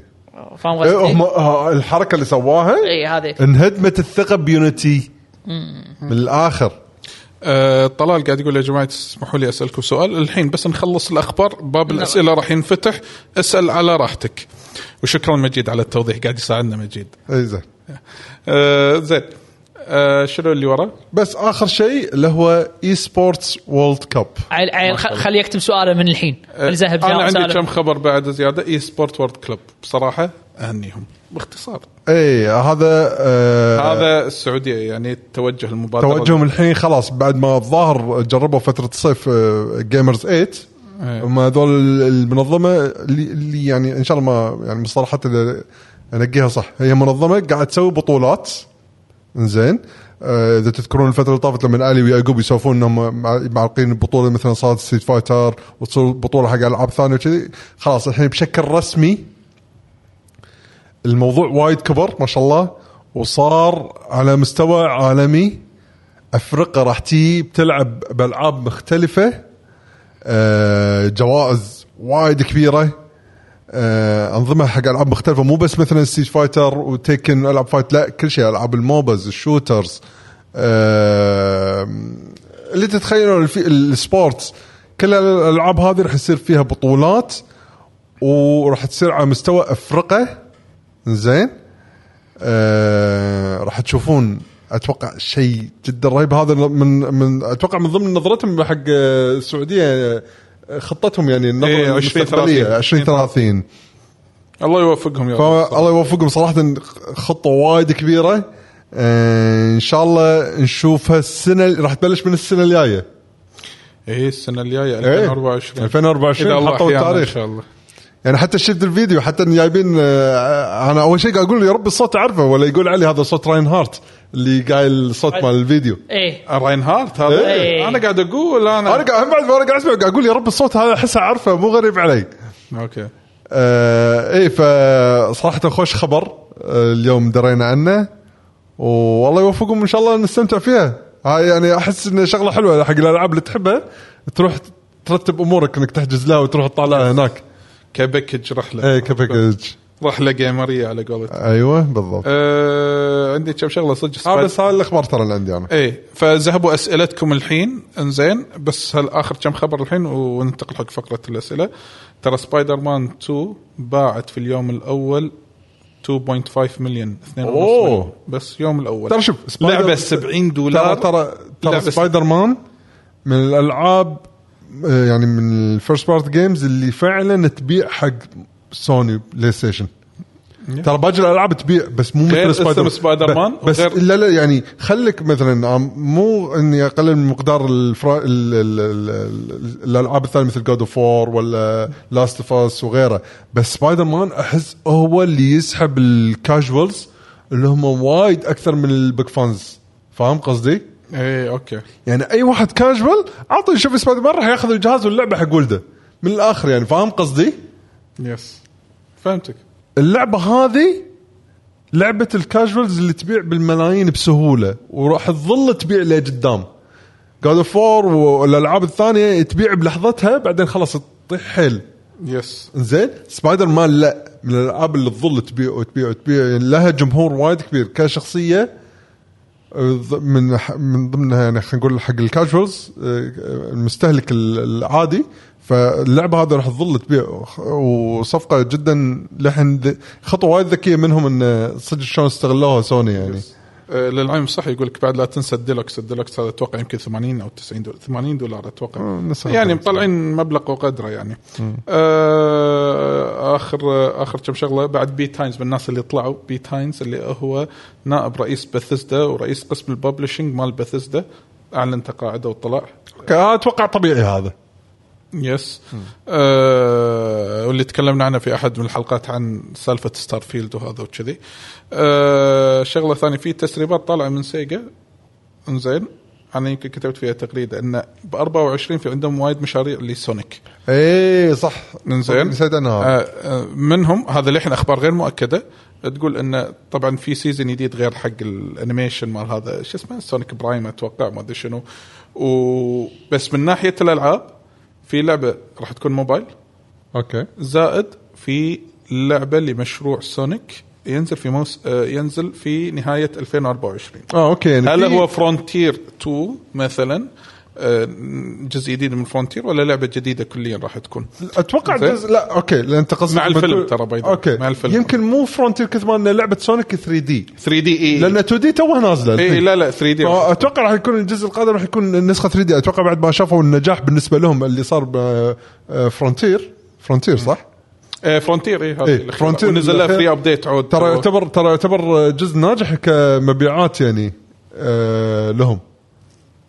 Speaker 3: فاهم
Speaker 1: إيه، هم
Speaker 3: قصدي؟
Speaker 1: ها- الحركه اللي سواها
Speaker 3: اي هذه
Speaker 1: انهدمت الثقه بيونتي من الاخر
Speaker 2: آه، طلال قاعد يقول يا جماعه اسمحوا لي اسالكم سؤال الحين بس نخلص الاخبار باب الاسئله راح ينفتح اسال على راحتك وشكرا مجيد على التوضيح قاعد يساعدنا مجيد
Speaker 1: اي زين
Speaker 2: آه، زين آه، شنو اللي ورا؟
Speaker 1: بس اخر شيء اللي هو اي سبورتس وورلد كاب
Speaker 3: عيل عيل خ- خليه يكتب سؤاله من الحين
Speaker 2: آه،
Speaker 3: الزهب
Speaker 2: انا
Speaker 3: جاوب
Speaker 2: عندي
Speaker 3: سؤاله.
Speaker 2: كم خبر بعد زياده اي سبورت وورد كلوب بصراحه اهنيهم باختصار
Speaker 1: اي إيه، هذا آه
Speaker 2: هذا السعوديه يعني توجه المبادره
Speaker 1: توجههم الحين خلاص بعد ما الظاهر جربوا فتره الصيف جيمرز 8
Speaker 2: إيه.
Speaker 1: هم هذول المنظمه اللي, اللي يعني ان شاء الله ما يعني مصطلحات إذا انقيها صح هي منظمه قاعد تسوي بطولات زين آه، اذا تذكرون الفتره اللي طافت لما علي ويعقوب يسولفون انهم مع- معلقين بطوله مثلا صارت ستريت فايتر وتصير بطوله حق العاب ثانيه وكذي خلاص الحين بشكل رسمي الموضوع وايد كبر ما شاء الله وصار على مستوى عالمي افريقيا راح تي بتلعب بالعاب مختلفه آه، جوائز وايد كبيره آه، انظمه حق العاب مختلفه مو بس مثلا ستيج فايتر وتيكن العاب فايت لا كل شيء العاب الموبز الشوترز آه، اللي تتخيلوا الفي- السبورتس كل الالعاب هذه راح يصير فيها بطولات وراح تصير على مستوى افريقيا زين آه راح تشوفون اتوقع شيء جدا رهيب هذا من من اتوقع من ضمن نظرتهم حق آه، السعوديه آه، خطتهم يعني النظره
Speaker 2: إيه، 20
Speaker 1: المستقبليه 20
Speaker 2: 20
Speaker 1: 30
Speaker 2: الله يوفقهم يا رب
Speaker 1: فالله يوفقهم صراحه خطه وايد كبيره آه ان شاء الله نشوفها السنه راح تبلش من السنه الجايه
Speaker 2: اي السنه الجايه
Speaker 1: إيه.
Speaker 2: 2024
Speaker 1: 2024
Speaker 2: اذا الله
Speaker 1: حطوا
Speaker 2: أحيانا ان
Speaker 1: التاريخ
Speaker 2: شاء الله
Speaker 1: يعني حتى شفت الفيديو حتى إن جايبين آه، انا اول شيء قاعد اقول يا رب الصوت اعرفه ولا يقول علي هذا صوت راين هارت اللي قايل الصوت مال الفيديو
Speaker 4: ايه
Speaker 2: راين هارت هذا
Speaker 4: إيه.
Speaker 2: انا قاعد اقول انا
Speaker 1: انا قاعد هم بعد ما انا قاعد اسمع قاعد اقول يا رب الصوت هذا احسه اعرفه مو غريب علي
Speaker 2: اوكي
Speaker 1: آه ايه فصراحة خوش خبر آه اليوم درينا عنه والله يوفقهم ان شاء الله نستمتع فيها هاي يعني احس انه شغله حلوه حق الالعاب اللي تحبها تروح ترتب امورك انك تحجز لها وتروح تطالعها هناك
Speaker 2: كباكج رحله
Speaker 1: ايه كباكج
Speaker 2: رحله جيمريه على قولتهم
Speaker 1: ايوه
Speaker 2: إيه،
Speaker 1: بالضبط
Speaker 2: أه عندي كم شغله صدق
Speaker 1: آه
Speaker 2: سبايدر-
Speaker 1: بس هاي الاخبار ترى اللي عندي انا
Speaker 2: ايه فذهبوا اسئلتكم الحين انزين بس هل اخر كم خبر الحين وننتقل حق فقره الاسئله ترى سبايدر مان 2 باعت في اليوم الاول 2.5 مليون 2.5 مليون
Speaker 1: أوه.
Speaker 2: بس يوم الاول
Speaker 1: ترى شوف، سبايدر-
Speaker 2: لعبه 70 دولار
Speaker 1: ترى ترى
Speaker 2: لا،
Speaker 1: ترى
Speaker 2: بس-
Speaker 1: سبايدر مان من الالعاب آه، يعني من الفيرست بارت جيمز اللي فعلا تبيع حق سوني بلاي ستيشن ترى باقي الالعاب تبيع بس مو
Speaker 2: غير
Speaker 1: مثل
Speaker 2: اسم
Speaker 1: سبايدر
Speaker 2: سبايدر مان
Speaker 1: ب- بس
Speaker 2: وغير-
Speaker 1: لا لا يعني خليك مثلا آم، مو اني اقلل من مقدار الفرا... ال... ال... ال... ال- الالعاب الثانيه مثل جود اوف وور ولا لاست اوف اس وغيره بس سبايدر مان احس هو اللي يسحب الكاجوالز اللي هم وايد اكثر من البيج فانز فاهم قصدي؟
Speaker 2: ايه اوكي
Speaker 1: يعني اي واحد كاجوال عطوا يشوف سبايدر مان راح ياخذ الجهاز واللعبه حق ولده من الاخر يعني فاهم قصدي؟
Speaker 2: يس فهمتك
Speaker 1: اللعبه هذه لعبه الكاجوالز اللي تبيع بالملايين بسهوله وراح تظل تبيع لقدام جاد اوف وور والالعاب الثانيه تبيع بلحظتها بعدين خلاص تطيح حيل
Speaker 2: يس
Speaker 1: زين سبايدر مان لا من الالعاب اللي تظل تبيع وتبيع وتبيع يعني لها جمهور وايد كبير كشخصيه آه، ض- من ح- من ضمنها يعني خلينا نقول حق الكاجوالز آه، المستهلك ال- العادي فاللعبه هذه راح تظل تبيع وخ- وصفقه جدا لحن ذ- خطوه وايد ذكيه منهم ان آه، صدق شلون استغلوها سوني يعني
Speaker 2: آه، للعلم صح يقول لك بعد لا تنسى الديلوكس الديلوكس هذا اتوقع يمكن 80 او 90 دولار 80 دولار اتوقع
Speaker 1: آه، نسخة
Speaker 2: يعني
Speaker 1: ديلوكس.
Speaker 2: مطلعين مبلغ وقدره يعني آه، اخر اخر كم شغله بعد بي تاينز من الناس اللي طلعوا بي تاينز اللي هو نائب رئيس بثزدا ورئيس قسم الببلشنج مال بثزدا اعلن تقاعده وطلع
Speaker 1: أوكي، آه، اتوقع طبيعي هذا
Speaker 2: يس آه واللي تكلمنا عنه في احد من الحلقات عن سالفه ستار فيلد وهذا وكذي آه شغله ثانيه في تسريبات طالعه من سيجا انزين انا يمكن كتبت فيها تغريده ان ب 24 في عندهم وايد مشاريع لسونيك
Speaker 1: اي إيه، صح
Speaker 2: انزين
Speaker 1: نسيت
Speaker 2: آه،
Speaker 1: انا
Speaker 2: آه، منهم هذا للحين اخبار غير مؤكده تقول ان طبعا في سيزون جديد غير حق الانيميشن مال هذا شو اسمه سونيك برايم اتوقع ما ادري شنو وبس من ناحيه الالعاب في لعبه راح تكون موبايل
Speaker 1: اوكي
Speaker 2: زائد في لعبه لمشروع سونيك ينزل في موس... آه، ينزل في نهايه 2024
Speaker 1: اه اوكي يعني
Speaker 2: هل
Speaker 1: في-
Speaker 2: هو فرونتير 2 مثلا آه، جزء جديد من فرونتير ولا لعبه جديده كليا راح تكون؟
Speaker 1: اتوقع
Speaker 2: زين.
Speaker 1: جزء لا اوكي لان انت قصدك
Speaker 2: مع الفيلم
Speaker 1: بتقول-
Speaker 2: ترى by the way.
Speaker 1: اوكي
Speaker 2: مع الفيلم.
Speaker 1: يمكن مو فرونتير كثر ما انه لعبه سونيك 3 دي
Speaker 2: 3 دي اي
Speaker 1: لان 2 دي توه نازله
Speaker 2: اي
Speaker 1: الحين.
Speaker 2: إيه، لا لا 3 دي
Speaker 1: اتوقع راح يكون الجزء القادم راح يكون النسخه 3 دي اتوقع بعد ما شافوا النجاح بالنسبه لهم اللي صار بفرونتير فرونتير صح؟
Speaker 2: إيه. فرونتير اي
Speaker 1: إيه،
Speaker 2: آه، هذه
Speaker 1: Frontier
Speaker 2: فرونتير نزل لها
Speaker 1: الأخير.
Speaker 2: فري ابديت عود
Speaker 1: ترى يعتبر ترى يعتبر جزء ناجح كمبيعات يعني آه لهم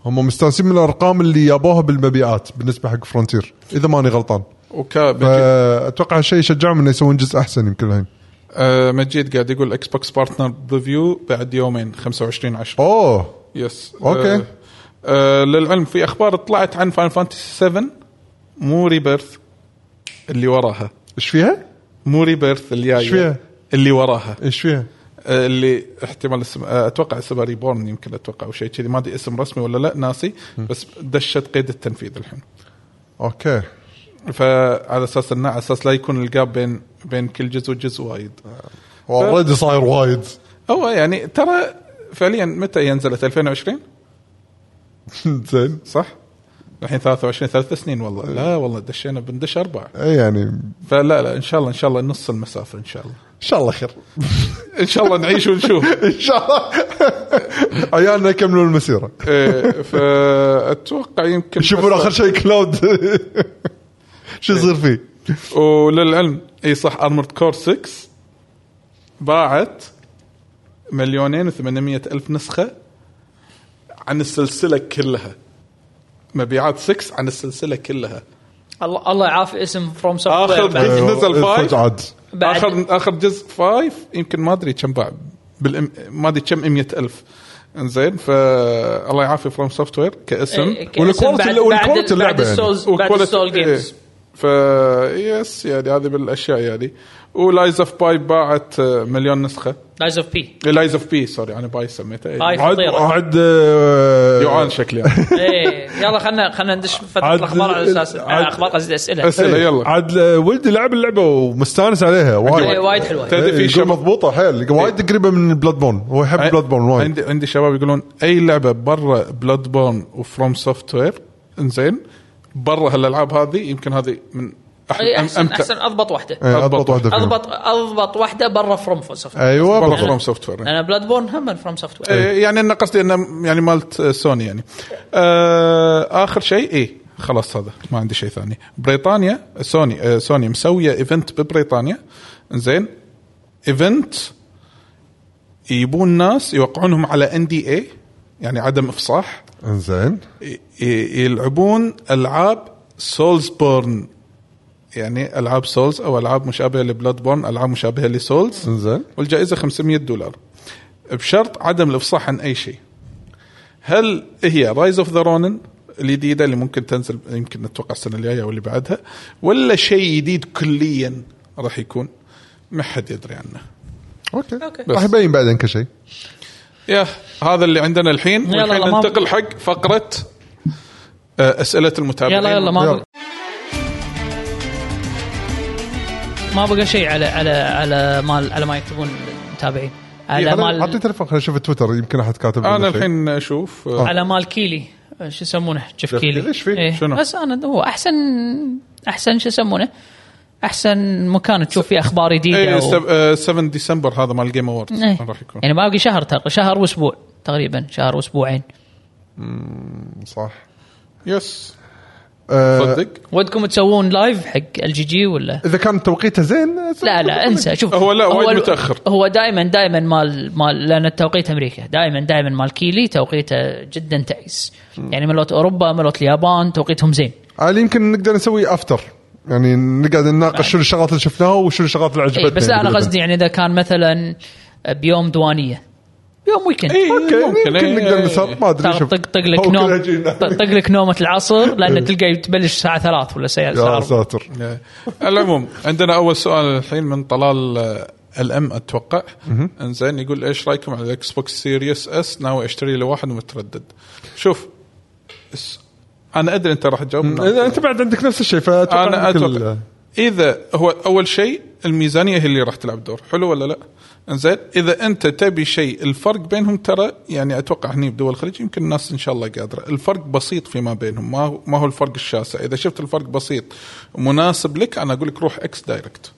Speaker 1: هم مستانسين من الارقام اللي جابوها بالمبيعات بالنسبه حق فرونتير اذا ماني غلطان
Speaker 2: وكا
Speaker 1: فاتوقع هالشيء يشجعهم انه يسوون جزء احسن يمكن الحين
Speaker 2: آه مجيد قاعد يقول اكس بوكس بارتنر ريفيو بعد يومين 25 10
Speaker 1: اوه
Speaker 2: يس
Speaker 1: أوكي.
Speaker 2: آه آه للعلم في اخبار طلعت عن فاين فانتسي 7 مو ريبيرث اللي وراها
Speaker 1: ايش فيها؟
Speaker 2: مو ريبيرث الجايه
Speaker 1: إيش فيها؟
Speaker 2: اللي وراها
Speaker 1: ايش فيها؟
Speaker 2: آه، اللي احتمال اسم آه، اتوقع اسمها ريبورن يمكن اتوقع او شيء كذي ما ادري اسم رسمي ولا لا ناسي بس دشت قيد التنفيذ الحين
Speaker 1: اوكي
Speaker 2: فعلى اساس انه على اساس لا يكون الجاب بين بين كل جزء وجزء وايد
Speaker 1: اوريدي صاير وايد
Speaker 2: هو يعني ترى فعليا متى هي نزلت 2020
Speaker 1: زين
Speaker 2: صح؟ الحين 23 ثلاث سنين والله لا والله دشينا بندش اربع
Speaker 1: اي يعني
Speaker 2: فلا لا ان شاء الله ان شاء الله نص المسافه ان شاء الله
Speaker 1: ان شاء الله خير
Speaker 2: ان شاء الله نعيش ونشوف
Speaker 1: ان شاء الله عيالنا يكملون المسيره
Speaker 2: إيه، فاتوقع يمكن
Speaker 1: يشوفون
Speaker 2: بس-
Speaker 1: اخر شيء كلاود شو يصير فيه؟
Speaker 2: إيه. وللعلم اي صح ارمورد كور 6 باعت مليونين و800 الف نسخه عن السلسله كلها مبيعات 6 عن السلسله كلها
Speaker 3: الله الله يعافي اسم فروم سوفت
Speaker 2: آخر
Speaker 3: وير
Speaker 2: جزء نزل فايف
Speaker 1: عاد
Speaker 3: بعد-
Speaker 2: اخر اخر جزء فايف يمكن ما ادري كم باع بالإم... ما ادري كم 100000 انزين فالله يعافي فروم سوفت وير كاسم
Speaker 3: إيه،
Speaker 1: والكواليتي- والكواليتي اللعبة يعني.
Speaker 3: بعد
Speaker 2: وكواليتي-
Speaker 3: السول جيمز
Speaker 2: إيه. ف يس يعني هذه بالاشياء يعني ولايز اوف باي باعت آه، مليون إيه، نسخه
Speaker 3: لايز اوف بي
Speaker 2: لايز اوف بي سوري انا باي سميتها إيه.
Speaker 3: باي.
Speaker 1: عاد
Speaker 3: خطيرة.
Speaker 1: عاد آه،
Speaker 2: جوعان شكلي يعني. أنا.
Speaker 3: ايه يلا خلنا خلينا ندش فتره
Speaker 1: عاد-
Speaker 3: الاخبار على اساس
Speaker 1: عاد-
Speaker 3: آه، اخبار قصدي اسئله
Speaker 2: اسئله إيه، يلا
Speaker 1: عاد آه، ولدي لعب اللعبه ومستانس عليها
Speaker 3: إيه،
Speaker 1: وايد
Speaker 3: وايد حلوه
Speaker 2: تدري
Speaker 1: شيء
Speaker 2: في شباب
Speaker 1: مضبوطه حيل وايد قريبه من بلاد بون هو يحب بلاد بون وايد
Speaker 2: عندي عندي شباب يقولون اي لعبه برا بلاد بورن وفروم سوفت وير انزين برا هالالعاب هذه يمكن هذه من أح-
Speaker 3: إيه،
Speaker 2: أم-
Speaker 3: احسن
Speaker 2: امتع
Speaker 3: احسن اضبط واحده
Speaker 1: إيه، اضبط
Speaker 2: أضبط.
Speaker 1: واحده فيهم.
Speaker 3: اضبط اضبط واحده برا فروم سوفت
Speaker 1: ايوه
Speaker 2: برا
Speaker 1: بالضبط.
Speaker 2: فروم سوفت وير
Speaker 3: انا بلاد بورن هم من فروم سوفت وير
Speaker 2: إيه، يعني انا قصدي انه يعني مالت سوني يعني آه، اخر شيء اي خلاص هذا ما عندي شيء ثاني بريطانيا سوني آه، سوني مسويه ايفنت ببريطانيا زين ايفنت يجيبون ناس يوقعونهم على ان دي اي يعني عدم افصاح
Speaker 1: انزين
Speaker 2: ي- ي- يلعبون العاب سولز بورن يعني العاب سولز او العاب مشابهه لبلاد بورن العاب مشابهه لسولز
Speaker 1: انزين
Speaker 2: والجائزه 500 دولار بشرط عدم الافصاح عن اي شيء هل هي رايز اوف ذا رونن الجديده اللي ممكن تنزل يمكن نتوقع السنه الجايه او اللي بعدها ولا شيء جديد كليا راح يكون ما حد يدري عنه
Speaker 1: اوكي
Speaker 3: أوكي.
Speaker 1: راح يبين بعدين كل شيء
Speaker 2: يا هذا اللي عندنا الحين
Speaker 3: يلا
Speaker 2: والحين
Speaker 3: يلا، ما-
Speaker 2: ننتقل حق فقره آه، اسئله المتابعين
Speaker 3: يلا يلا ما
Speaker 1: يلا.
Speaker 3: ما بقى شيء على على على مال على ما يكتبون المتابعين
Speaker 1: إيه،
Speaker 3: على
Speaker 1: أنا
Speaker 3: مال
Speaker 1: اعطي تليفون خليني اشوف تويتر يمكن احد كاتب لنا
Speaker 2: انا
Speaker 1: شيء.
Speaker 2: الحين اشوف آه،
Speaker 3: على مال كيلي آه، شو يسمونه جيف
Speaker 1: جيف
Speaker 3: كيلي إيه.
Speaker 1: كيلي، إيش فيه؟
Speaker 2: شنو؟
Speaker 3: بس انا هو احسن احسن شو يسمونه احسن مكان تشوف فيه اخبار
Speaker 1: إيه،
Speaker 3: جديده
Speaker 2: اي
Speaker 3: و...
Speaker 2: سب- آه، 7 ديسمبر هذا مال جيم اوورد
Speaker 3: إيه.
Speaker 2: راح يكون
Speaker 3: يعني باقي شهر تق... شهر واسبوع تقريبا شهر واسبوعين
Speaker 1: صح
Speaker 2: يس
Speaker 1: آه،
Speaker 2: صدق
Speaker 3: ودكم تسوون لايف حق الجي جي ولا
Speaker 1: اذا كان توقيته زين آه،
Speaker 3: لا لا انسى شوف
Speaker 2: هو لا، وايد
Speaker 3: ال-
Speaker 2: متأخر.
Speaker 3: هو دائما دائما مال مال لان التوقيت امريكا دائما دائما مال كيلي توقيته جدا تعيس يعني ملوت اوروبا ملوت اليابان توقيتهم زين
Speaker 1: عاد آه، يمكن نقدر نسوي افتر يعني نقعد نناقش شنو الشغلات اللي شفناها وشنو الشغلات اللي عجبتنا
Speaker 3: إيه بس لا
Speaker 1: يعني
Speaker 3: انا
Speaker 1: بالإيفنت.
Speaker 3: قصدي يعني اذا كان مثلا بيوم دوانيه بيوم ويكند
Speaker 2: اي
Speaker 1: اوكي
Speaker 2: ممكن
Speaker 1: يمكن
Speaker 2: إيه،
Speaker 1: نقدر
Speaker 2: إيه.
Speaker 1: نسوي ما ادري
Speaker 3: طق
Speaker 1: شوف
Speaker 3: طق طق لك
Speaker 1: هو
Speaker 3: نوم
Speaker 1: كله يجينا.
Speaker 3: طق طق لك نومه العصر لان تلقى تبلش الساعه ثلاث ولا الساعه
Speaker 1: يا
Speaker 3: الساعه
Speaker 1: ساتر
Speaker 2: إيه. على العموم عندنا اول سؤال الحين من طلال آه، الام اتوقع انزين يقول ايش رايكم على الاكس بوكس سيريس اس ناوي اشتري له واحد ومتردد شوف اس- انا ادري انت راح تجاوب
Speaker 1: إذا انت بعد عندك نفس الشيء فاتوقع
Speaker 2: انا
Speaker 1: عندك ال-
Speaker 2: اتوقع اذا هو اول شيء الميزانيه هي اللي راح تلعب دور حلو ولا لا انزين اذا انت تبي شيء الفرق بينهم ترى يعني اتوقع هني بدول الخليج يمكن الناس ان شاء الله قادره الفرق بسيط فيما بينهم ما هو ما هو الفرق الشاسع اذا شفت الفرق بسيط ومناسب لك انا اقول لك روح اكس دايركت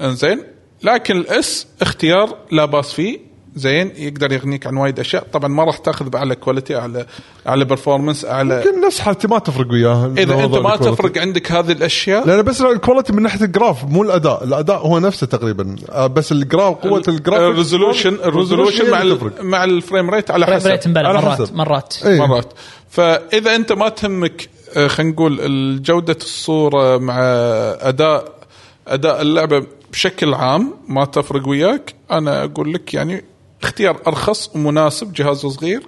Speaker 2: انزين لكن الاس اختيار لا باس فيه زين يقدر يغنيك عن وايد اشياء طبعا ما راح تاخذ على كواليتي على على برفورمانس على
Speaker 1: يمكن نفس حالتي ما تفرق وياه
Speaker 2: اذا انت ما
Speaker 1: الكواليتي.
Speaker 2: تفرق عندك هذه الاشياء
Speaker 1: لان بس الكواليتي من ناحيه الجراف مو الاداء، الاداء هو نفسه تقريبا آه، بس الجراف قوه الجراف
Speaker 2: الريزولوشن الريزولوشن مع ال- مع الفريم ريت على
Speaker 3: فريم
Speaker 2: حسب
Speaker 3: ريت مبلى
Speaker 1: على
Speaker 3: مرات
Speaker 1: حسب.
Speaker 3: مرات
Speaker 1: إيه.
Speaker 2: مرات فاذا انت ما تهمك آه، خلينا نقول جوده الصوره مع اداء اداء اللعبه بشكل عام ما تفرق وياك انا اقول لك يعني اختيار ارخص ومناسب جهاز صغير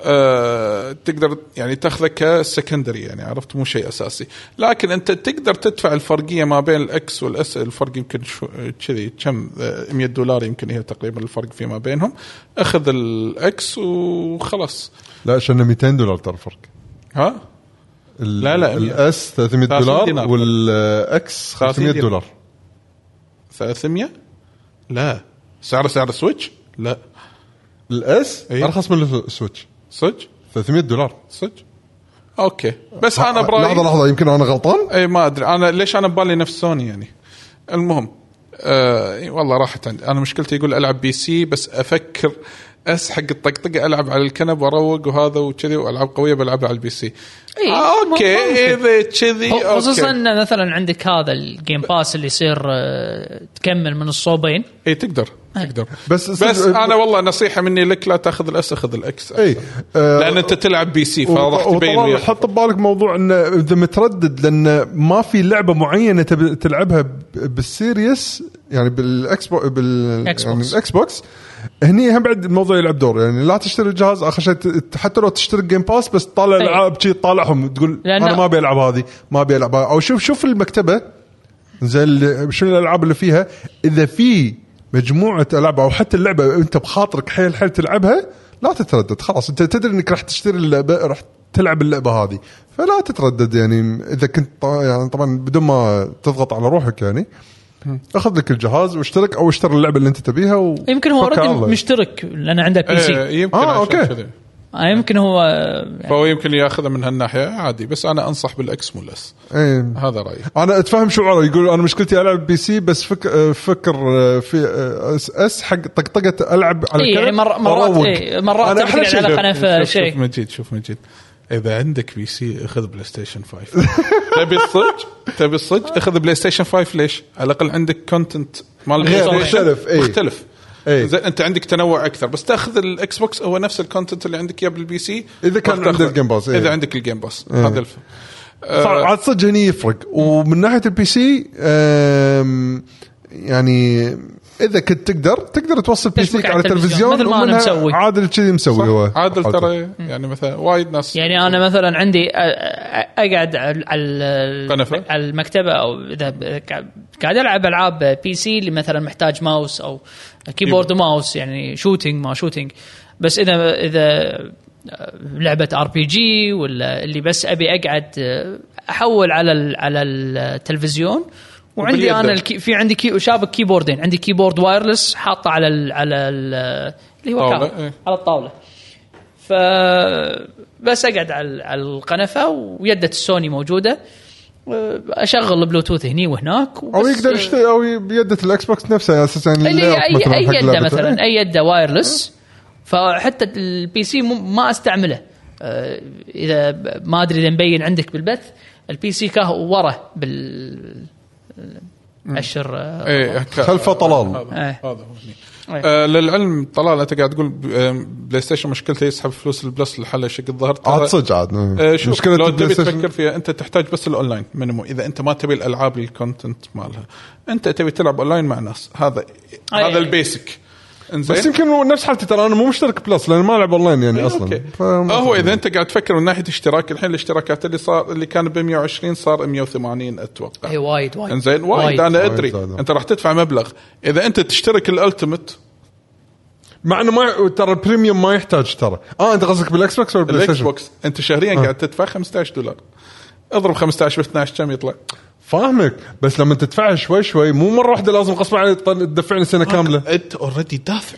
Speaker 2: أه تقدر يعني تاخذه كسكندري يعني عرفت مو شيء اساسي لكن انت تقدر تدفع الفرقيه ما بين الاكس والاس الفرق يمكن شو- كذي كم آه، 100 دولار يمكن هي تقريبا الفرق فيما بينهم اخذ الاكس وخلاص
Speaker 1: لا عشان 200 دولار ترى فرق
Speaker 2: ها لا، لا،
Speaker 1: الاس 300
Speaker 2: 30
Speaker 1: دولار
Speaker 2: دينار.
Speaker 1: والاكس 500
Speaker 2: دينار.
Speaker 1: دولار
Speaker 2: 300 لا سعر سعر سويتش لا
Speaker 1: الاس
Speaker 2: إيه.
Speaker 1: ارخص من السويتش
Speaker 2: صدق
Speaker 1: 300 دولار
Speaker 2: صدق اوكي بس انا برايي
Speaker 1: لحظه لحظه يمكن انا غلطان
Speaker 2: اي ما ادري انا ليش انا ببالي نفس سوني يعني المهم آه والله راحت عندي انا مشكلتي يقول العب بي سي بس افكر اسحق الطقطقه العب على الكنب واروق وهذا وكذي والعاب قويه بلعبها على البي سي
Speaker 3: إي،
Speaker 2: آه،
Speaker 3: ممكن.
Speaker 2: اوكي اذا كذي
Speaker 3: خ- خصوصا
Speaker 2: اوكي
Speaker 3: إن مثلا عندك هذا الجيم باس اللي يصير آه، تكمل من الصوبين
Speaker 2: اي تقدر تقدر
Speaker 1: بس-
Speaker 2: بس, بس انا والله نصيحه مني لك لا تاخذ الاس اخذ الاكس
Speaker 1: اي آه،
Speaker 2: لان انت تلعب بي سي فراح
Speaker 1: وط-
Speaker 2: تبين
Speaker 1: وطبعاً
Speaker 2: وياك.
Speaker 1: حط ببالك موضوع انه اذا متردد لان ما في لعبه معينه تب- تلعبها ب- بالسيريس يعني بالاكس بو بال
Speaker 3: Xbox.
Speaker 1: يعني بالاكس بوكس هني هم بعد الموضوع يلعب دور يعني لا تشتري الجهاز اخر شيء ت- حتى لو تشتري جيم باس بس تطالع
Speaker 3: أي.
Speaker 1: العاب شي تطالعهم تقول
Speaker 3: لأن-
Speaker 1: انا ما ابي العب هذه ما ابي العب او شوف شوف المكتبه زين ال- شنو الالعاب اللي فيها اذا في مجموعه العاب او حتى اللعبه انت بخاطرك حيل حيل تلعبها لا تتردد خلاص انت تدري انك راح تشتري اللعبه راح تلعب اللعبه هذه فلا تتردد يعني اذا كنت ط- يعني طبعا بدون ما تضغط على روحك يعني اخذ لك الجهاز واشترك او اشتري اللعبه اللي انت تبيها و...
Speaker 3: يمكن هو
Speaker 1: فك
Speaker 3: اوريدي
Speaker 1: الله.
Speaker 3: مشترك لان عنده بي
Speaker 2: إيه،
Speaker 3: سي
Speaker 2: يمكن
Speaker 1: آه،
Speaker 2: آه
Speaker 1: أوكي.
Speaker 2: اوكي
Speaker 3: يمكن هو آه،
Speaker 2: فهو يمكن ياخذه من هالناحيه عادي بس انا انصح بالاكس مو الاس
Speaker 1: إيه.
Speaker 2: هذا رايي
Speaker 1: انا اتفهم شعوره يقول انا مشكلتي العب بي سي بس فك... آه، فكر في اس- اس حق طقطقه العب على
Speaker 3: إيه، يعني
Speaker 1: الكنب
Speaker 3: مر- مرات-
Speaker 1: وأروق.
Speaker 3: إيه، مرات
Speaker 1: أنا
Speaker 3: تبي
Speaker 1: أحلى
Speaker 3: تقعد
Speaker 1: شيء
Speaker 3: على
Speaker 1: له.
Speaker 3: قناة
Speaker 2: شوف,
Speaker 3: شيء.
Speaker 2: شوف مجيد شوف مجيد اذا عندك بي سي اخذ بلاي ستيشن 5 تبي الصج تبي الصج اخذ بلاي ستيشن 5 ليش؟ على الاقل عندك كونتنت مال
Speaker 1: غير،
Speaker 2: PlayStation
Speaker 1: مختلف، إيه.
Speaker 2: مختلف
Speaker 1: إيه.
Speaker 2: زين انت عندك تنوع اكثر بس تاخذ الاكس بوكس هو نفس الكونتنت اللي عندك يا بالبي سي
Speaker 1: إذا كان
Speaker 2: راح تاخذه.
Speaker 1: عندك الجيم باس، إيه.
Speaker 2: اذا عندك الجيم باس هذا الف آه،
Speaker 1: صار- آه، عاد صدق هني يفرق ومن ناحيه البي سي أم، يعني اذا كنت تقدر تقدر توصل بي
Speaker 3: تشبك
Speaker 1: سيك
Speaker 3: على
Speaker 1: على التلفزيون
Speaker 3: التلفزيون، مثل ما أنا
Speaker 1: ومنها
Speaker 3: مسوي.
Speaker 1: عادل كذي مسوي هو
Speaker 2: عادل ترى يعني مثلا وايد ناس
Speaker 3: يعني انا مثلا عندي أ- أ- اقعد على على-
Speaker 2: قنفة؟
Speaker 3: على المكتبه او اذا ب- قاعد العب العاب بي سي اللي مثلا محتاج ماوس او كيبورد وماوس يعني شوتينج ما شوتينج بس اذا اذا لعبه ار بي جي ولا اللي بس ابي اقعد احول على ال- على التلفزيون وعندي
Speaker 2: وباليد.
Speaker 3: انا الكي في عندي كي شابك كيبوردين عندي كيبورد وايرلس حاطه على ال على ال اللي هو
Speaker 2: طاولة،
Speaker 3: كهرب-
Speaker 2: إيه.
Speaker 3: على الطاوله ف بس اقعد على على القنفه ويده السوني موجوده اشغل البلوتوث هني وهناك
Speaker 1: او
Speaker 3: وبس-
Speaker 1: يقدر يشتري او ي- بيده الاكس بوكس نفسه اساسا
Speaker 3: اللي هي
Speaker 1: layout
Speaker 3: اي اي
Speaker 1: حق
Speaker 3: يده
Speaker 1: لعبته.
Speaker 3: مثلا اي يده وايرلس فحتى البي سي مو- ما استعمله أه، اذا ب- ما ادري اذا مبين عندك بالبث البي سي كاه ورا بال اشر أه،
Speaker 2: ايه ك-
Speaker 1: خلفه طلال.
Speaker 2: هذا-
Speaker 3: ايه.
Speaker 2: هذا هو هني.
Speaker 3: إيه.
Speaker 2: آه للعلم طلال انت قاعد تقول ب- آه، بلاي ستيشن مشكلته يسحب فلوس البلس لحله شق الظهر ترى-
Speaker 1: عاد صدق عاد
Speaker 2: آه شوف
Speaker 1: مشكله
Speaker 2: لو
Speaker 1: البلاي
Speaker 2: تبي
Speaker 1: ستيشن
Speaker 2: تفكر فيها انت تحتاج بس الاونلاين مينيمو اذا انت ما تبي الالعاب للكونتنت مالها انت تبي تلعب اونلاين مع ناس هذا
Speaker 3: أي.
Speaker 2: هذا البيسك انزين
Speaker 1: بس يمكن هو نفس حالتي ترى انا مو مشترك بلس لان ما العب اونلاين يعني اصلا
Speaker 2: اوكي
Speaker 1: فما-
Speaker 2: إيه، هو اذا انت قاعد تفكر من ناحيه اشتراك الحين الاشتراكات اللي صار اللي كان ب 120 صار 180 اتوقع
Speaker 3: اي إيه، وايد وايد
Speaker 2: انزين وايد انا
Speaker 1: وايد
Speaker 2: ادري
Speaker 1: زادوا.
Speaker 2: انت راح تدفع مبلغ اذا انت تشترك الالتيميت
Speaker 1: مع انه ما ترى البريميوم ما يحتاج ترى اه انت قصدك بالاكس بوكس ولا بلاي
Speaker 2: الاكس
Speaker 1: ستيشن آه.
Speaker 2: بوكس انت شهريا قاعد تدفع 15 دولار اضرب 15 ب 12 كم يطلع؟
Speaker 1: فاهمك بس لما تدفعها شوي شوي مو مره واحده لازم غصب عنك تطل- تدفعني سنه كامله
Speaker 2: انت اوريدي دافع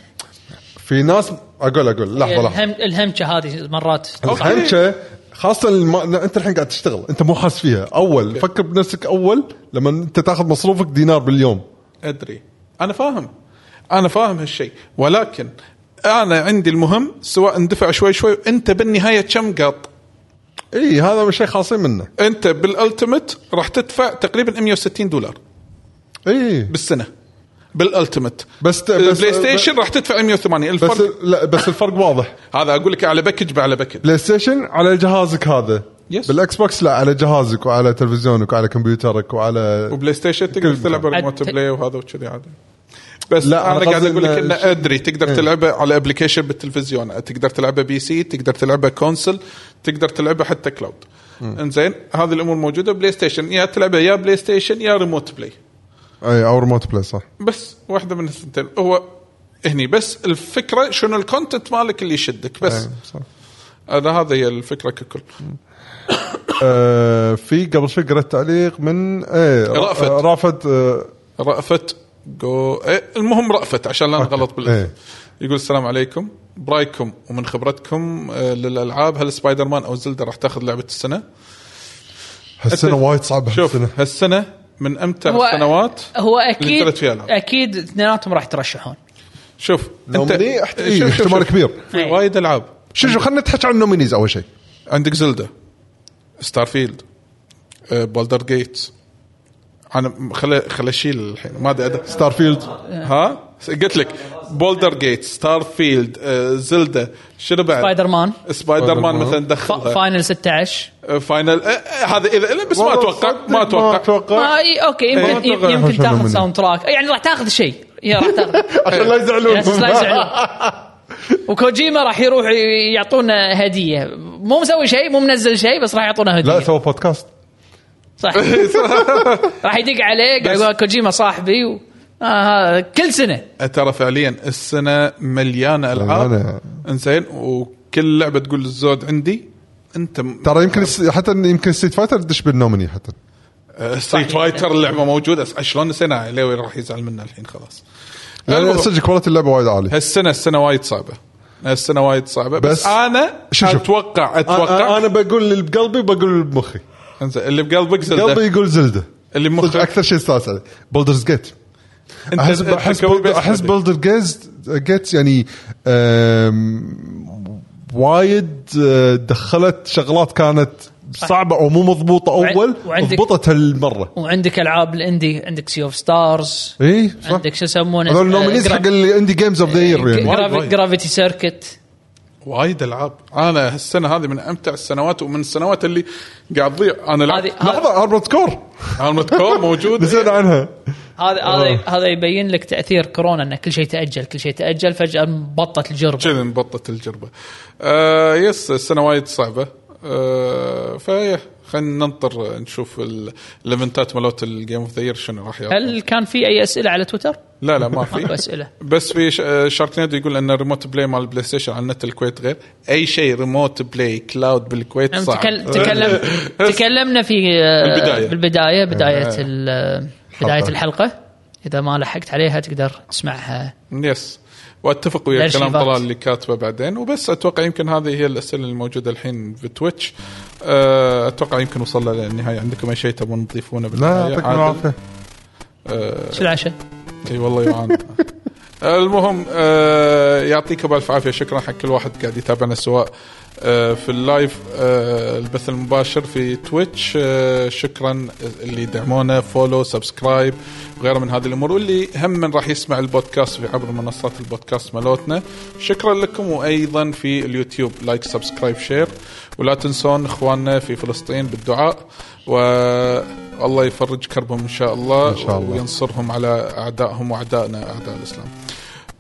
Speaker 1: في ناس اقول اقول لحظه لحظه
Speaker 3: الهم الهمشه هذه مرات
Speaker 2: أوكي.
Speaker 1: الحنشه خاصه الم... لا، انت الحين قاعد تشتغل انت مو حاس فيها اول فكر بنفسك اول لما انت تاخذ مصروفك دينار باليوم
Speaker 2: ادري انا فاهم انا فاهم هالشيء ولكن انا عندي المهم سواء اندفع شوي شوي انت بالنهايه كم قاط؟
Speaker 1: اي هذا شيء خاصين منه
Speaker 2: انت بالالتيميت راح تدفع تقريبا 160 دولار
Speaker 1: اي
Speaker 2: بالسنه بالالتيميت
Speaker 1: بس- بس-
Speaker 2: البلاي ستيشن راح تدفع 180
Speaker 1: بس
Speaker 2: الفرق
Speaker 1: لا بس الفرق واضح
Speaker 2: هذا اقول لك على باكج على باكج
Speaker 1: بلاي ستيشن على جهازك هذا
Speaker 2: Yes.
Speaker 1: بالاكس بوكس لا على جهازك وعلى تلفزيونك وعلى كمبيوترك وعلى
Speaker 2: وبلاي ستيشن تقدر
Speaker 1: مكان.
Speaker 2: تلعب ريموت
Speaker 3: أت-
Speaker 2: بلاي وهذا وكذي عادي بس
Speaker 1: لا،
Speaker 2: لا
Speaker 1: أنا
Speaker 2: انا قاعد
Speaker 1: قصدي
Speaker 2: اقول لك
Speaker 1: إنه
Speaker 2: انه
Speaker 1: شيء-
Speaker 2: ادري تقدر
Speaker 1: إيه.
Speaker 2: تلعبه على ابلكيشن بالتلفزيون تقدر تلعبه بي سي تقدر تلعبه كونسل تقدر تلعبه حتى كلاود انزين هذه الامور موجوده بلاي ستيشن يا تلعبه يا بلاي ستيشن يا ريموت بلاي
Speaker 1: اي او ريموت بلاي صح
Speaker 2: بس واحده من الثنتين هو هني بس الفكره شنو الكونتنت مالك اللي يشدك بس
Speaker 1: إي، صح.
Speaker 2: هذا هذا هي الفكره ككل
Speaker 1: آه، في قبل شوي قرأت تعليق من ايه
Speaker 2: رأفت.
Speaker 1: آه، رافت آه،
Speaker 2: رأفت جو إيه، المهم رأفت عشان لا نغلط بالاسم
Speaker 1: إيه.
Speaker 2: يقول السلام عليكم برايكم ومن خبرتكم آه، للالعاب هل سبايدر مان او زلدا راح تاخذ لعبه السنه؟
Speaker 1: هالسنه
Speaker 2: أنت-
Speaker 1: وايد صعبه
Speaker 2: شوف
Speaker 1: هالسنه
Speaker 2: هالسنه من امتع
Speaker 3: هو-
Speaker 2: السنوات
Speaker 3: هو
Speaker 2: اللي
Speaker 3: اكيد
Speaker 2: نزلت فيها الألعاب.
Speaker 3: اكيد اثنيناتهم راح يترشحون
Speaker 2: شوف
Speaker 1: نوميني احت- إيه،
Speaker 2: شوف- شوف-
Speaker 1: احتمال
Speaker 2: شوف.
Speaker 1: كبير.
Speaker 2: في وايد العاب
Speaker 1: شو شو خلينا نتحكي عن النومينيز اول شيء
Speaker 2: عندك آه، زلدا ستارفيلد بولدر جيتس انا خل خل اشيل الحين ما ادري أد-
Speaker 1: ستار فيلد
Speaker 2: ها قلت لك بولدر جيت ستار فيلد زلدا آه، شنو بعد
Speaker 3: سبايدر مان
Speaker 2: سبايدر مان
Speaker 1: مان.
Speaker 2: مثلا دخلها
Speaker 3: فاينل 16
Speaker 2: آه، فاينل آه، آه، هذا اذا لا، بس ما اتوقع ما
Speaker 1: ما
Speaker 2: اتوقع
Speaker 1: اتوقع
Speaker 3: ما إي، اوكي
Speaker 1: إيه.
Speaker 3: يمكن
Speaker 1: أتوقع
Speaker 3: يمكن
Speaker 1: يحوشون
Speaker 3: تاخذ
Speaker 1: منه.
Speaker 3: ساوند تراك يعني راح تاخذ شيء يا راح تاخذ
Speaker 1: عشان لا يزعلون
Speaker 3: على أساس لا يزعلون. وكوجيما راح يروح ي- يعطونا هديه مو مسوي شيء مو منزل شيء بس راح يعطونا هديه
Speaker 1: لا سوى بودكاست
Speaker 3: صح راح يدق عليه قاعد
Speaker 2: بس-
Speaker 3: يقول كوجيما صاحبي و... آه هذا كل سنه
Speaker 2: آه، ترى فعليا السنه مليانه
Speaker 1: مليانة.
Speaker 2: العاب انزين وكل لعبه تقول للزود عندي انت م-
Speaker 1: ترى يمكن الس- حتى يمكن ستريت فايتر تدش بالنوميني حتى
Speaker 2: آه، ستريت فايتر اللعبه موجوده أس- شلون نسيناها ليوي راح يزعل منا الحين خلاص
Speaker 1: يعني
Speaker 2: المهم،
Speaker 1: صدق كواليتي اللعبه وايد عاليه
Speaker 2: هالسنه السنه وايد صعبه السنه وايد صعبه بس,
Speaker 1: بس-
Speaker 2: بس انا
Speaker 1: شوف- شوف.
Speaker 2: اتوقع اتوقع
Speaker 1: انا بقول اللي بقلبي وبقول اللي بمخي
Speaker 2: انزين اللي بقلبك زلده
Speaker 1: قلبي يقول زلده
Speaker 2: اللي
Speaker 1: صدق
Speaker 2: مخك
Speaker 1: اكثر شيء استانس عليه بولدرز جيت
Speaker 2: انت
Speaker 1: احس
Speaker 2: أنت
Speaker 1: احس
Speaker 2: كوي
Speaker 1: بولد-
Speaker 2: بيست
Speaker 1: احس
Speaker 2: بدي.
Speaker 1: بولدر جيز جيتس يعني أم، وايد أه، دخلت شغلات كانت صعبه او مو مضبوطه
Speaker 3: وع-
Speaker 1: اول
Speaker 3: وعندك-
Speaker 1: ضبطت هالمره
Speaker 3: وعندك العاب الاندي عندك سي اوف ستارز
Speaker 1: اي صح
Speaker 3: عندك شو يسمونه آه،
Speaker 1: هذول النومينيز حق الاندي جيمز اوف ذا يير يعني
Speaker 2: وايد، وايد.
Speaker 3: جرافيتي سيركت
Speaker 2: وايد العاب انا هالسنه هذه من امتع السنوات ومن السنوات اللي قاعد تضيع انا لعبت
Speaker 3: هذه
Speaker 1: لحظه اربط كور
Speaker 3: آه،
Speaker 2: ارمد كور موجود
Speaker 1: نسينا عنها
Speaker 3: هذا هذا هذا يبين لك تاثير كورونا ان كل شيء تاجل كل شيء تاجل فجاه انبطت الجربه
Speaker 2: كذا انبطت الجربه آه يس السنه وايد صعبه آه فيه خلينا ننطر نشوف ال- الايفنتات مالت الجيم اوف ذا يير شنو راح يعطون.
Speaker 3: هل كان في اي اسئله على تويتر؟
Speaker 2: لا لا ما في
Speaker 3: ماكو أسئلة.
Speaker 2: بس في ش- آه، شاركنيدو يقول ان الريموت بلاي مال البلاي ستيشن على نت الكويت غير اي شيء ريموت بلاي كلاود بالكويت
Speaker 3: نعم،
Speaker 2: صعب
Speaker 3: تكل- تكلم تكلمنا في آه،
Speaker 2: بالبداية. آه.
Speaker 3: بالبدايه بدايه ال- آه، بدايه
Speaker 1: الحلقة.
Speaker 3: الحلقه اذا ما لحقت عليها تقدر تسمعها
Speaker 2: يس واتفق ويا
Speaker 3: الأرشيفات.
Speaker 2: كلام طلال اللي كاتبه بعدين وبس اتوقع يمكن هذه هي الاسئله الموجوده الحين في تويتش آه، اتوقع يمكن وصلنا للنهايه عندكم اي شيء تبون تضيفونه
Speaker 1: لا
Speaker 2: بالنهايه
Speaker 1: يعطيكم
Speaker 2: عادل؟
Speaker 1: العافيه
Speaker 2: آه،
Speaker 3: شو العشاء؟
Speaker 2: اي والله يعان المهم آه، يعطيكم الف عافيه شكرا حق كل واحد قاعد يتابعنا سواء آه، في اللايف آه، البث المباشر في تويتش آه، شكرا اللي يدعمونا فولو سبسكرايب وغيره من هذه الامور واللي هم من راح يسمع البودكاست في عبر منصات البودكاست مالتنا شكرا لكم وايضا في اليوتيوب لايك سبسكرايب شير ولا تنسون اخواننا في فلسطين بالدعاء والله يفرج كربهم ان شاء الله, إن
Speaker 1: شاء الله.
Speaker 2: ينصرهم على اعدائهم واعدائنا اعداء الاسلام.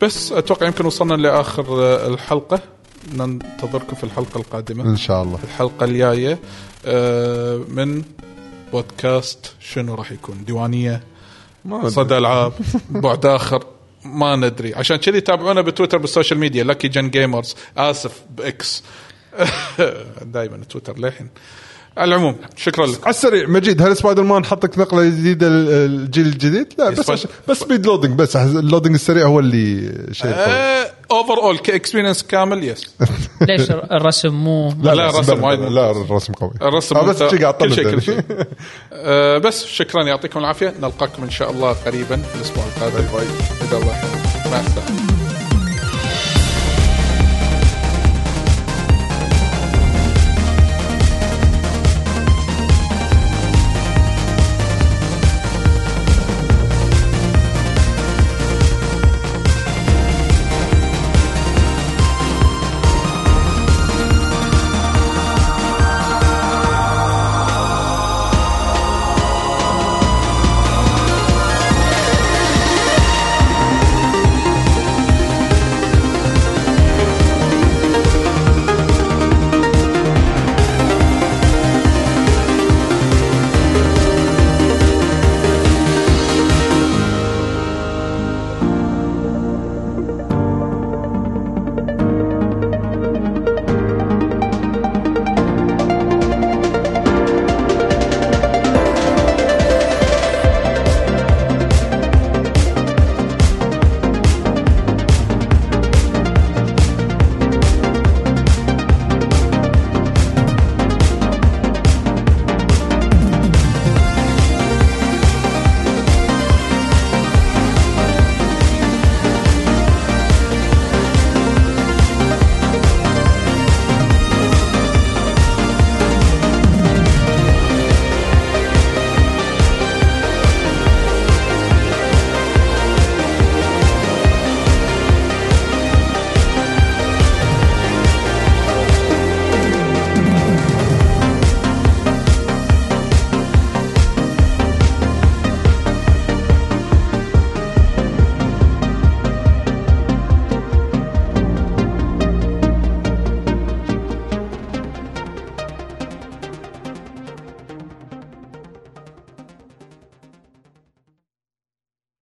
Speaker 2: بس اتوقع يمكن وصلنا لاخر آه، الحلقه ننتظركم في الحلقه القادمه
Speaker 1: ان شاء الله
Speaker 2: الحلقه الجايه آه، من بودكاست شنو راح يكون ديوانيه صدى العاب بعد اخر ما ندري عشان كذي تابعونا بتويتر بالسوشيال ميديا لكي جن جيمرز اسف باكس دائما تويتر للحين على العموم شكرا لكم
Speaker 1: على السريع مجيد هل سبايدر مان حطك نقله جديده ال- الجيل الجديد؟ لا بس
Speaker 2: إيه، سبايد-
Speaker 1: عشان- بس سبيد لودنج بس أحس اللودنج السريع هو اللي شيء
Speaker 2: آه،
Speaker 1: قوي.
Speaker 2: اوفر اول كاكسبيرينس كامل يس
Speaker 3: ليش الرسم مو
Speaker 2: لا،
Speaker 1: بس-
Speaker 2: الرسم
Speaker 1: بس-
Speaker 2: وايد
Speaker 1: لا الرسم قوي
Speaker 2: الرسم
Speaker 1: آه، بس
Speaker 2: ممتاز.
Speaker 1: شي قاعد
Speaker 2: كل شيء
Speaker 1: طلع
Speaker 2: كل شيء آه، بس شكرا يعطيكم العافيه نلقاكم ان شاء الله قريبا في الاسبوع القادم باي باي الله يحفظك. مع السلامه